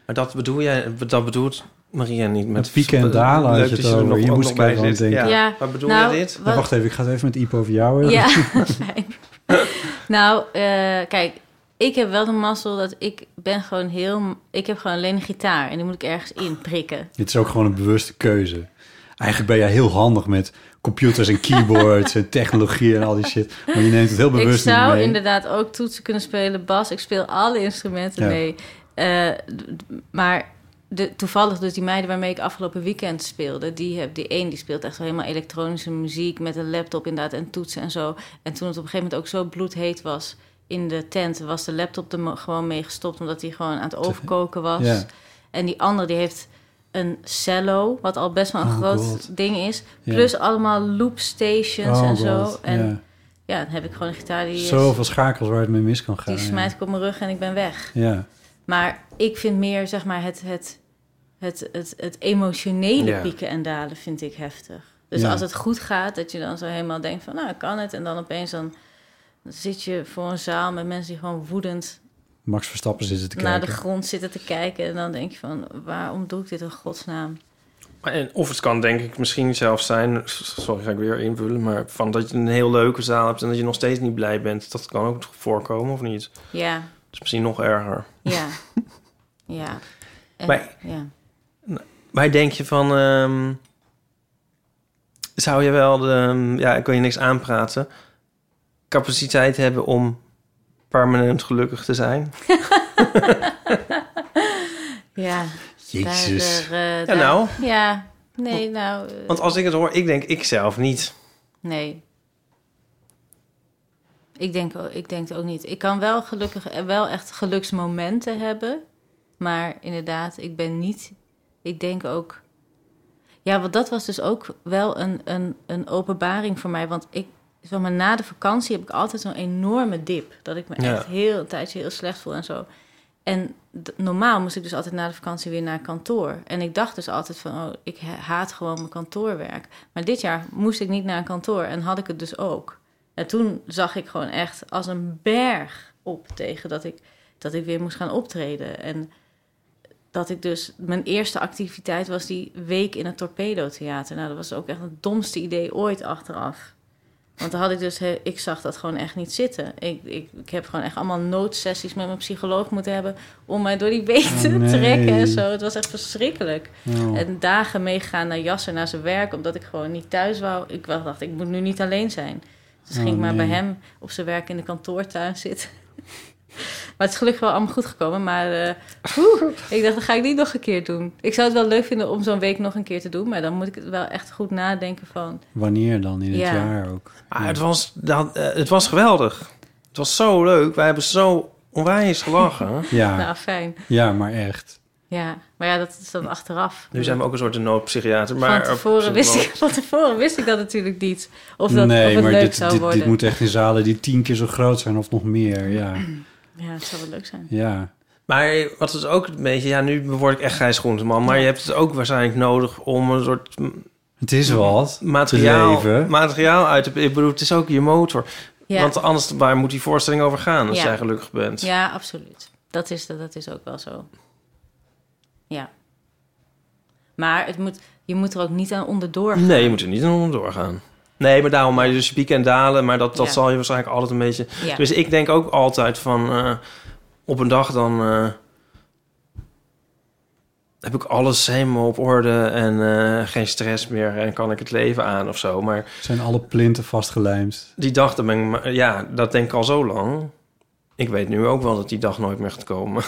S2: Maar dat bedoel jij, dat bedoelt Maria niet met...
S3: Met Pieke en Dalen had
S2: Leuk
S3: je
S2: dat
S3: het
S2: er
S3: over.
S2: nog-
S3: Je
S2: ook
S3: moest
S2: nog bij
S3: kijken, want
S2: zit.
S3: ik denk-
S2: Ja, maar bedoel
S4: nou,
S2: jij dit?
S4: wat-
S3: wacht even, ik ga het even met Ipo over jou hebben.
S4: Ja, fijn. nou, eh, kijk, ik heb wel de mazzel dat ik ben gewoon heel... Ik heb gewoon alleen een gitaar en die moet ik ergens in prikken.
S3: Dit is ook gewoon een bewuste keuze. Eigenlijk ben jij heel handig met computers en keyboards en technologie en al die shit. Maar je neemt het heel
S4: Ik
S3: bewust niet
S4: zou
S3: mee.
S4: inderdaad ook toetsen kunnen spelen, bas. Ik speel alle instrumenten
S3: Ja.
S4: mee. Eh, d- d- maar de, toevallig dus die meiden waarmee ik afgelopen weekend speelde... die, heb, die één die speelt echt wel helemaal elektronische muziek... met een laptop inderdaad en toetsen en zo. En toen het op een gegeven moment ook zo bloedheet was... in de tent was de laptop er mo- gewoon mee gestopt... omdat die gewoon aan het overkoken was.
S3: Ja.
S4: En die andere die heeft een cello... wat al best wel een
S3: Oh
S4: groot
S3: God.
S4: ding is.
S3: Ja.
S4: Plus allemaal loopstations
S3: Oh
S4: en zo.
S3: God,
S4: En
S3: ja.
S4: ja, dan heb ik gewoon een gitaar die, is-
S3: Zoveel schakels waar het mee mis kan gaan.
S4: die smijt ik op mijn rug en ik ben weg.
S3: Ja. Ja.
S4: Maar ik vind meer zeg maar het, het, het, het, het emotionele
S2: Ja.
S4: pieken en dalen vind ik heftig. Dus
S3: Ja.
S4: als het goed gaat, dat je dan zo helemaal denkt van nou, ik kan het. En dan opeens dan zit je voor een zaal met mensen die gewoon woedend
S3: Max Verstappen zit er te
S4: naar Nou, de
S3: kijken.
S4: grond zitten te kijken. En dan denk je van waarom doe ik dit in godsnaam?
S2: En of het kan denk ik misschien zelfs zijn, sorry ga ik weer invullen, maar van dat je een heel leuke zaal hebt en dat je nog steeds niet blij bent. Dat kan ook voorkomen of niet?
S4: Ja,
S2: Dat is misschien nog erger.
S4: ja, ja. En-
S2: Maar-
S4: ja.
S2: Maar denk je van, ehm, zou je wel, de, ehm, ja ik kan je niks aanpraten, capaciteit hebben om permanent gelukkig te zijn?
S4: ja.
S3: Jezus.
S4: Daar, eh,
S2: Ja
S4: daar-
S2: nou,
S4: Ja, nee, nou. eh,
S2: want als ik het hoor, ik denk ik zelf niet.
S4: Nee. Ik denk, o- ik denk het ook niet. Ik kan wel gelukkig eh, wel echt geluksmomenten hebben. Maar inderdaad, ik ben niet. Ik denk ook. Ja, want dat was dus ook wel een, een, een openbaring voor mij. Want ik, zeg maar, na de vakantie heb ik altijd zo'n enorme dip. Dat ik me
S2: Ja.
S4: echt heel een tijdje heel slecht voel en zo. En d- normaal moest ik dus altijd na de vakantie weer naar kantoor. En ik dacht dus altijd van, oh, ik ha- haat gewoon mijn kantoorwerk. Maar dit jaar moest ik niet naar een kantoor en had ik het dus ook. En toen zag ik gewoon echt als een berg op tegen dat ik, dat ik weer moest gaan optreden. En dat ik dus, mijn eerste activiteit was die week in het Torpedo Theater. Nou, dat was ook echt het domste idee ooit achteraf. Want dan had ik dus, he- ik zag dat gewoon echt niet zitten. Ik, ik, ik heb gewoon echt allemaal noodsessies met mijn psycholoog moeten hebben om mij door die week te
S3: Oh, nee.
S4: trekken en zo. Het was echt verschrikkelijk.
S3: Oh.
S4: En dagen meegaan naar Jasser, naar zijn werk, omdat ik gewoon niet thuis wou. Ik wel dacht, ik moet nu niet alleen zijn. Dus
S3: Oh,
S4: ging ik maar bij
S3: nee.
S4: hem op zijn werk in de kantoortuin zitten. maar het is gelukkig wel allemaal goed gekomen. Maar eh, oeh, ik dacht, dat ga ik niet nog een keer doen. Ik zou het wel leuk vinden om zo'n week nog een keer te doen. Maar dan moet ik het wel echt goed nadenken van...
S3: Wanneer dan? In het
S4: Ja.
S3: jaar ook.
S2: Maar het was, dat, eh, het was geweldig. Het was zo leuk. Wij hebben zo onwijs gelachen.
S3: Ja,
S4: Nou, fijn.
S3: ja maar echt.
S4: Ja, maar ja, dat is dan achteraf.
S2: Nu zijn we ook een soort noodpsychiater. Maar
S4: van, tevoren wist ik, van tevoren wist ik dat natuurlijk niet. Of, dat, of
S3: nee,
S4: het
S3: maar
S4: leuk
S3: dit,
S4: zou
S3: dit,
S4: worden.
S3: dit moet echt in zalen die tien keer zo groot zijn of nog meer. Ja,
S4: Ja, het zou wel leuk zijn.
S3: ja.
S2: Maar wat is ook een beetje... Ja, nu word ik echt Gijs Groenteman. Maar je hebt het ook waarschijnlijk nodig om een soort m-
S3: het is wat.
S2: materiaal,
S3: Te leven.
S2: materiaal uit te... Ik bedoel, het is ook je motor.
S4: Ja.
S2: Want anders, waar moet die voorstelling over gaan als
S4: Ja.
S2: jij gelukkig bent?
S4: Ja, absoluut. Dat is, dat is ook wel zo. Ja. Maar het moet, je moet er ook niet aan onderdoor gaan.
S2: Nee, je moet er niet aan doorgaan. Nee, maar daarom, maar dus pieken en dalen, maar dat, dat
S4: Ja.
S2: zal je waarschijnlijk altijd een beetje...
S4: Ja.
S2: Dus ik denk ook altijd van, eh, op een dag dan eh, heb ik alles helemaal op orde en eh, geen stress meer en kan ik het leven aan of zo. Maar
S3: Zijn alle plinten vastgelijmd?
S2: die dag, dan ben ik, maar- ja, dat denk ik al zo lang. Ik weet nu ook wel dat die dag nooit meer gaat komen.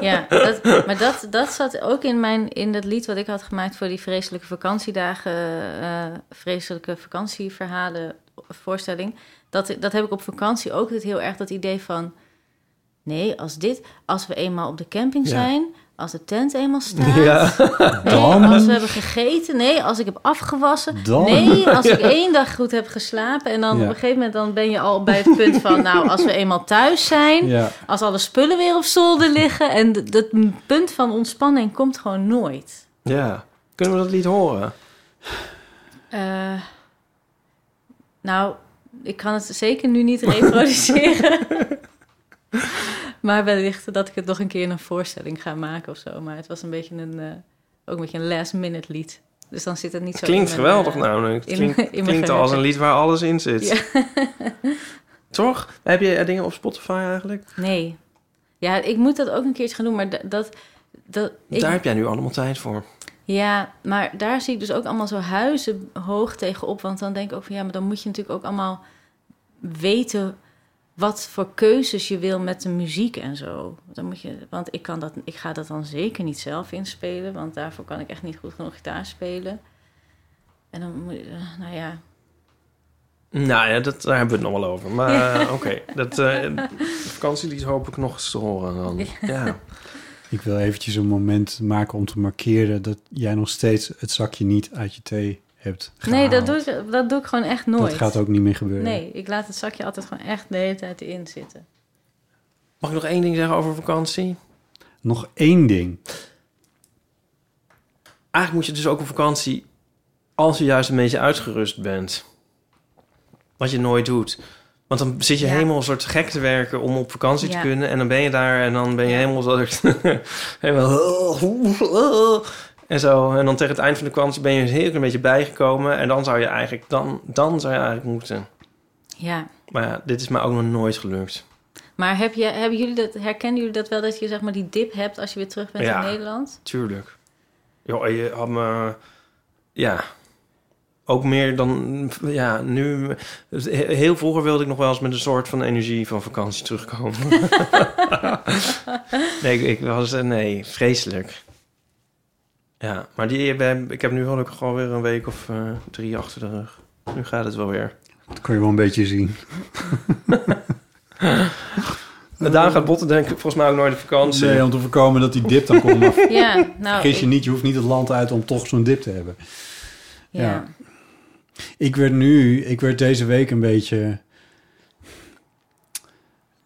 S4: Ja, dat, maar dat, dat zat ook in, mijn, in dat lied wat ik had gemaakt voor die vreselijke vakantiedagen, eh, vreselijke vakantieverhalen, voorstelling. Dat, dat heb ik op vakantie ook dit heel erg dat idee van, nee, als dit, als we eenmaal op de camping
S2: Ja.
S4: zijn, als de tent eenmaal staat, nee,
S3: Dan-
S4: als we hebben gegeten, nee, als ik heb afgewassen,
S3: Dan-
S4: nee, als ik één dag goed heb geslapen en dan
S3: Ja.
S4: op een gegeven moment dan ben je al bij het punt van, nou, als we eenmaal thuis zijn.
S3: Ja.
S4: Als alle spullen weer op zolder liggen. En d- dat m- punt van ontspanning komt gewoon nooit.
S2: ja. Kunnen we dat lied horen?
S4: Eh, nou, ik kan het zeker nu niet reproduceren. maar wellicht dat ik het nog een keer in een voorstelling ga maken of zo. Maar het was een beetje een, eh, ook een beetje een last minute lied. Dus dan zit het niet
S2: Het
S4: zo
S2: klinkt
S4: in mijn,
S2: geweldig
S4: eh,
S2: namelijk. Het
S4: in-
S2: klinkt,
S4: in mijn
S2: klinkt als een
S4: geheugen.
S2: lied waar alles in zit.
S4: Ja.
S2: Toch? Heb je eh, dingen op Spotify eigenlijk?
S4: Nee. Ja, ik moet dat ook een keertje gaan doen. Maar da- dat... dat ik-
S2: Daar heb jij nu allemaal tijd voor.
S4: Ja, maar daar zie ik dus ook allemaal zo huizen hoog tegenop. Want dan denk ik ook van ja, maar dan moet je natuurlijk ook allemaal weten wat voor keuzes je wil met de muziek en zo. Dan moet je, want ik, kan dat, ik ga dat dan zeker niet zelf inspelen, want daarvoor kan ik echt niet goed genoeg gitaar spelen. En dan moet je, eh, nou ja,
S2: Nou ja, dat, daar hebben we het nog wel over. Maar eh, oké, dat eh vakantielied hoop ik nog eens te horen dan. Ja.
S3: Ik wil eventjes een moment maken om te markeren dat jij nog steeds het zakje niet uit je thee hebt
S4: nee,
S3: gehaald.
S4: dat doe, ik, dat doe ik gewoon echt nooit.
S3: Dat gaat ook eh, niet meer gebeuren.
S4: Nee, ik laat het zakje altijd gewoon echt de hele tijd in zitten.
S2: Mag ik nog één ding zeggen over vakantie?
S3: Nog één ding.
S2: Eigenlijk moet je dus ook op vakantie, als je juist een beetje uitgerust bent. Wat je nooit doet. Want dan zit je
S4: Ja.
S2: helemaal een soort gek te werken om op vakantie
S4: Ja.
S2: te kunnen. En dan ben je daar en dan ben je helemaal zo... helemaal... En zo. En dan tegen het eind van de vakantie ben je een heel klein beetje bijgekomen. En dan zou je eigenlijk... Dan, dan zou je eigenlijk moeten...
S4: Ja,
S2: Maar ja, dit is mij ook nog nooit gelukt.
S4: Maar heb je, hebben jullie dat, herkennen jullie dat wel dat je zeg maar die dip hebt als je weer terug bent
S2: Ja.
S4: in Nederland?
S2: Tuurlijk. Ja, je had me... Ja. Ook meer dan... Ja, nu... Heel vroeger wilde ik nog wel eens met een soort van energie van vakantie terugkomen. nee, ik, ik was... eh, Nee, vreselijk. Ja, maar die, we hebben- ik heb nu gelukkig alweer een week of eh, drie achter de rug. Nu gaat het wel weer.
S3: Dat kon je wel een beetje zien.
S2: En daarom gaat Botten denk ik volgens mij ook nooit op vakantie.
S3: Nee, om te voorkomen dat die dip dan komt. Maar
S4: Ja, nou.
S3: vergis je
S4: ik-
S3: niet, je hoeft niet het land uit om toch zo'n dip te hebben.
S4: Ja.
S3: ja. Ik werd nu, ik werd deze week een beetje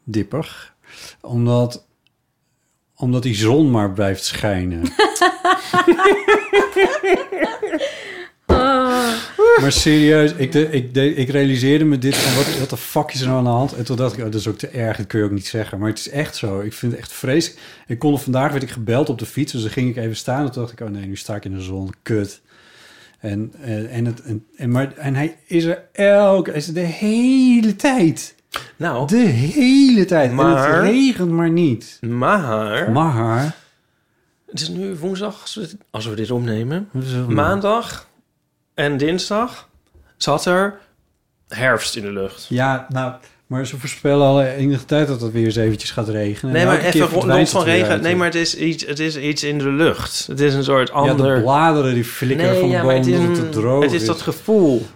S3: dipper. Omdat, omdat die zon maar blijft schijnen.
S4: Oh,
S3: Maar serieus, ik, de, ik, de, ik realiseerde me dit van wat, wat de fuck is er nou aan de hand? En toen dacht ik, oh, dat is ook te erg, dat kun je ook niet zeggen. Maar het is echt zo. Ik vind het echt vreselijk. Ik kon vandaag werd ik gebeld op de fiets, dus dan ging ik even staan. En toen dacht ik, oh nee, nu sta ik in de zon, kut. En, en, en, het, en, en, maar, en hij is er elke, hij is er de hele tijd.
S2: Nou,
S3: De hele tijd. En
S2: Maar-
S3: het regent maar niet.
S2: maar...
S3: Maar,
S2: Het is nu woensdag, als we, als we dit opnemen.
S3: wat is er vandaag?
S2: Maandag en dinsdag zat er herfst in de lucht.
S3: Ja, nou, maar ze voorspellen al enige tijd dat het weer eens eventjes gaat regenen.
S2: Nee,
S3: En
S2: maar
S3: elke
S2: even
S3: keer
S2: rond
S3: verdwijnt
S2: van
S3: het weer
S2: regen.
S3: uit.
S2: Nee, maar het is, iets, het is iets in de lucht. Het is een soort
S3: Ja,
S2: ander...
S3: de bladeren die flikkeren
S2: nee,
S3: van de
S2: ja, maar
S3: boom
S2: het is,
S3: omdat het
S2: een-
S3: te droog
S2: het is dat gevoel.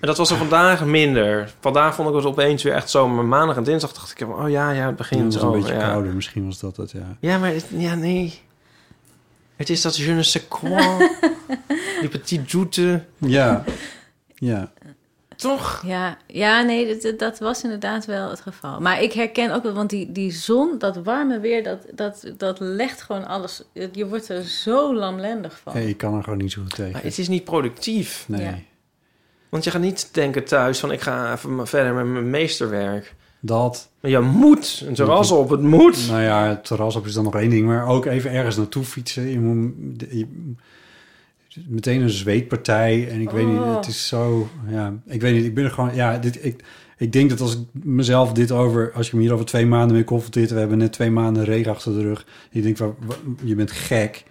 S2: En dat was er vandaag minder. Vandaag vond ik het opeens weer echt zo. Maar maandag en dinsdag dacht ik... Oh ja, ja, het
S3: Ja, het
S2: begint
S3: was
S2: zo.
S3: een beetje
S2: ja.
S3: kouder, misschien was dat het, ja.
S2: Ja, maar het- ja, nee. Het is dat je ne sais quoi. Die petit joute.
S3: Ja, ja.
S2: Toch?
S4: ja, ja, nee, dat, dat was inderdaad wel het geval. Maar ik herken ook wel, want die, die zon, dat warme weer, dat, dat, dat legt gewoon alles. Je wordt er zo lamlendig van.
S3: Hey, ik kan er gewoon niet zo goed
S2: Maar
S3: tegen.
S2: het is niet productief.
S3: Nee,
S4: Ja.
S2: Want je gaat niet denken thuis van ik ga even maar verder met mijn meesterwerk.
S3: dat...
S2: Maar je moet een terras op, het moet.
S3: Nou ja, het terras op is dan nog één ding, maar ook even ergens naartoe fietsen. Je moet, je- meteen een zweetpartij. En ik weet niet,
S4: Oh.
S3: het is zo... Ja, ik weet niet, ik ben er gewoon... Ja, dit, ik, ik denk dat als ik mezelf dit over... Als je me hier over twee maanden mee confronteert... We hebben net twee maanden regen achter de rug. Ik denk, van, wa- je bent gek.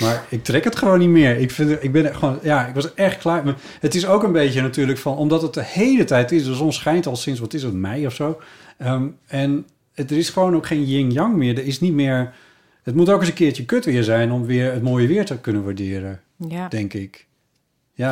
S3: Maar ik trek het gewoon niet meer. Ik, vind, ik ben er gewoon, ja, ik was er echt klaar. Maar het is ook een beetje natuurlijk van, omdat het de hele tijd is. De zon schijnt al sinds, wat is het, mei of zo. Ehm, en het, er is gewoon ook geen yin-yang meer. Er is niet meer. Het moet ook eens een keertje kut weer zijn om weer het mooie weer te kunnen waarderen,
S4: Ja,
S3: denk ik. Ja,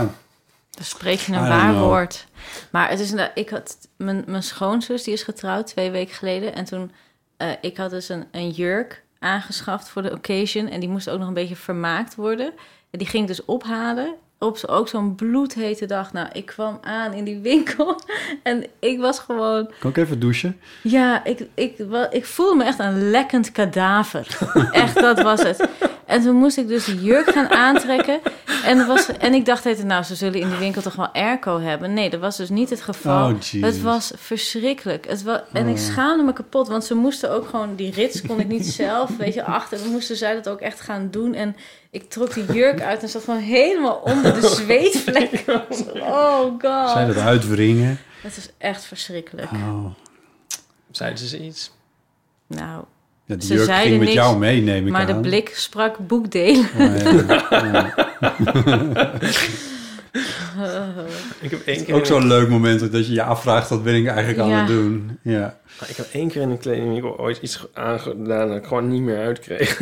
S4: dan spreek je
S3: I
S4: een
S3: don't
S4: waar
S3: know.
S4: woord. Maar het is, inderdaad- ik had, mijn, mijn schoonzus die is getrouwd twee weken geleden. En toen, eh, ik had dus een, een jurk aangeschaft voor de occasion. En die moest ook nog een beetje vermaakt worden. En die ging ik dus ophalen. Op zo- ook zo'n bloedhete dag. Nou, ik kwam aan in die winkel. En ik was gewoon
S3: kan ik even douchen?
S4: Ja, ik, ik, wa- ik voelde me echt een lekkend kadaver. Echt, dat was het. En toen moest ik dus die jurk gaan aantrekken. En, er was, en ik dacht, hey, nou, ze zullen in die winkel toch wel airco hebben. Nee, dat was dus niet het geval.
S3: Oh, jezus.
S4: het was verschrikkelijk. Het wa- en ik schaamde me kapot, want ze moesten ook gewoon... Die rits kon ik niet zelf, weet je, achter. Dan moesten zij dat ook echt gaan doen. En ik trok die jurk uit en zat gewoon helemaal onder de zweetvlekken. Oh god.
S3: Zij dat uitwringen?
S4: Het is echt verschrikkelijk.
S3: Oh.
S2: Zeiden ze iets?
S4: Nou...
S3: Ja, die
S4: Ze
S3: jurk
S4: zeiden
S3: ging met
S4: niks,
S3: jou mee, neem ik
S4: Maar
S3: aan.
S4: de blik sprak boekdelen.
S3: Oh, ja.
S2: Ik heb één keer
S3: Ook
S2: in een-
S3: zo'n leuk moment dat je je afvraagt, wat ben ik eigenlijk aan
S4: Ja.
S3: het doen? Ja.
S2: Ik heb één keer in een kledingwinkel ooit iets ge- aangedaan dat ik gewoon niet meer uitkreeg.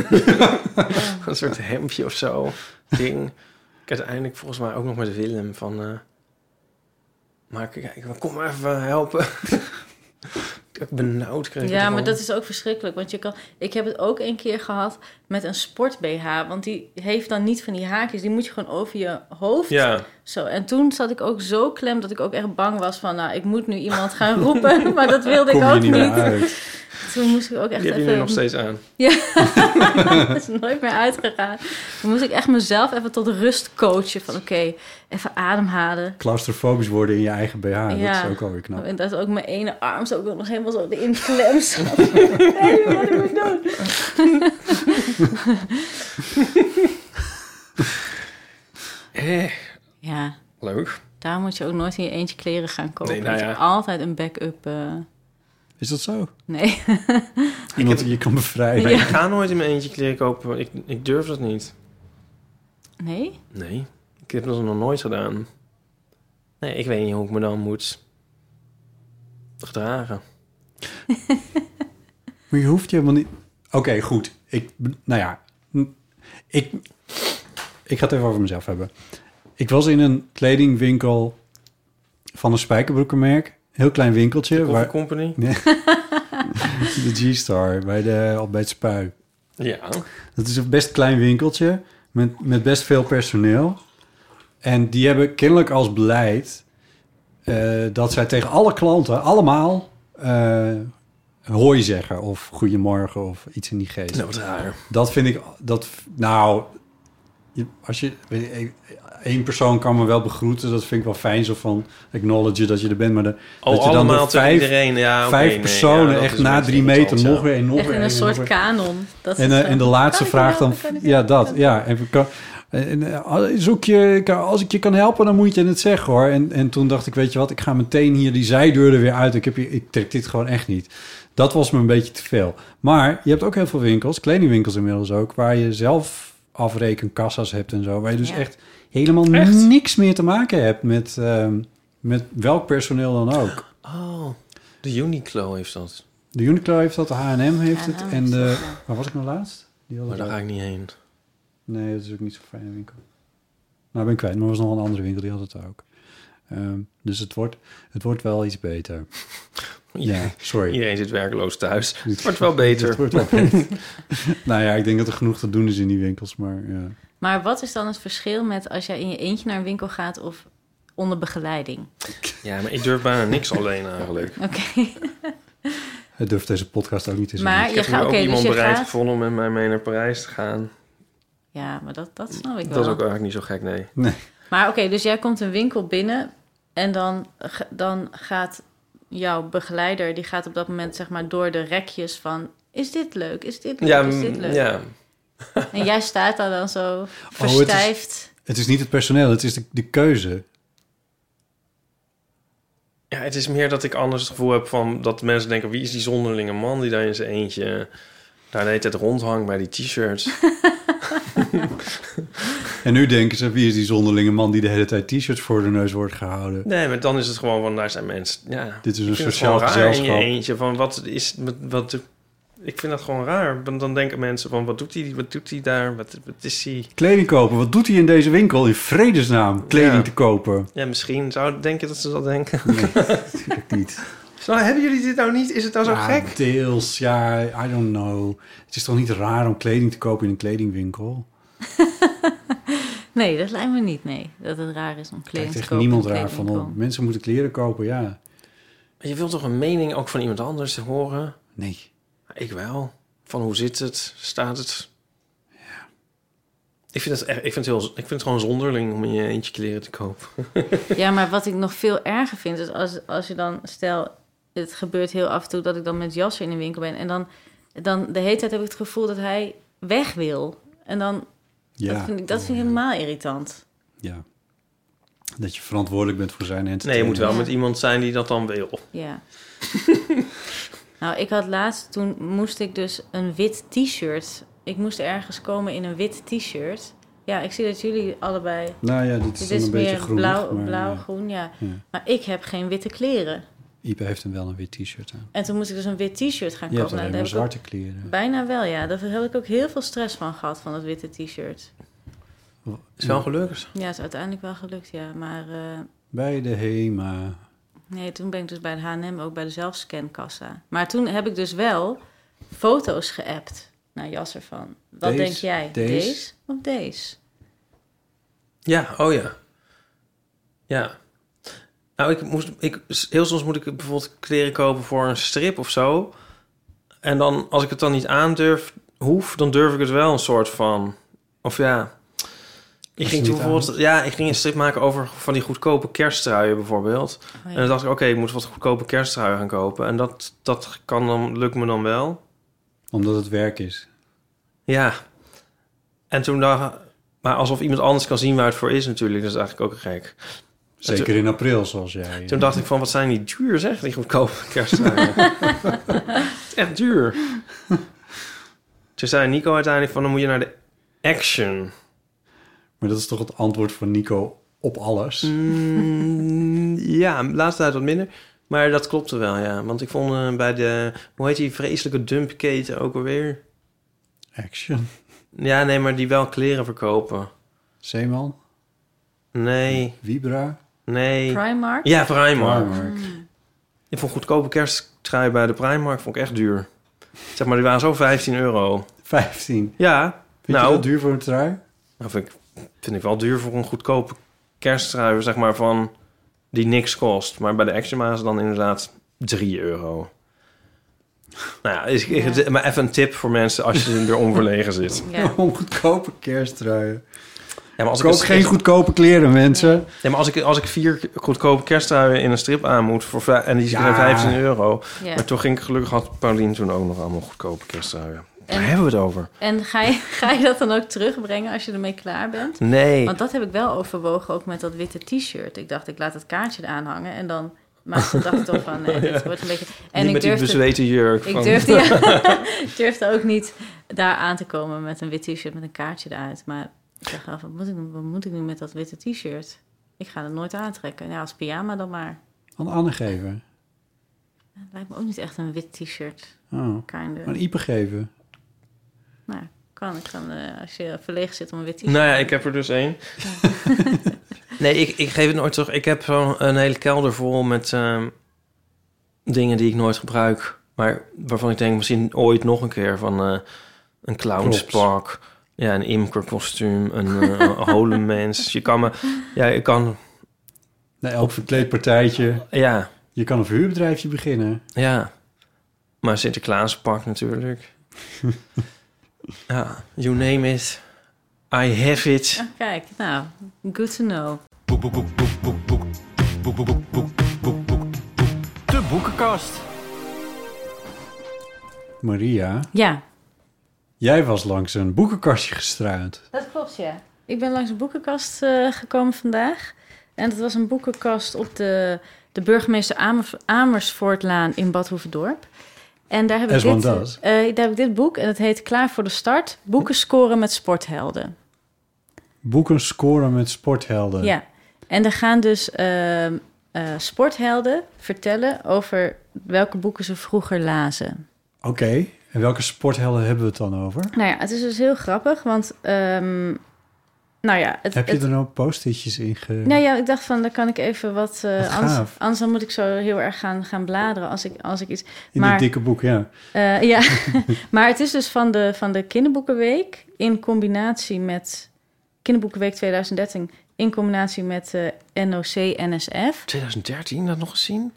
S2: een soort hemdje of zo. Ding. Ik had uiteindelijk volgens mij ook nog met Willem van... eh, maar kijk, kom maar even helpen. ik heb benauwd kreeg. ik
S4: Ja,
S2: ervan.
S4: maar dat is ook verschrikkelijk. Want je kan, ik heb het ook een keer gehad met een sport-BH. Want die heeft dan niet van die haakjes. Die moet je gewoon over je hoofd.
S2: Ja,
S4: Zo. En toen zat ik ook zo klem dat ik ook echt bang was van... nou, ik moet nu iemand gaan roepen. maar dat wilde ik
S3: Kom je
S4: ook
S3: niet meer
S4: niet.
S3: uit.
S4: Toen moest ik ook echt
S2: die heb je nu
S4: even...
S2: nog steeds aan.
S4: Dat is nooit meer uitgegaan. Toen moest ik echt mezelf even tot rust coachen. Van oké, even ademhalen.
S3: Claustrofobisch worden in je eigen BH, dat is ook alweer knap.
S4: En dat ook mijn ene arm zo ook nog helemaal zo in klem zat. nee, wat moet ik doen?
S2: Eh,
S4: Ja,
S2: leuk.
S4: daar moet je ook nooit in je eentje kleren gaan kopen.
S2: Nee, nou
S4: Dat
S2: ja.
S4: is altijd een backup. eh,
S3: Is dat zo?
S4: nee.
S3: Iemand die je kan bevrijden.
S2: Ik ga nooit in mijn eentje kleren kopen. Ik, ik durf dat niet.
S4: Nee?
S2: Nee, ik heb dat nog nooit gedaan. Nee, ik weet niet hoe ik me dan moet gedragen.
S3: Maar je hoeft je helemaal niet... Oké, goed. Ik, nou ja, hm, ik, ik ga het even over mezelf hebben. Ik was in een kledingwinkel van een spijkerbroekenmerk. Heel klein winkeltje.
S2: Coffee
S3: Waar,
S2: Company?
S3: de G-Star, bij, de, al bij het spui.
S2: Ja.
S3: Dat is een best klein winkeltje met, met best veel personeel. En die hebben kennelijk als beleid eh, dat zij tegen alle klanten allemaal eh hoi zeggen of goedemorgen of iets in die geest.
S2: Nou, wat raar.
S3: Dat vind ik, dat, nou, je- als je, weet ik, één persoon kan me wel begroeten, dat vind ik wel fijn, zo van acknowledge dat je er bent, maar de,
S2: Oh,
S3: dat je
S2: allemaal
S3: door
S2: tegen iedereen. Ja, oké,
S3: vijf
S2: nee,
S3: personen
S2: ja, dat
S3: echt
S2: is
S3: na
S2: een
S3: drie
S2: beetje
S3: meter
S2: irritant,
S3: nog
S2: ja.
S3: weer en nog
S4: Echt
S3: weer
S4: in
S3: en
S4: een
S3: nog
S4: soort
S3: weer.
S4: kanon. Dat is
S3: En, eh,
S4: zo.
S3: en de laatste
S4: Kan ik
S3: vraag
S4: je
S3: dan...
S4: helpen? Kan ik je
S3: Ja,
S4: helpen?
S3: dat. Ja, en, we kan- en, eh, zoek je, kan- als ik je kan helpen, dan moet je het zeggen hoor. En, en toen dacht ik, weet je wat, ik ga meteen hier die zijdeur er weer uit. Ik, heb hier, ik trek dit gewoon echt niet. Dat was me een beetje te veel. Maar je hebt ook heel veel winkels, kledingwinkels inmiddels ook... waar je zelf afrekenkassa's hebt en zo. Waar je dus
S4: Ja.
S3: echt helemaal
S2: Echt?
S3: niks meer te maken hebt met, ehm, met welk personeel dan ook.
S2: Oh, de Uniqlo heeft dat.
S3: De Uniqlo heeft dat, de H&M heeft het.
S4: H&M
S3: En
S4: is dat,
S3: de...
S4: ja.
S3: Waar was ik nou laatst? Die hadden
S2: Maar daar
S3: dat.
S2: ga ik niet heen.
S3: Nee, dat is ook niet zo'n fijne winkel. Nou, ben ik kwijt, maar er was nog een andere winkel, die had het ook. Ehm, dus het wordt, het wordt wel iets beter. Ja, sorry.
S2: Iedereen zit werkloos thuis. Het wordt wel beter.
S3: Het wordt wel beter. nou ja, ik denk dat er genoeg te doen is in die winkels, maar ja.
S4: Maar wat is dan het verschil met als jij in je eentje naar een winkel gaat of onder begeleiding?
S2: Dus Ja, maar ik durf bijna niks alleen eigenlijk.
S4: Oké.
S3: Hij durft deze podcast ook niet te zeggen.
S4: Maar
S2: Ik
S4: je
S2: heb nu
S4: gaat...
S2: ook
S4: Oké, dus
S2: iemand
S4: je
S2: bereid
S4: gaat...
S2: gevonden om met mij mee naar Parijs te gaan.
S4: Ja, maar dat, dat snap ik wel.
S2: Dat is ook eigenlijk niet zo gek, nee.
S4: Maar oké, dus jij komt een winkel binnen en dan, g- dan gaat jouw begeleider, die gaat op dat moment zeg maar door de rekjes van, is dit leuk, is dit leuk,
S2: Ja,
S4: is dit
S2: mm,
S4: leuk?
S2: ja.
S4: En jij staat daar dan zo
S3: Oh, is-
S4: verstijfd.
S3: Het is niet het personeel, het is de, de keuze.
S2: Ja, het is meer dat ik anders het gevoel heb van dat mensen denken: wie is die zonderlinge man die daar in zijn eentje daar de hele tijd rondhangt bij die t-shirts?
S3: En nu denken ze, wie is die zonderlinge man die de hele tijd t-shirts voor de neus wordt gehouden?
S2: nee, maar dan is het gewoon van daar zijn mensen. Ja,
S3: Dit is een
S2: Ik vind het
S3: sociaal
S2: gewoon raar in
S3: gezelschap.
S2: je eentje van wat is wat. Ik vind dat gewoon raar. Want dan denken mensen van wat doet hij? Wat doet hij daar? Wat, wat is hij?
S3: Kleding kopen, wat doet hij in deze winkel in vredesnaam? Kleding
S2: Ja.
S3: te kopen.
S2: Ja, misschien zou denken dat ze dat denken.
S3: Natuurlijk niet.
S2: Zo, hebben jullie dit nou niet? Is het
S4: Oh,
S2: nou zo
S3: Ja,
S2: gek?
S3: Deels, ja, I don't know. Het is toch niet raar om kleding te kopen in een kledingwinkel?
S4: Nee, dat lijkt me niet, nee. Dat het raar is om kleding
S3: Kijkt
S4: te
S3: echt
S4: kopen.
S3: niemand
S4: in
S3: raar van.
S4: kledingwinkel.
S3: oh, Mensen moeten kleren kopen, ja.
S2: Je wilt toch een mening ook van iemand anders horen?
S3: Nee.
S2: Ik wel. Van hoe zit het? Staat het? Ik vind het, echt- ik vind het, heel, ik vind het gewoon zonderling om in je eentje kleren te kopen.
S4: Ja, maar wat ik nog veel erger vind, is als, als je dan, stel, het gebeurt heel af en toe dat ik dan met Jasser in de winkel ben. En dan, dan de hele tijd heb ik het gevoel dat hij weg wil. En dan, dat
S3: Ja.
S4: vind ik, dat vind ik helemaal irritant.
S3: ja. Dat je verantwoordelijk bent voor zijn
S2: Nee, je
S3: entertainment.
S2: moet wel met iemand zijn die dat dan wil.
S4: Ja. nou, ik had laatst, toen moest ik dus een wit t-shirt. Ik moest ergens komen in een wit t-shirt. Ja, ik zie dat jullie allebei...
S3: Nou ja, dit is
S4: Dit
S3: dan
S4: is
S3: een beetje
S4: meer
S3: groen.
S4: blauw,
S3: maar, eh,
S4: blauw
S3: ja.
S4: groen, ja.
S3: Ja.
S4: Maar ik heb geen witte kleren.
S3: Ipe heeft hem wel een wit t-shirt aan.
S4: En toen moest ik dus een wit t-shirt gaan
S3: Je
S4: kopen.
S3: hebt alleen maar
S4: daar heb ik ook
S3: zwarte kleren.
S4: Bijna wel, ja. Daar heb ik ook heel veel stress van gehad, van dat witte t-shirt.
S2: Is wel gelukkig.
S4: Ja, is uiteindelijk wel gelukt, ja. Maar eh,
S3: Bij de HEMA.
S4: nee, toen ben ik dus bij de H&M ook bij de zelfscankassa. Maar toen heb ik dus wel foto's geappt naar Jasser van. Wat
S3: Deze,
S4: denk jij?
S3: deze?
S4: Deze of deze?
S2: Ja, oh ja. Ja. Nou, ik moest, ik, heel soms moet ik bijvoorbeeld kleren kopen voor een strip of zo. En dan, als ik het dan niet aandurf, hoef, dan durf ik het wel een soort van. Of ja. Ik ging
S3: niet
S2: toen bijvoorbeeld, ja, ik ging een strip maken over van die goedkope kersttruien bijvoorbeeld.
S4: Oh, ja.
S2: En dan dacht ik, oké, ik moet wat goedkope kersttruien gaan kopen. En dat, dat kan dan, lukt me dan wel.
S3: Omdat het werk is.
S2: Ja. En toen dacht maar alsof iemand anders kan zien waar het voor is natuurlijk. Dat is eigenlijk ook gek.
S3: Zeker in april, zoals jij.
S2: Toen dacht ik van, wat zijn die duur zeg, die goedkope kersttruien. Het is echt duur. Toen zei Nico uiteindelijk van, dan moet je naar de Action.
S3: Maar dat is toch het antwoord van Nico op alles?
S2: Mm, ja, de laatste tijd wat minder. Maar dat klopte wel, ja. Want ik vond eh, bij de, hoe heet die vreselijke dumpketen ook alweer?
S3: Action.
S2: Ja, nee, maar die wel kleren verkopen.
S3: Zeeman,
S2: Nee,
S3: Vibra,
S2: nee.
S4: Primark?
S2: Ja, Primark.
S3: Marmark.
S2: Ik vond goedkope kersttrui bij de Primark vond ik echt duur. Zeg maar, die waren zo 15 euro.
S3: 15.
S2: Ja,
S3: Vind
S2: nou,
S3: je dat duur voor een trui?
S2: Nou, vind, ik, vind ik wel duur voor een goedkope kersttrui, zeg maar, van die niks kost. Maar bij de Action waren ze dan inderdaad 3 euro. Nou ja, is, is-
S4: Ja.
S2: maar even een tip voor mensen als je er onverlegen zit.
S4: Ja.
S3: Om goedkope kersttruien.
S2: Ja, maar als
S3: Koop
S2: ik,
S3: geen goedkope kleren, mensen.
S2: Nee, maar als ik, als ik vier goedkope kersttruien in een strip aan moet voor, vij- en die zijn
S3: Ja.
S2: 15 euro.
S4: Ja.
S2: Maar toen ging ik gelukkig had Paulien toen ook nog allemaal goedkope kersttruien. Daar
S4: En-
S2: hebben we het over.
S4: En ga je, ga je dat dan ook terugbrengen als je ermee klaar bent?
S2: Nee.
S4: Want dat heb ik wel overwogen, ook met dat witte t-shirt. Ik dacht, ik laat het kaartje eraan hangen en dan... Maar toen dacht ik toch van, nee, dit wordt een beetje...
S2: Niet
S4: En ik
S2: met die
S4: durfde-
S2: bezweten jurk.
S4: Ik
S2: van-
S4: durfde, ja, ik durfde ook niet daar aan te komen met een wit t-shirt met een kaartje eruit. Maar ik dacht wel, wat moet ik, nu- wat moet ik nu met dat witte t-shirt? Ik ga het nooit aantrekken. Ja, als pyjama dan maar.
S3: Aan Anne geven.
S4: Het lijkt me ook niet echt een wit t-shirt.
S3: Oh.
S4: Kinder.
S3: Aan Ipe geven.
S4: Nou, kan ik dan, eh, als je verlegen zit om een wit t-shirt.
S2: Nou ja, ik heb er dus één. nee, ik, ik geef het nooit terug. Ik heb zo'n een hele kelder vol met ehm, dingen die ik nooit gebruik. Maar waarvan ik denk misschien ooit nog een keer van eh, een clownspak. Ja, een imkerkostuum, een eh holemens. Je kan me... Ja, ik kan...
S3: Na elk verkleedpartijtje.
S2: Ja,
S3: Je kan een verhuurbedrijfje beginnen.
S2: ja. Maar Sinterklaaspak natuurlijk. ja, you name it. I have it.
S4: Ah, Kijk, nou, good to know.
S3: Maria,
S4: Ja,
S3: jij was langs een boekenkastje gestruind.
S4: dat klopt, ja. Ik ben langs een boekenkast eh, gekomen vandaag. En dat was een boekenkast op de, de burgemeester Amer- Amersfoortlaan in Bad Hoeverdorp. En daar heb, ik
S3: As one
S4: dit,
S3: does.
S4: eh, daar heb ik dit boek en het heet Klaar voor de Start. Boeken scoren met sporthelden.
S3: Boeken scoren met sporthelden.
S4: Ja. En daar gaan dus ehm, eh, sporthelden vertellen over welke boeken ze vroeger lazen.
S3: Oké, en welke sporthelden hebben we het dan over?
S4: Nou ja, het is dus heel grappig, want... ehm, nou ja, het,
S3: Heb je
S4: het-
S3: er nou post-itjes in ge...
S4: Nou ja, ik dacht van, dan kan ik even wat... eh,
S3: Wat
S4: anders,
S3: gaaf.
S4: anders dan moet ik zo heel erg gaan, gaan bladeren als ik, als ik iets...
S3: in
S4: maar-
S3: dit dikke boek, ja.
S4: eh, ja, maar het is dus van de, van de kinderboekenweek... in combinatie met... Kinderboekenweek 2013... in combinatie met eh, NOC, NSF.
S2: 2013 dat nog eens zien?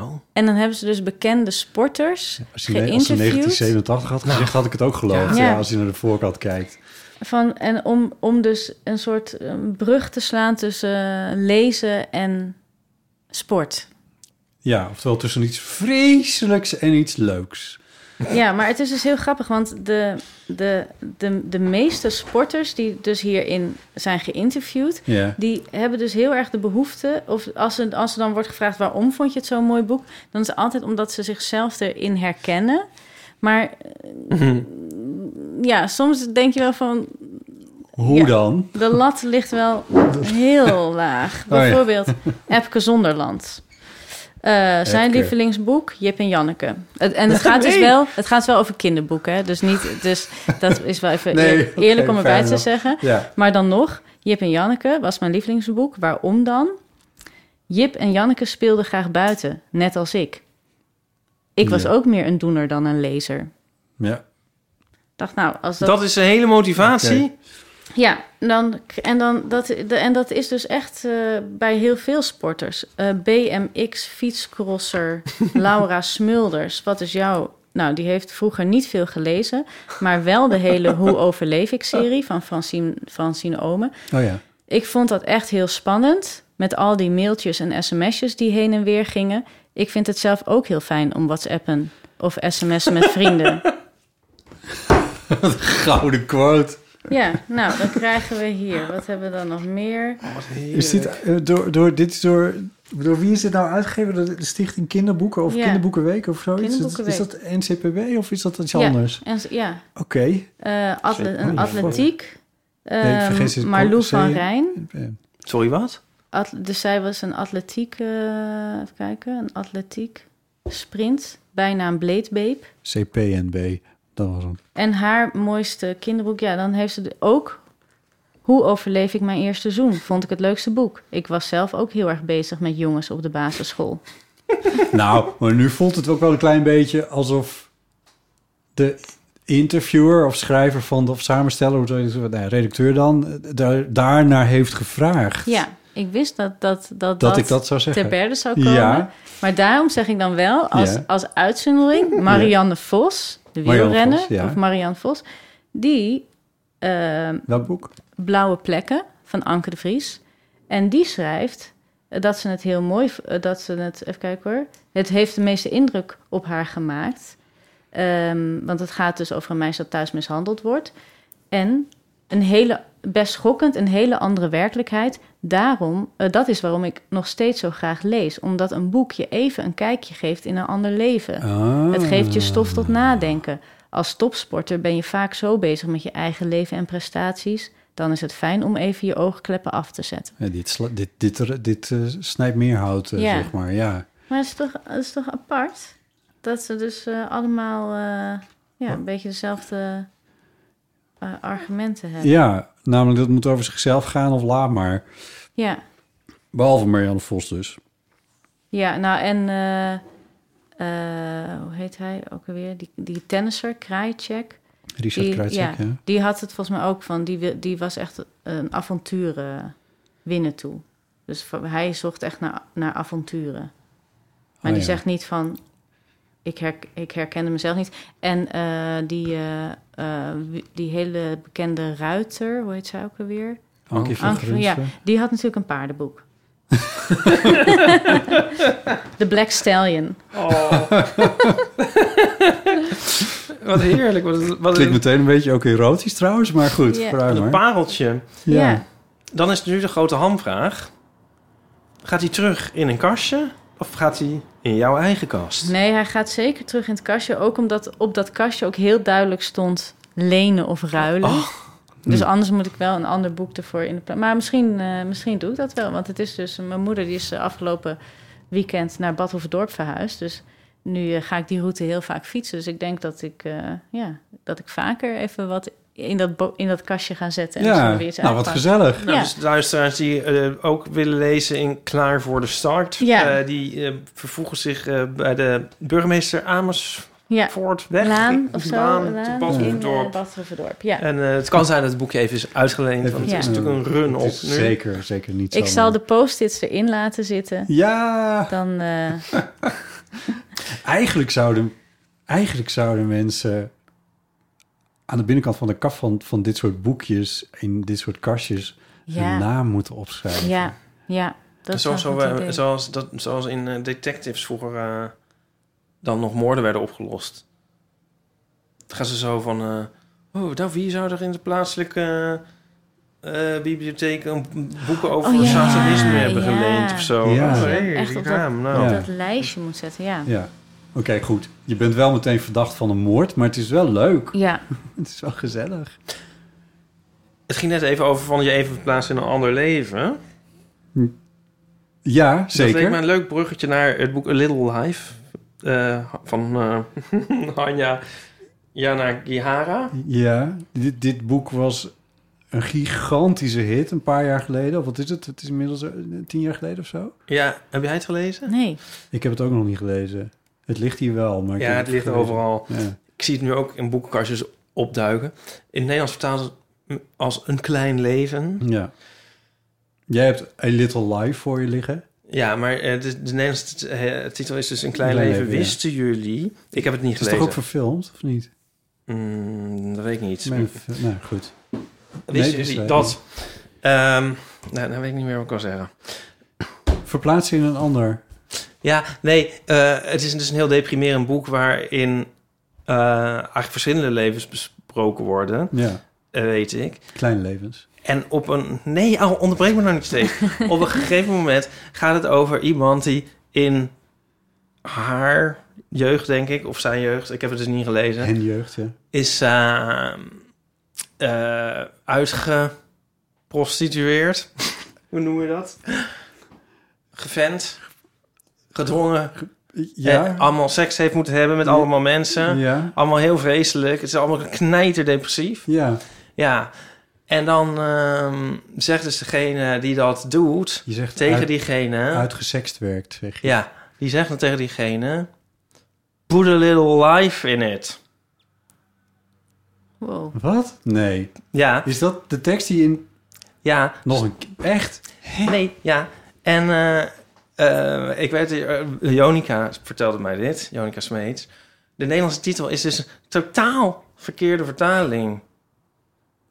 S2: Oh.
S4: En dan hebben ze dus bekende sporters
S3: Als je, als je
S4: geïnterviewd.
S3: 1987 had gezegd, had ik het ook geloofd.
S4: Ja.
S3: Ja. als je naar de voorkant kijkt.
S4: Van, en om, om dus een soort eh, brug te slaan tussen eh, lezen en sport.
S3: Ja, oftewel tussen iets vreselijks en iets leuks.
S4: Ja, maar het is dus heel grappig, want de, de, de, de meeste sporters die dus hierin zijn geïnterviewd,
S3: Ja.
S4: die hebben dus heel erg de behoefte, of als er, als er dan wordt gevraagd waarom vond je het zo'n mooi boek, dan is het altijd omdat ze zichzelf erin herkennen. Maar eh, ja, soms denk je wel van,
S3: Hoe
S4: Ja.
S3: dan?
S4: de lat ligt wel heel laag.
S3: Oh, ja.
S4: Bijvoorbeeld Epke Zonderland. Eh, zijn
S3: Epke.
S4: lievelingsboek, Jip en Janneke. Het, en het gaat, dus wel, het gaat wel over kinderboeken. hè. Dus, niet, dus dat is wel even
S3: Nee,
S4: eerlijk,
S3: oké,
S4: eerlijk om erbij
S3: fair
S4: te
S3: enough.
S4: zeggen.
S3: Ja.
S4: Maar dan nog, Jip en Janneke was mijn lievelingsboek. Waarom dan? Jip en Janneke speelden graag buiten, net als ik. Ik was
S3: Ja.
S4: ook meer een doener dan een lezer.
S3: ja.
S4: Dacht nou, als
S2: Dat, is de hele motivatie.
S4: ja, dan, en, dan, dat, de, en dat is dus echt eh, bij heel veel sporters. Eh, BMX, fietscrosser, Laura Smulders. Wat is jouw... Nou, die heeft vroeger niet veel gelezen... maar wel de hele Hoe overleef ik-serie van Francine, Francine Omen.
S3: Oh ja.
S4: Ik vond dat echt heel spannend... met al die mailtjes en sms'jes die heen en weer gingen. Ik vind het zelf ook heel fijn om whatsappen of sms'en met vrienden.
S3: Gouden quote.
S4: Ja, nou, dan krijgen we hier. Wat hebben we dan nog meer?
S3: Is dit, eh, door, door, dit is door, door wie is dit nou uitgegeven? Door De Stichting Kinderboeken of
S4: Ja.
S3: Kinderboekenweek of zoiets? Is dat- Is dat
S4: Kinderboekenweek.
S3: NCPB of is dat iets
S4: ja,
S3: anders?
S4: En, ze- ja,
S3: Oké.
S4: eh, atle-
S2: Zeker.
S4: een
S2: Oh,
S4: atletiek.
S3: ik
S4: ehm,
S3: vergis het.
S4: Marlou
S3: Kon-
S4: van
S3: zei-
S4: Rijn.
S3: Eh,
S2: Sorry, wat?
S4: At- dus zij was een atletiek, eh, even kijken, een atletiek sprint. Bijna een bleedbeep.
S3: CPNB. Dat was hem.
S4: En haar mooiste kinderboek, ja, dan heeft ze de- ook... Hoe overleef ik mijn eerste zoen? Vond ik het leukste boek. Ik was zelf ook heel erg bezig met jongens op de basisschool.
S3: Nou, maar nu voelt het ook wel een klein beetje alsof de interviewer of schrijver van de, of samensteller, hoe zou je het- nou, ja, redacteur dan, eh, daar, daarnaar heeft gevraagd.
S4: Ja, ik wist dat dat, dat, dat,
S3: ik dat zou zeggen.
S4: ter berde zou komen.
S3: Ja.
S4: Maar daarom zeg ik dan wel als,
S3: Ja.
S4: als uitzondering Marianne Vos, de
S3: Marianne
S4: wielrenner,
S3: Vos, ja.
S4: of Marianne Vos, die eh,
S3: Welk boek?
S4: Blauwe Plekken van Anke de Vries. En die schrijft eh, dat ze het heel mooi, v- eh, dat ze het, even kijken hoor, het heeft de meeste indruk op haar gemaakt. Ehm, want het gaat dus over een meisje dat thuis mishandeld wordt. En een hele, best schokkend, een hele andere werkelijkheid. Daarom, eh, dat is waarom ik nog steeds zo graag lees. Omdat een boek je even een kijkje geeft in een ander leven.
S3: Ah.
S4: Het geeft je stof tot nadenken. Als topsporter ben je vaak zo bezig met je eigen leven en prestaties. Dan is het fijn om even je oogkleppen af te zetten.
S3: Ja, dit sla- dit, dit, er- dit eh, snijdt meer hout, eh,
S4: Ja.
S3: zeg maar. Ja.
S4: Maar het is toch, het is toch apart? Dat ze dus eh, allemaal eh, ja, een beetje dezelfde eh, argumenten hebben.
S3: ja, namelijk dat moet over zichzelf gaan of laat maar.
S4: Ja,
S3: Behalve Marianne Vos dus.
S4: ja nou en eh, eh, hoe heet hij ook alweer? Die, die tennisser, Krajicek.
S3: Richard
S4: Die-
S3: Krajcek, ja.
S4: Die had het volgens mij ook van, die, wil- die was echt een avonturen winnen toe. Dus van- hij zocht echt naar, naar avonturen. Maar
S3: Oh,
S4: die
S3: ja.
S4: zegt niet van, ik, her, ik herkende mezelf niet. En eh, die, eh, eh, wie- die hele bekende ruiter, hoe heet zij ook alweer?
S3: Ankie van
S4: Anke Oh, van- ja,
S3: Grunsven.
S4: die had natuurlijk een paardenboek. De Black Stallion.
S2: Wat heerlijk. Wat, wat
S3: Klinkt
S2: een,
S3: meteen een beetje ook erotisch trouwens, maar goed,
S4: Ja.
S3: vooruit
S2: een
S3: maar.
S2: pareltje.
S4: Ja.
S2: Dan is nu de grote hamvraag. Gaat hij terug in een kastje? Of gaat hij in jouw eigen kast?
S4: Nee, hij gaat zeker terug in het kastje. Ook omdat op dat kastje ook heel duidelijk stond lenen of ruilen.
S2: Oh.
S4: Dus anders moet ik wel een ander boek ervoor in de pla- Maar misschien, eh, misschien doe ik dat wel. Want het is dus... Mijn moeder die is eh, afgelopen weekend naar Badhoevedorp verhuisd. Dus nu eh, ga ik die route heel vaak fietsen. Dus ik denk dat ik, eh, ja, dat ik vaker even wat in dat, bo- in dat kastje ga zetten. En
S3: Ja,
S4: dan weer iets
S3: nou wat
S4: uitpakken.
S3: gezellig.
S2: Nou,
S4: Ja.
S2: dus luisteraars die eh, ook willen lezen in Klaar voor de Start...
S4: Ja.
S2: eh, die eh, vervoegen zich eh, bij de burgemeester Amersfoort
S4: Ja,
S2: weg.
S4: Laan of zo.
S2: Laan, te
S4: Laan in eh,
S2: Badhoevedorp.
S4: Badhoevedorp, ja.
S2: En eh, het kan zijn dat het boekje even is uitgeleend. Want
S4: Ja.
S2: het is natuurlijk een run
S3: Het
S2: op nu.
S3: is Zeker, zeker niet
S4: Ik
S3: zomaar.
S4: zal de post-its erin laten zitten.
S3: Ja,
S4: Dan, eh,
S3: eigenlijk zouden, eigenlijk zouden mensen aan de binnenkant van de kaf van, van dit soort boekjes, in dit soort kastjes, hun
S4: ja,
S3: naam moeten opschrijven.
S4: ja, ja. Dat is
S2: zoals,
S4: wel een
S2: zo-
S4: goed idee.
S2: zoals, dat, zoals in eh, detectives vroeger eh, dan nog moorden werden opgelost. Dan gaan ze zo van... eh, oh, nou, wie zou er in de plaatselijke eh, eh, bibliotheek een boeken over
S4: Oh, ja,
S2: satanisme hebben
S4: ja.
S2: geleend of zo?
S3: Ja.
S2: Oh,
S3: Ja,
S2: hey,
S4: echt
S2: die
S4: op
S2: naam, nou.
S3: Ja.
S4: Dat lijstje moet zetten, ja.
S3: Ja. Oké, goed. Je bent wel meteen verdacht van een moord, maar het is wel leuk.
S4: Ja,
S3: Het is wel gezellig.
S2: Het ging net even over van je even verplaatsen in een ander leven.
S3: Ja,
S2: Dat leek me
S3: zeker.
S2: een leuk bruggetje naar het boek A Little Life eh, van eh Hanya Yanagihara.
S3: Ja, dit, dit boek was een gigantische hit een paar jaar geleden. Of wat is het? Het is inmiddels eh, tien jaar geleden of zo.
S2: Ja, heb jij het gelezen?
S4: nee.
S3: Ik heb het ook nog niet gelezen. Het ligt hier wel, maar... ik
S2: Ja,
S3: heb
S2: het ligt
S3: gelezen.
S2: overal.
S3: Ja.
S2: Ik zie het nu ook in boekenkastjes opduiken. In het Nederlands vertaald het als een klein leven.
S3: ja. Jij hebt A Little Life voor je liggen.
S2: Ja, maar eh, de, de Nederlandse t- eh, titel is dus een klein
S3: Klein
S2: leven.
S3: leven, ja.
S2: Wisten jullie? Ik heb het niet
S3: Het is
S2: gelezen.
S3: toch ook verfilmd, of niet?
S2: Mm, dat weet ik niet.
S3: Nee, ver- nou, goed.
S2: Wisten
S3: dus,
S2: jullie
S3: eh,
S2: dat? Ehm, nou, nou weet ik niet meer wat ik wil zeggen.
S3: Verplaatsen in een ander.
S2: Ja, nee, eh, het is dus een heel deprimerend boek waarin eh, eigenlijk verschillende levens besproken worden,
S3: Ja,
S2: eh, weet ik.
S3: kleine levens.
S2: En op een... Nee, oh, onderbreek me nou niet steeds. op een gegeven moment gaat het over iemand die in haar jeugd, denk ik, of zijn jeugd, ik heb het dus niet gelezen,
S3: En jeugd, ja.
S2: is eh, eh, uitgeprostitueerd. Hoe noem je dat? Gevent. Gedwongen.
S3: Ja,
S2: En allemaal seks heeft moeten hebben met
S3: Ja.
S2: allemaal mensen.
S3: ja,
S2: Allemaal heel vreselijk. Het is allemaal knijterdepressief.
S3: ja.
S2: Ja. En dan ehm, zegt dus degene die dat doet
S3: Je zegt
S2: tegen
S3: uit-
S2: diegene.
S3: uitgesekst werkt, zeg je.
S2: Ja, die zegt dan tegen diegene. Put a little life in it.
S4: Wow.
S3: Wat? Nee.
S2: Ja,
S3: Is dat de tekst die in...
S2: ja,
S3: Nog een... k- Echt?
S2: nee, ja. En eh, eh, ik weet, eh, Jonica vertelde mij dit, Jonica Smeets. De Nederlandse titel is dus een totaal verkeerde vertaling.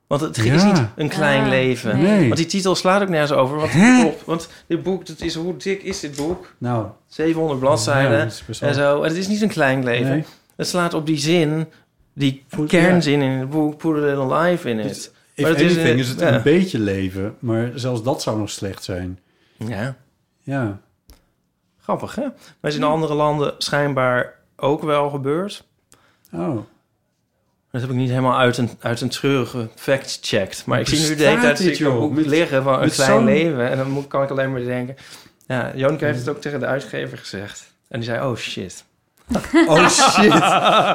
S2: Want het is
S3: Ja.
S2: niet een klein
S4: Ah,
S2: leven.
S4: Nee.
S3: Nee.
S2: Want die titel slaat ook nergens over. Want,
S3: Hè?
S2: klopt, want dit boek, dat is, hoe dik is dit boek?
S3: Nou,
S2: 700 bladzijden
S3: ja, dat is best wel-
S2: en zo. En het is niet een klein leven.
S3: Nee.
S2: Het slaat op die zin, die
S3: Put-
S2: kernzin in het boek, put a little life in it.
S3: Dus- If
S2: Maar het is,
S3: anything is,
S2: eh,
S3: het
S2: ja.
S3: een beetje leven, maar zelfs dat zou nog slecht zijn.
S2: Ja,
S3: Ja.
S2: grappig hè? Maar het is in andere landen schijnbaar ook wel gebeurd.
S3: Oh.
S2: Dat heb ik niet helemaal uit een, uit een treurige fact checked. Maar ik zie nu de hele
S3: Bestaat
S2: tijd
S3: dit,
S2: zie ik een
S3: joh?
S2: boek
S3: Met-
S2: liggen van een
S3: met
S2: klein
S3: zo'n-
S2: leven. En dan moet, kan ik alleen maar denken... Ja, Jonica heeft het ook tegen de uitgever gezegd. En die zei, oh shit.
S3: Oh shit.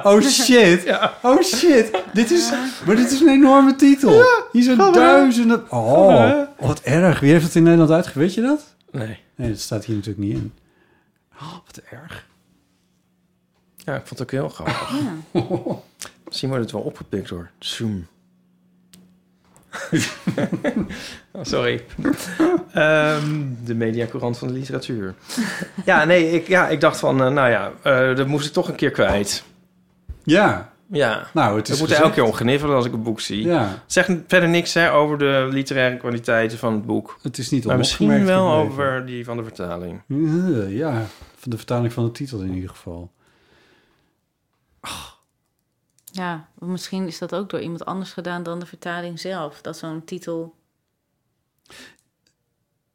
S3: Oh shit. Oh shit. Dit is, maar dit is een enorme titel. Hier zijn duizenden. Oh, wat erg. Wie heeft het in Nederland uitgegeven? Weet je dat?
S2: Nee.
S3: Nee, dat staat hier natuurlijk niet in. Oh, wat erg.
S2: Ja, ik vond het ook heel grappig. Misschien wordt het wel opgepikt hoor. Zoom. oh, sorry. Ehm, de mediacourant van de literatuur. ja, nee, ik, ja, ik dacht van, eh, nou ja, eh, dat moest ik toch een keer kwijt.
S3: Ja,
S2: Ja,
S3: nou, het is
S2: ik moet er
S3: gezegd.
S2: elke keer om gniffelen als ik een boek zie.
S3: Ja,
S2: Zeg verder niks hè, over de literaire kwaliteiten van het boek.
S3: het is niet
S2: Maar misschien
S3: onopgemerkt
S2: wel
S3: gebleven. Eh,
S2: over die van de vertaling.
S3: Ja, van de vertaling van de titel in ieder geval. Ah.
S4: Ja, of misschien is dat ook door iemand anders gedaan dan de vertaling zelf. Dat zo'n titel.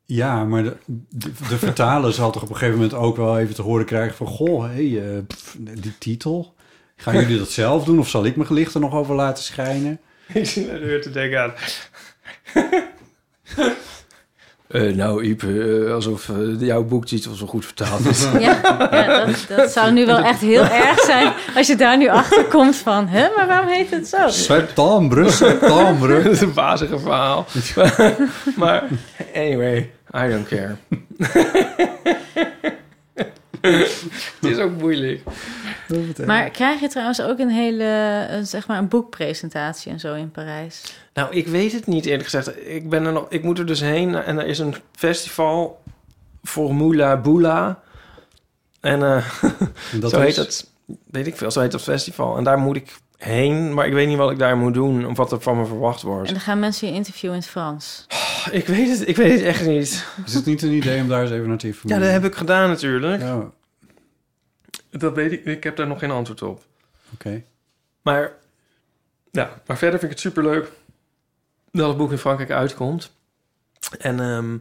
S3: Ja, maar de, de, de vertaler zal toch op een gegeven moment ook wel even te horen krijgen van... Goh, hé, eh, pff, die titel. Gaan jullie dat zelf doen of zal ik mijn licht er nog over laten schijnen?
S2: Ik zit naar de deur te denken aan.
S5: Eh, nou, Iep, eh, alsof eh, jouw boektitel zo goed vertaald is.
S4: Ja, ja dat, dat zou nu wel echt heel erg zijn als je daar nu achter komt van, hè, maar waarom heet het zo?
S3: Septembre,
S2: Dat
S3: septembre.
S2: is een wazige verhaal. maar anyway, I don't care. Het is ook moeilijk.
S4: Maar krijg je trouwens ook een hele, eh, zeg maar, een boekpresentatie en zo in Parijs?
S2: Nou, ik weet het niet eerlijk gezegd. Ik, ben er nog, ik moet er dus heen en er is een festival Formula Bula. En eh,
S3: Dat
S2: zo
S3: is-
S2: heet dat, weet ik veel, zo heet dat festival. En daar moet ik heen, maar ik weet niet wat ik daar moet doen of wat er van me verwacht wordt.
S4: En dan gaan mensen je interviewen in het Frans.
S2: Oh, Ik weet het, ik weet het echt niet.
S3: Is het niet een idee om daar eens even naar te
S2: Ja,
S3: informeren?
S2: dat heb ik gedaan natuurlijk.
S3: Ja, oké.
S2: Dat weet ik, ik heb daar nog geen antwoord op. Maar, ja, maar verder vind ik het superleuk dat het boek in Frankrijk uitkomt. En ehm,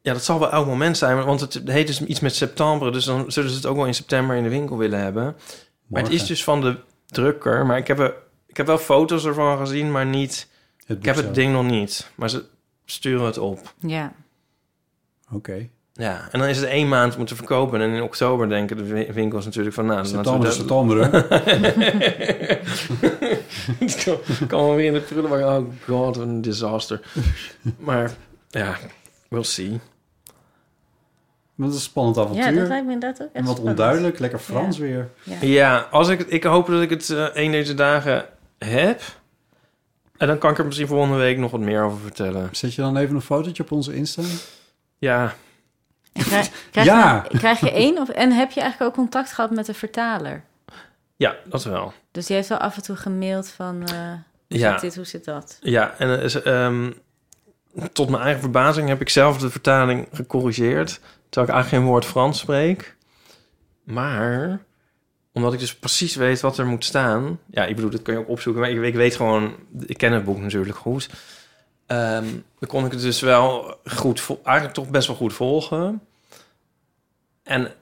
S2: ja, dat zal wel elk moment zijn, want het heet dus iets met september. Dus dan zullen ze het ook wel in september in de winkel willen hebben. Maar het
S3: Morgen.
S2: is dus van de drukker. Maar ik heb, er, ik heb wel foto's ervan gezien, maar niet...
S3: Het
S2: Ik heb het
S3: boek
S2: ding nog niet, maar ze sturen het op.
S4: Ja.
S3: zelf. Oké.
S2: Ja, en dan is het één maand moeten verkopen. En in oktober denken de win- winkels natuurlijk van... Nou, dan laten we
S3: Septembre,
S2: dat-
S3: septembre.
S2: Het kan- kan wel weer in de prullenbak. Oh god, wat een disaster. Maar ja, we'll see.
S3: Dat is een spannend
S4: ja, dat
S3: avontuur.
S4: lijkt me inderdaad ook echt
S3: en wat
S4: spannend.
S3: onduidelijk, lekker Frans
S4: Ja.
S3: weer.
S2: Ja, als ik, het- ik hoop dat ik het eh, een deze dagen heb. En dan kan ik er misschien volgende week nog wat meer over vertellen.
S3: Zet je dan even een fotootje op onze Insta?
S2: Ja,
S4: En Krijg, krijg,
S3: Ja.
S4: je, krijg je één of... En heb je eigenlijk ook contact gehad met de vertaler?
S2: ja dat wel.
S4: Dus die heeft wel af en toe gemaild van... eh, hoe
S2: Ja.
S4: zit dit, hoe zit dat?
S2: Ja, en eh, ze- ehm, tot mijn eigen verbazing heb ik zelf de vertaling gecorrigeerd. Terwijl ik eigenlijk geen woord Frans spreek. Maar omdat ik dus precies weet wat er moet staan. Ja, ik bedoel, dat kun je ook opzoeken. Maar ik, ik weet gewoon, ik ken het boek natuurlijk goed. Ehm, dan kon ik het dus wel goed, vol- eigenlijk toch best wel goed volgen. En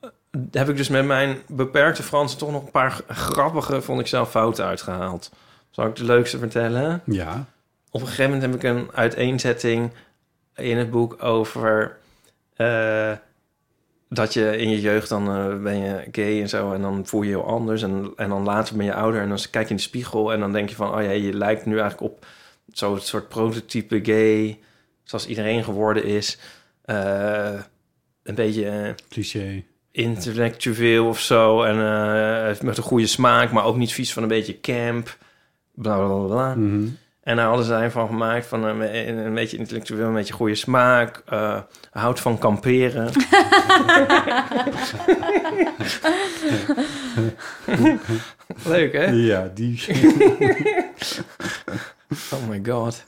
S2: eh, heb ik dus met mijn beperkte Frans toch nog een paar grappige, vond ik zelf, fouten uitgehaald. Zal ik de leukste vertellen?
S3: Ja.
S2: op een gegeven moment heb ik een uiteenzetting in het boek over eh, dat je in je jeugd dan eh, ben je gay en zo en dan voel je je heel anders en, en dan later ben je ouder en dan kijk je in de spiegel en dan denk je van oh ja je lijkt nu eigenlijk op zo'n soort prototype gay zoals iedereen geworden is Eh, een beetje eh,
S3: Cliché.
S2: intellectueel of zo en eh, met een goede smaak maar ook niet vies van een beetje camp bla bla bla, bla.
S3: Mhm.
S2: En daar hadden ze een van gemaakt van een, een beetje intellectueel, een beetje goede smaak. eh, houdt van kamperen. Leuk, hè?
S3: Ja, die...
S2: Oh my god.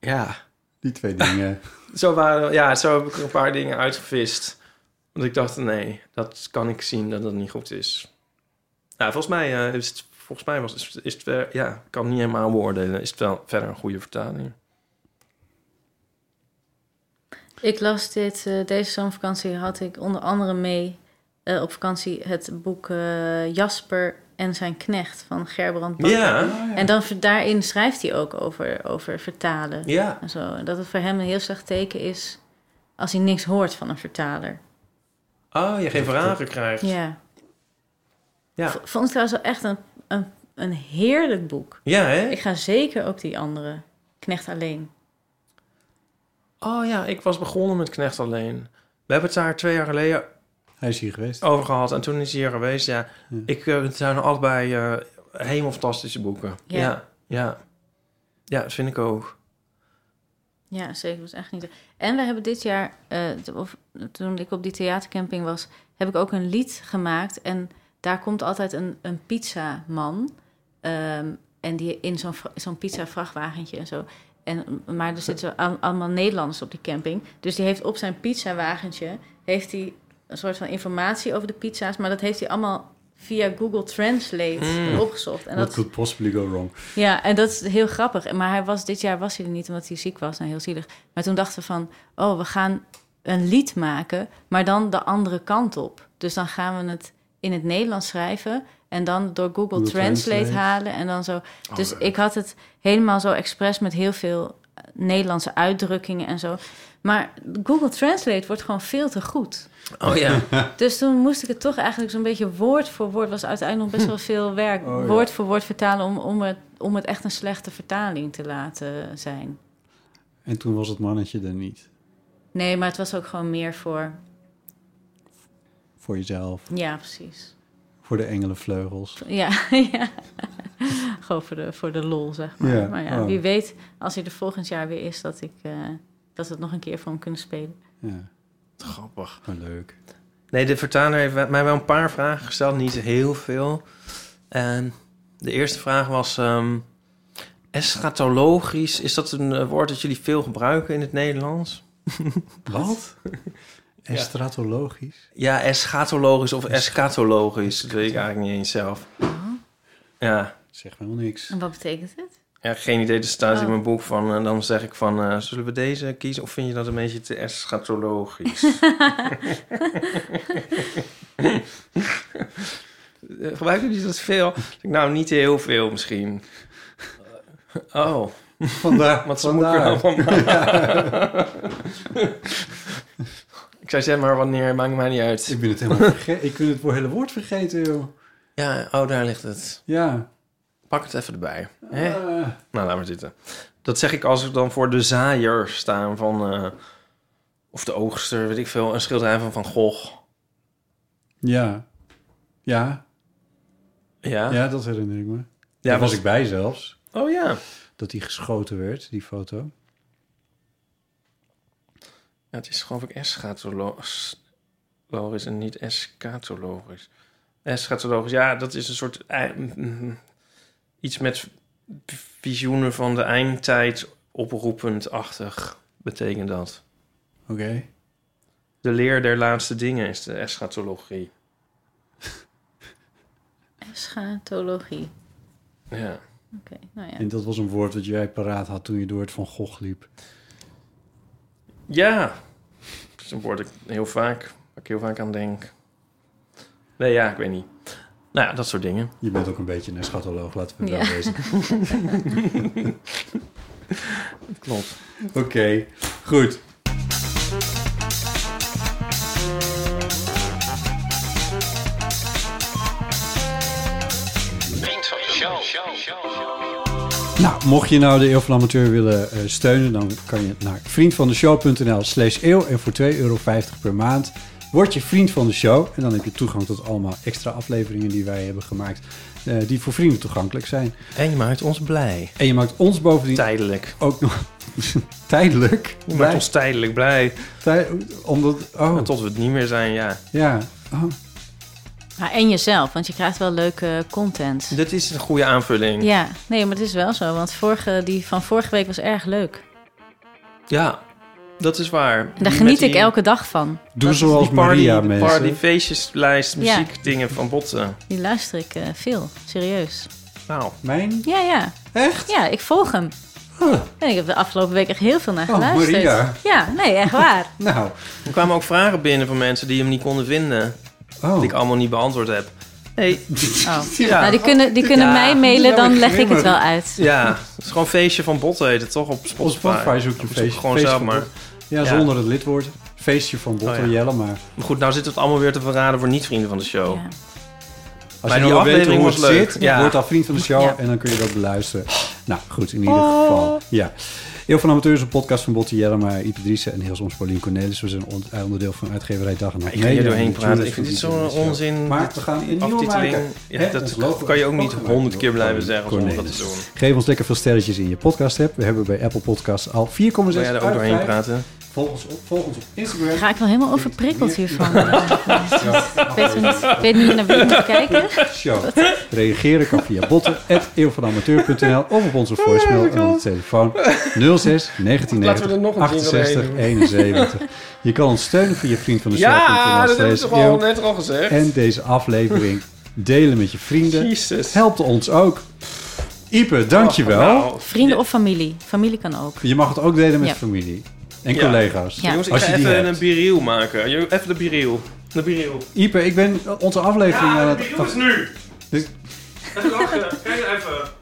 S2: Ja,
S3: Die twee dingen.
S2: zo, waren, ja, zo heb ik er een paar dingen uitgevist. Want ik dacht, nee, dat kan ik zien dat dat niet goed is. Nou, volgens mij, eh, is, het, volgens mij was, is, is het... wel- Ja, ik kan het niet helemaal beoordelen. Is het wel verder een goede vertaling?
S4: Ik las dit, eh, deze zomervakantie had ik onder andere mee eh, op vakantie het boek eh, Jasper en zijn knecht van Gerbrand Bakker.
S2: Oh, Ja,
S4: En dan ver- daarin schrijft hij ook over, over vertalen.
S2: ja.
S4: En zo. En dat het voor hem een heel slecht teken is als hij niks hoort van een vertaler.
S2: Oh, je geen vragen krijgt.
S4: Ja.
S2: Ja.
S4: V- Vond ik trouwens wel echt een, een, een heerlijk boek.
S2: Ja, hè?
S4: Ik ga zeker ook die andere, Knecht Alleen.
S2: Oh ja, ik was begonnen met Knecht alleen. We hebben het daar twee jaar geleden
S3: Hij is hier geweest.
S2: over gehad en toen is hij hier geweest. Ja, ik, eh, het zijn allebei eh helemaal fantastische boeken.
S4: Ja.
S2: ja, ja. Ja, dat vind ik ook.
S4: Ja, zeker. was echt niet. En we hebben dit jaar, eh, t- of toen ik op die theatercamping was, heb ik ook een lied gemaakt. En daar komt altijd een, een pizzaman. ehm, en die in zo'n vra- zo'n pizza vrachtwagentje en zo. En, maar er zitten al- allemaal Nederlanders op die camping. Dus die heeft op zijn pizzawagentje heeft hij een soort van informatie over de pizza's. Maar dat heeft hij allemaal via Google Translate opgezocht. En
S3: What
S4: dat,
S3: could possibly go wrong?
S4: ja, en dat is heel grappig. En- Maar hij was, dit jaar was hij er niet omdat hij ziek was. Nou, heel zielig. Maar toen dachten we van, oh, we gaan een lied maken, maar dan de andere kant op. Dus dan gaan we het in het Nederlands schrijven en dan door Google,
S3: Google
S4: Translate,
S3: Translate. Oh,
S4: halen en dan zo. Dus ik had het helemaal zo expres met heel veel eh, Nederlandse uitdrukkingen en zo. Maar Google Translate wordt gewoon veel te goed.
S2: Oh ja.
S4: Dus toen moest ik het toch eigenlijk zo'n beetje woord voor woord. was uiteindelijk nog best wel veel werk.
S3: Oh, ja.
S4: Woord voor woord vertalen om, om, het, om het echt een slechte vertaling te laten zijn.
S3: En toen was het mannetje er niet.
S4: Nee, maar het was ook gewoon meer voor.
S3: Voor jezelf.
S4: Ja, precies.
S3: Voor de engelenvleugels.
S4: Ja, ja. gewoon voor de, voor de lol, zeg maar.
S3: Ja,
S4: Maar ja,
S3: oh.
S4: wie weet, als hij er volgend jaar weer is, dat, ik, eh, dat we het nog een keer voor hem kunnen spelen.
S3: Ja,
S2: Grappig.
S3: maar leuk.
S2: Nee, de vertaler heeft mij wel een paar vragen gesteld, niet heel veel. En de eerste vraag was: ehm, eschatologisch, is dat een eh, woord dat jullie veel gebruiken in het Nederlands?
S3: Wat? Estratologisch?
S2: Ja, eschatologisch of eschatologisch, Uh-huh. dat weet ik eigenlijk niet eens zelf. Ja,
S3: Zeg me helemaal niks.
S4: En wat betekent het?
S2: ja geen idee, er staat
S4: Oh.
S2: in mijn boek van. En dan zeg ik van: eh, zullen we deze kiezen of vind je dat een beetje te eschatologisch? Eh, Gebruiken jullie dat veel? Ik denk, Nou, niet heel veel misschien. Oh,
S3: Vandaar.
S2: wat ze moeten wel van Ik zei, zeg maar wanneer, maakt mij niet uit.
S3: Ik ben het helemaal vergeten. Ik ben het voor hele woord vergeten, joh.
S2: Ja, oh, daar ligt het.
S3: Ja.
S2: Pak het even erbij. Hè?
S3: Eh,
S2: Nou, laat maar zitten. Dat zeg ik als ik dan voor de zaaier staan van... eh, of de oogster, weet ik veel. Een schilderij van Van Gogh.
S3: ja. Ja.
S2: Ja?
S3: Ja, dat herinner ik me. Ja,
S2: Ja,
S3: Daar was
S2: was-
S3: ik bij zelfs.
S2: Oh ja.
S3: Dat die geschoten werd, die foto.
S2: ja het is geloof ik eschatologisch en niet eschatologisch. Eschatologisch, ja, dat is een soort... ei- mm, mm, iets met visioenen van de eindtijd oproepend-achtig betekent dat.
S3: Oké.
S2: De leer der laatste dingen is de eschatologie.
S4: Schatologie.
S2: Ja.
S4: Oké, nou ja.
S3: En dat was een woord wat jij paraat had toen je door het Van Gogh liep.
S2: Ja. Dat is een woord dat ik heel vaak, waar ik heel vaak aan denk. Nee, ja, ik weet niet. Nou ja, dat soort dingen.
S3: Je bent ook een beetje een schatoloog, laten we het
S4: Ja.
S3: wel wezen.
S2: Klopt.
S3: Oké, goed. Nou, mocht je nou de Eeuw van de Amateur willen eh, steunen, dan kan je naar vriendvandeshow.nl slash eeuw. En voor 2,50 euro per maand word je vriend van de show. En dan heb je toegang tot allemaal extra afleveringen die wij hebben gemaakt, eh, die voor vrienden toegankelijk zijn.
S2: En je maakt ons blij.
S3: En je maakt ons bovendien
S2: Tijdelijk.
S3: ook nog tijdelijk.
S2: Je maakt ons tijdelijk blij.
S3: Tij- omdat, oh,
S2: Maar tot we het niet meer zijn, ja.
S3: ja. Oh,
S4: Maar Nou, en jezelf, want je krijgt wel leuke content.
S2: Dit is een goede aanvulling.
S4: Ja, nee, maar het is wel zo. Want vorige, die van vorige week was erg leuk.
S2: Ja, dat is waar.
S4: En daar geniet
S2: Met die-
S4: ik elke dag van.
S3: doe
S4: is
S3: zoals
S2: die party,
S3: Maria,
S2: de
S3: mensen.
S2: Party, feestjeslijst,
S4: Ja.
S2: muziekdingen van botten.
S4: Die luister ik eh, veel, serieus.
S2: Nou,
S3: Mijn?
S4: Ja, ja.
S3: Echt?
S4: Ja, ik volg hem.
S3: Huh.
S4: En ik heb de afgelopen week echt heel veel naar
S3: Oh,
S4: geluisterd.
S3: Maria.
S4: Ja, nee, echt waar.
S3: Nou.
S2: er kwamen ook vragen binnen van mensen die hem niet konden vinden.
S3: Oh.
S2: Die ik allemaal niet beantwoord heb. Nee,
S4: Oh.
S2: Ja.
S4: Nou, die kunnen, die kunnen
S2: Ja.
S4: mij mailen, dan leg ik het wel uit.
S2: Ja, het is gewoon feestje van botten heet het toch op Spotify.
S3: Op Spotify zoek je
S2: Of
S3: feestje.
S2: Ah, Gewoon
S3: feestje
S2: zelf
S3: van
S2: maar.
S3: Bot. Ja,
S2: Ja.
S3: zonder het lidwoord. Feestje van Botter
S2: Oh, ja.
S3: Jelle, maar...
S2: Maar goed, nou zitten we het allemaal weer te verraden voor niet-vrienden van de show.
S4: Ja.
S2: Maar
S3: Als je
S2: die
S3: wil weten
S2: aflevering
S3: hoe
S2: was
S3: het
S2: leuk.
S3: zit,
S2: Ja.
S3: word dan vriend van de show
S4: Ja. Ah.
S3: en dan kun je dat beluisteren. Nou, goed, in ieder geval. Ja. Heel van Amateur is een podcast van Botti Jellema, Ipe Driessen en heel soms Paulien Cornelis. We zijn on- eh, onderdeel van uitgeverij Dag en Nacht.
S2: Ik ga hier
S3: Media
S2: doorheen
S3: en
S2: praten.
S3: natuurlijk
S2: Ik vind dit
S3: van
S2: zo'n
S3: Ipe Driessen.
S2: onzin.
S3: Maar we gaan een nieuwe
S2: Aftiteling.
S3: maken.
S2: Ja,
S3: Hè,
S2: dat
S3: ons logo
S2: kan je ook
S3: is
S2: niet
S3: opgemaakt
S2: honderd keer
S3: door
S2: blijven
S3: Paulien
S2: zeggen zonder dat te
S3: Cornelis.
S2: doen.
S3: Geef ons lekker veel sterretjes in je podcast-app. We hebben bij Apple Podcasts al 4,6
S2: Wil jij er ook
S3: uit
S2: doorheen
S3: vijf.
S2: praten?
S3: Volg ons op, volg ons op Instagram.
S4: Ga ik wel helemaal overprikkeld hiervan. Ik weet, wel niet, ik weet niet meer naar wie ik moet kijken.
S3: Show. Reageren kan via botten, eeuwvanamateur.nl of op onze voicemail en op de telefoon 06
S2: Laten we er nog
S3: 1990
S2: een jingle
S3: 68 71. Je kan ons steunen via vriendvandeshow.nl
S2: Ja, dat hebben we
S3: slash
S2: toch al
S3: eeuw.
S2: net al gezegd.
S3: En deze aflevering Delen met je
S2: eh,
S3: vrienden.
S2: Jezus.
S3: Helpt ons ook. Ipe, dankjewel.
S2: Nou,
S4: Vrienden of familie. Familie kan ook.
S3: Je mag het ook delen met
S4: Ja.
S3: familie en
S2: Ja.
S3: collega's.
S4: Ja.
S2: Jongens, ik
S3: Als
S2: ga
S3: je die
S2: even
S3: hebt.
S2: een biriel maken. Jo, Even de biriel. De biriel.
S3: Ipe, ik ben eh, onze aflevering
S2: Ah,
S3: eh, aan het... Wacht,
S2: nu.
S3: Dit-
S2: Even lachen. Kijk even.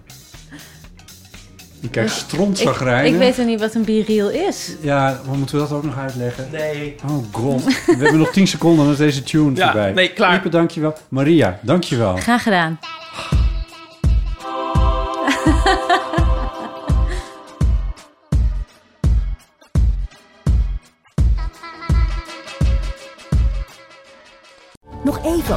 S3: je kijkt
S4: Ik,
S3: strontzagrijnen.
S4: ik weet er niet wat een biriel is.
S3: Ja, maar moeten we dat ook nog uitleggen?
S2: Nee.
S3: Oh god, we hebben nog 10 seconden en dan is deze tune
S2: Ja,
S3: voorbij.
S2: nee, klaar.
S3: Ipe, dankjewel. Maria, dankjewel.
S4: Graag gedaan.
S1: Nog even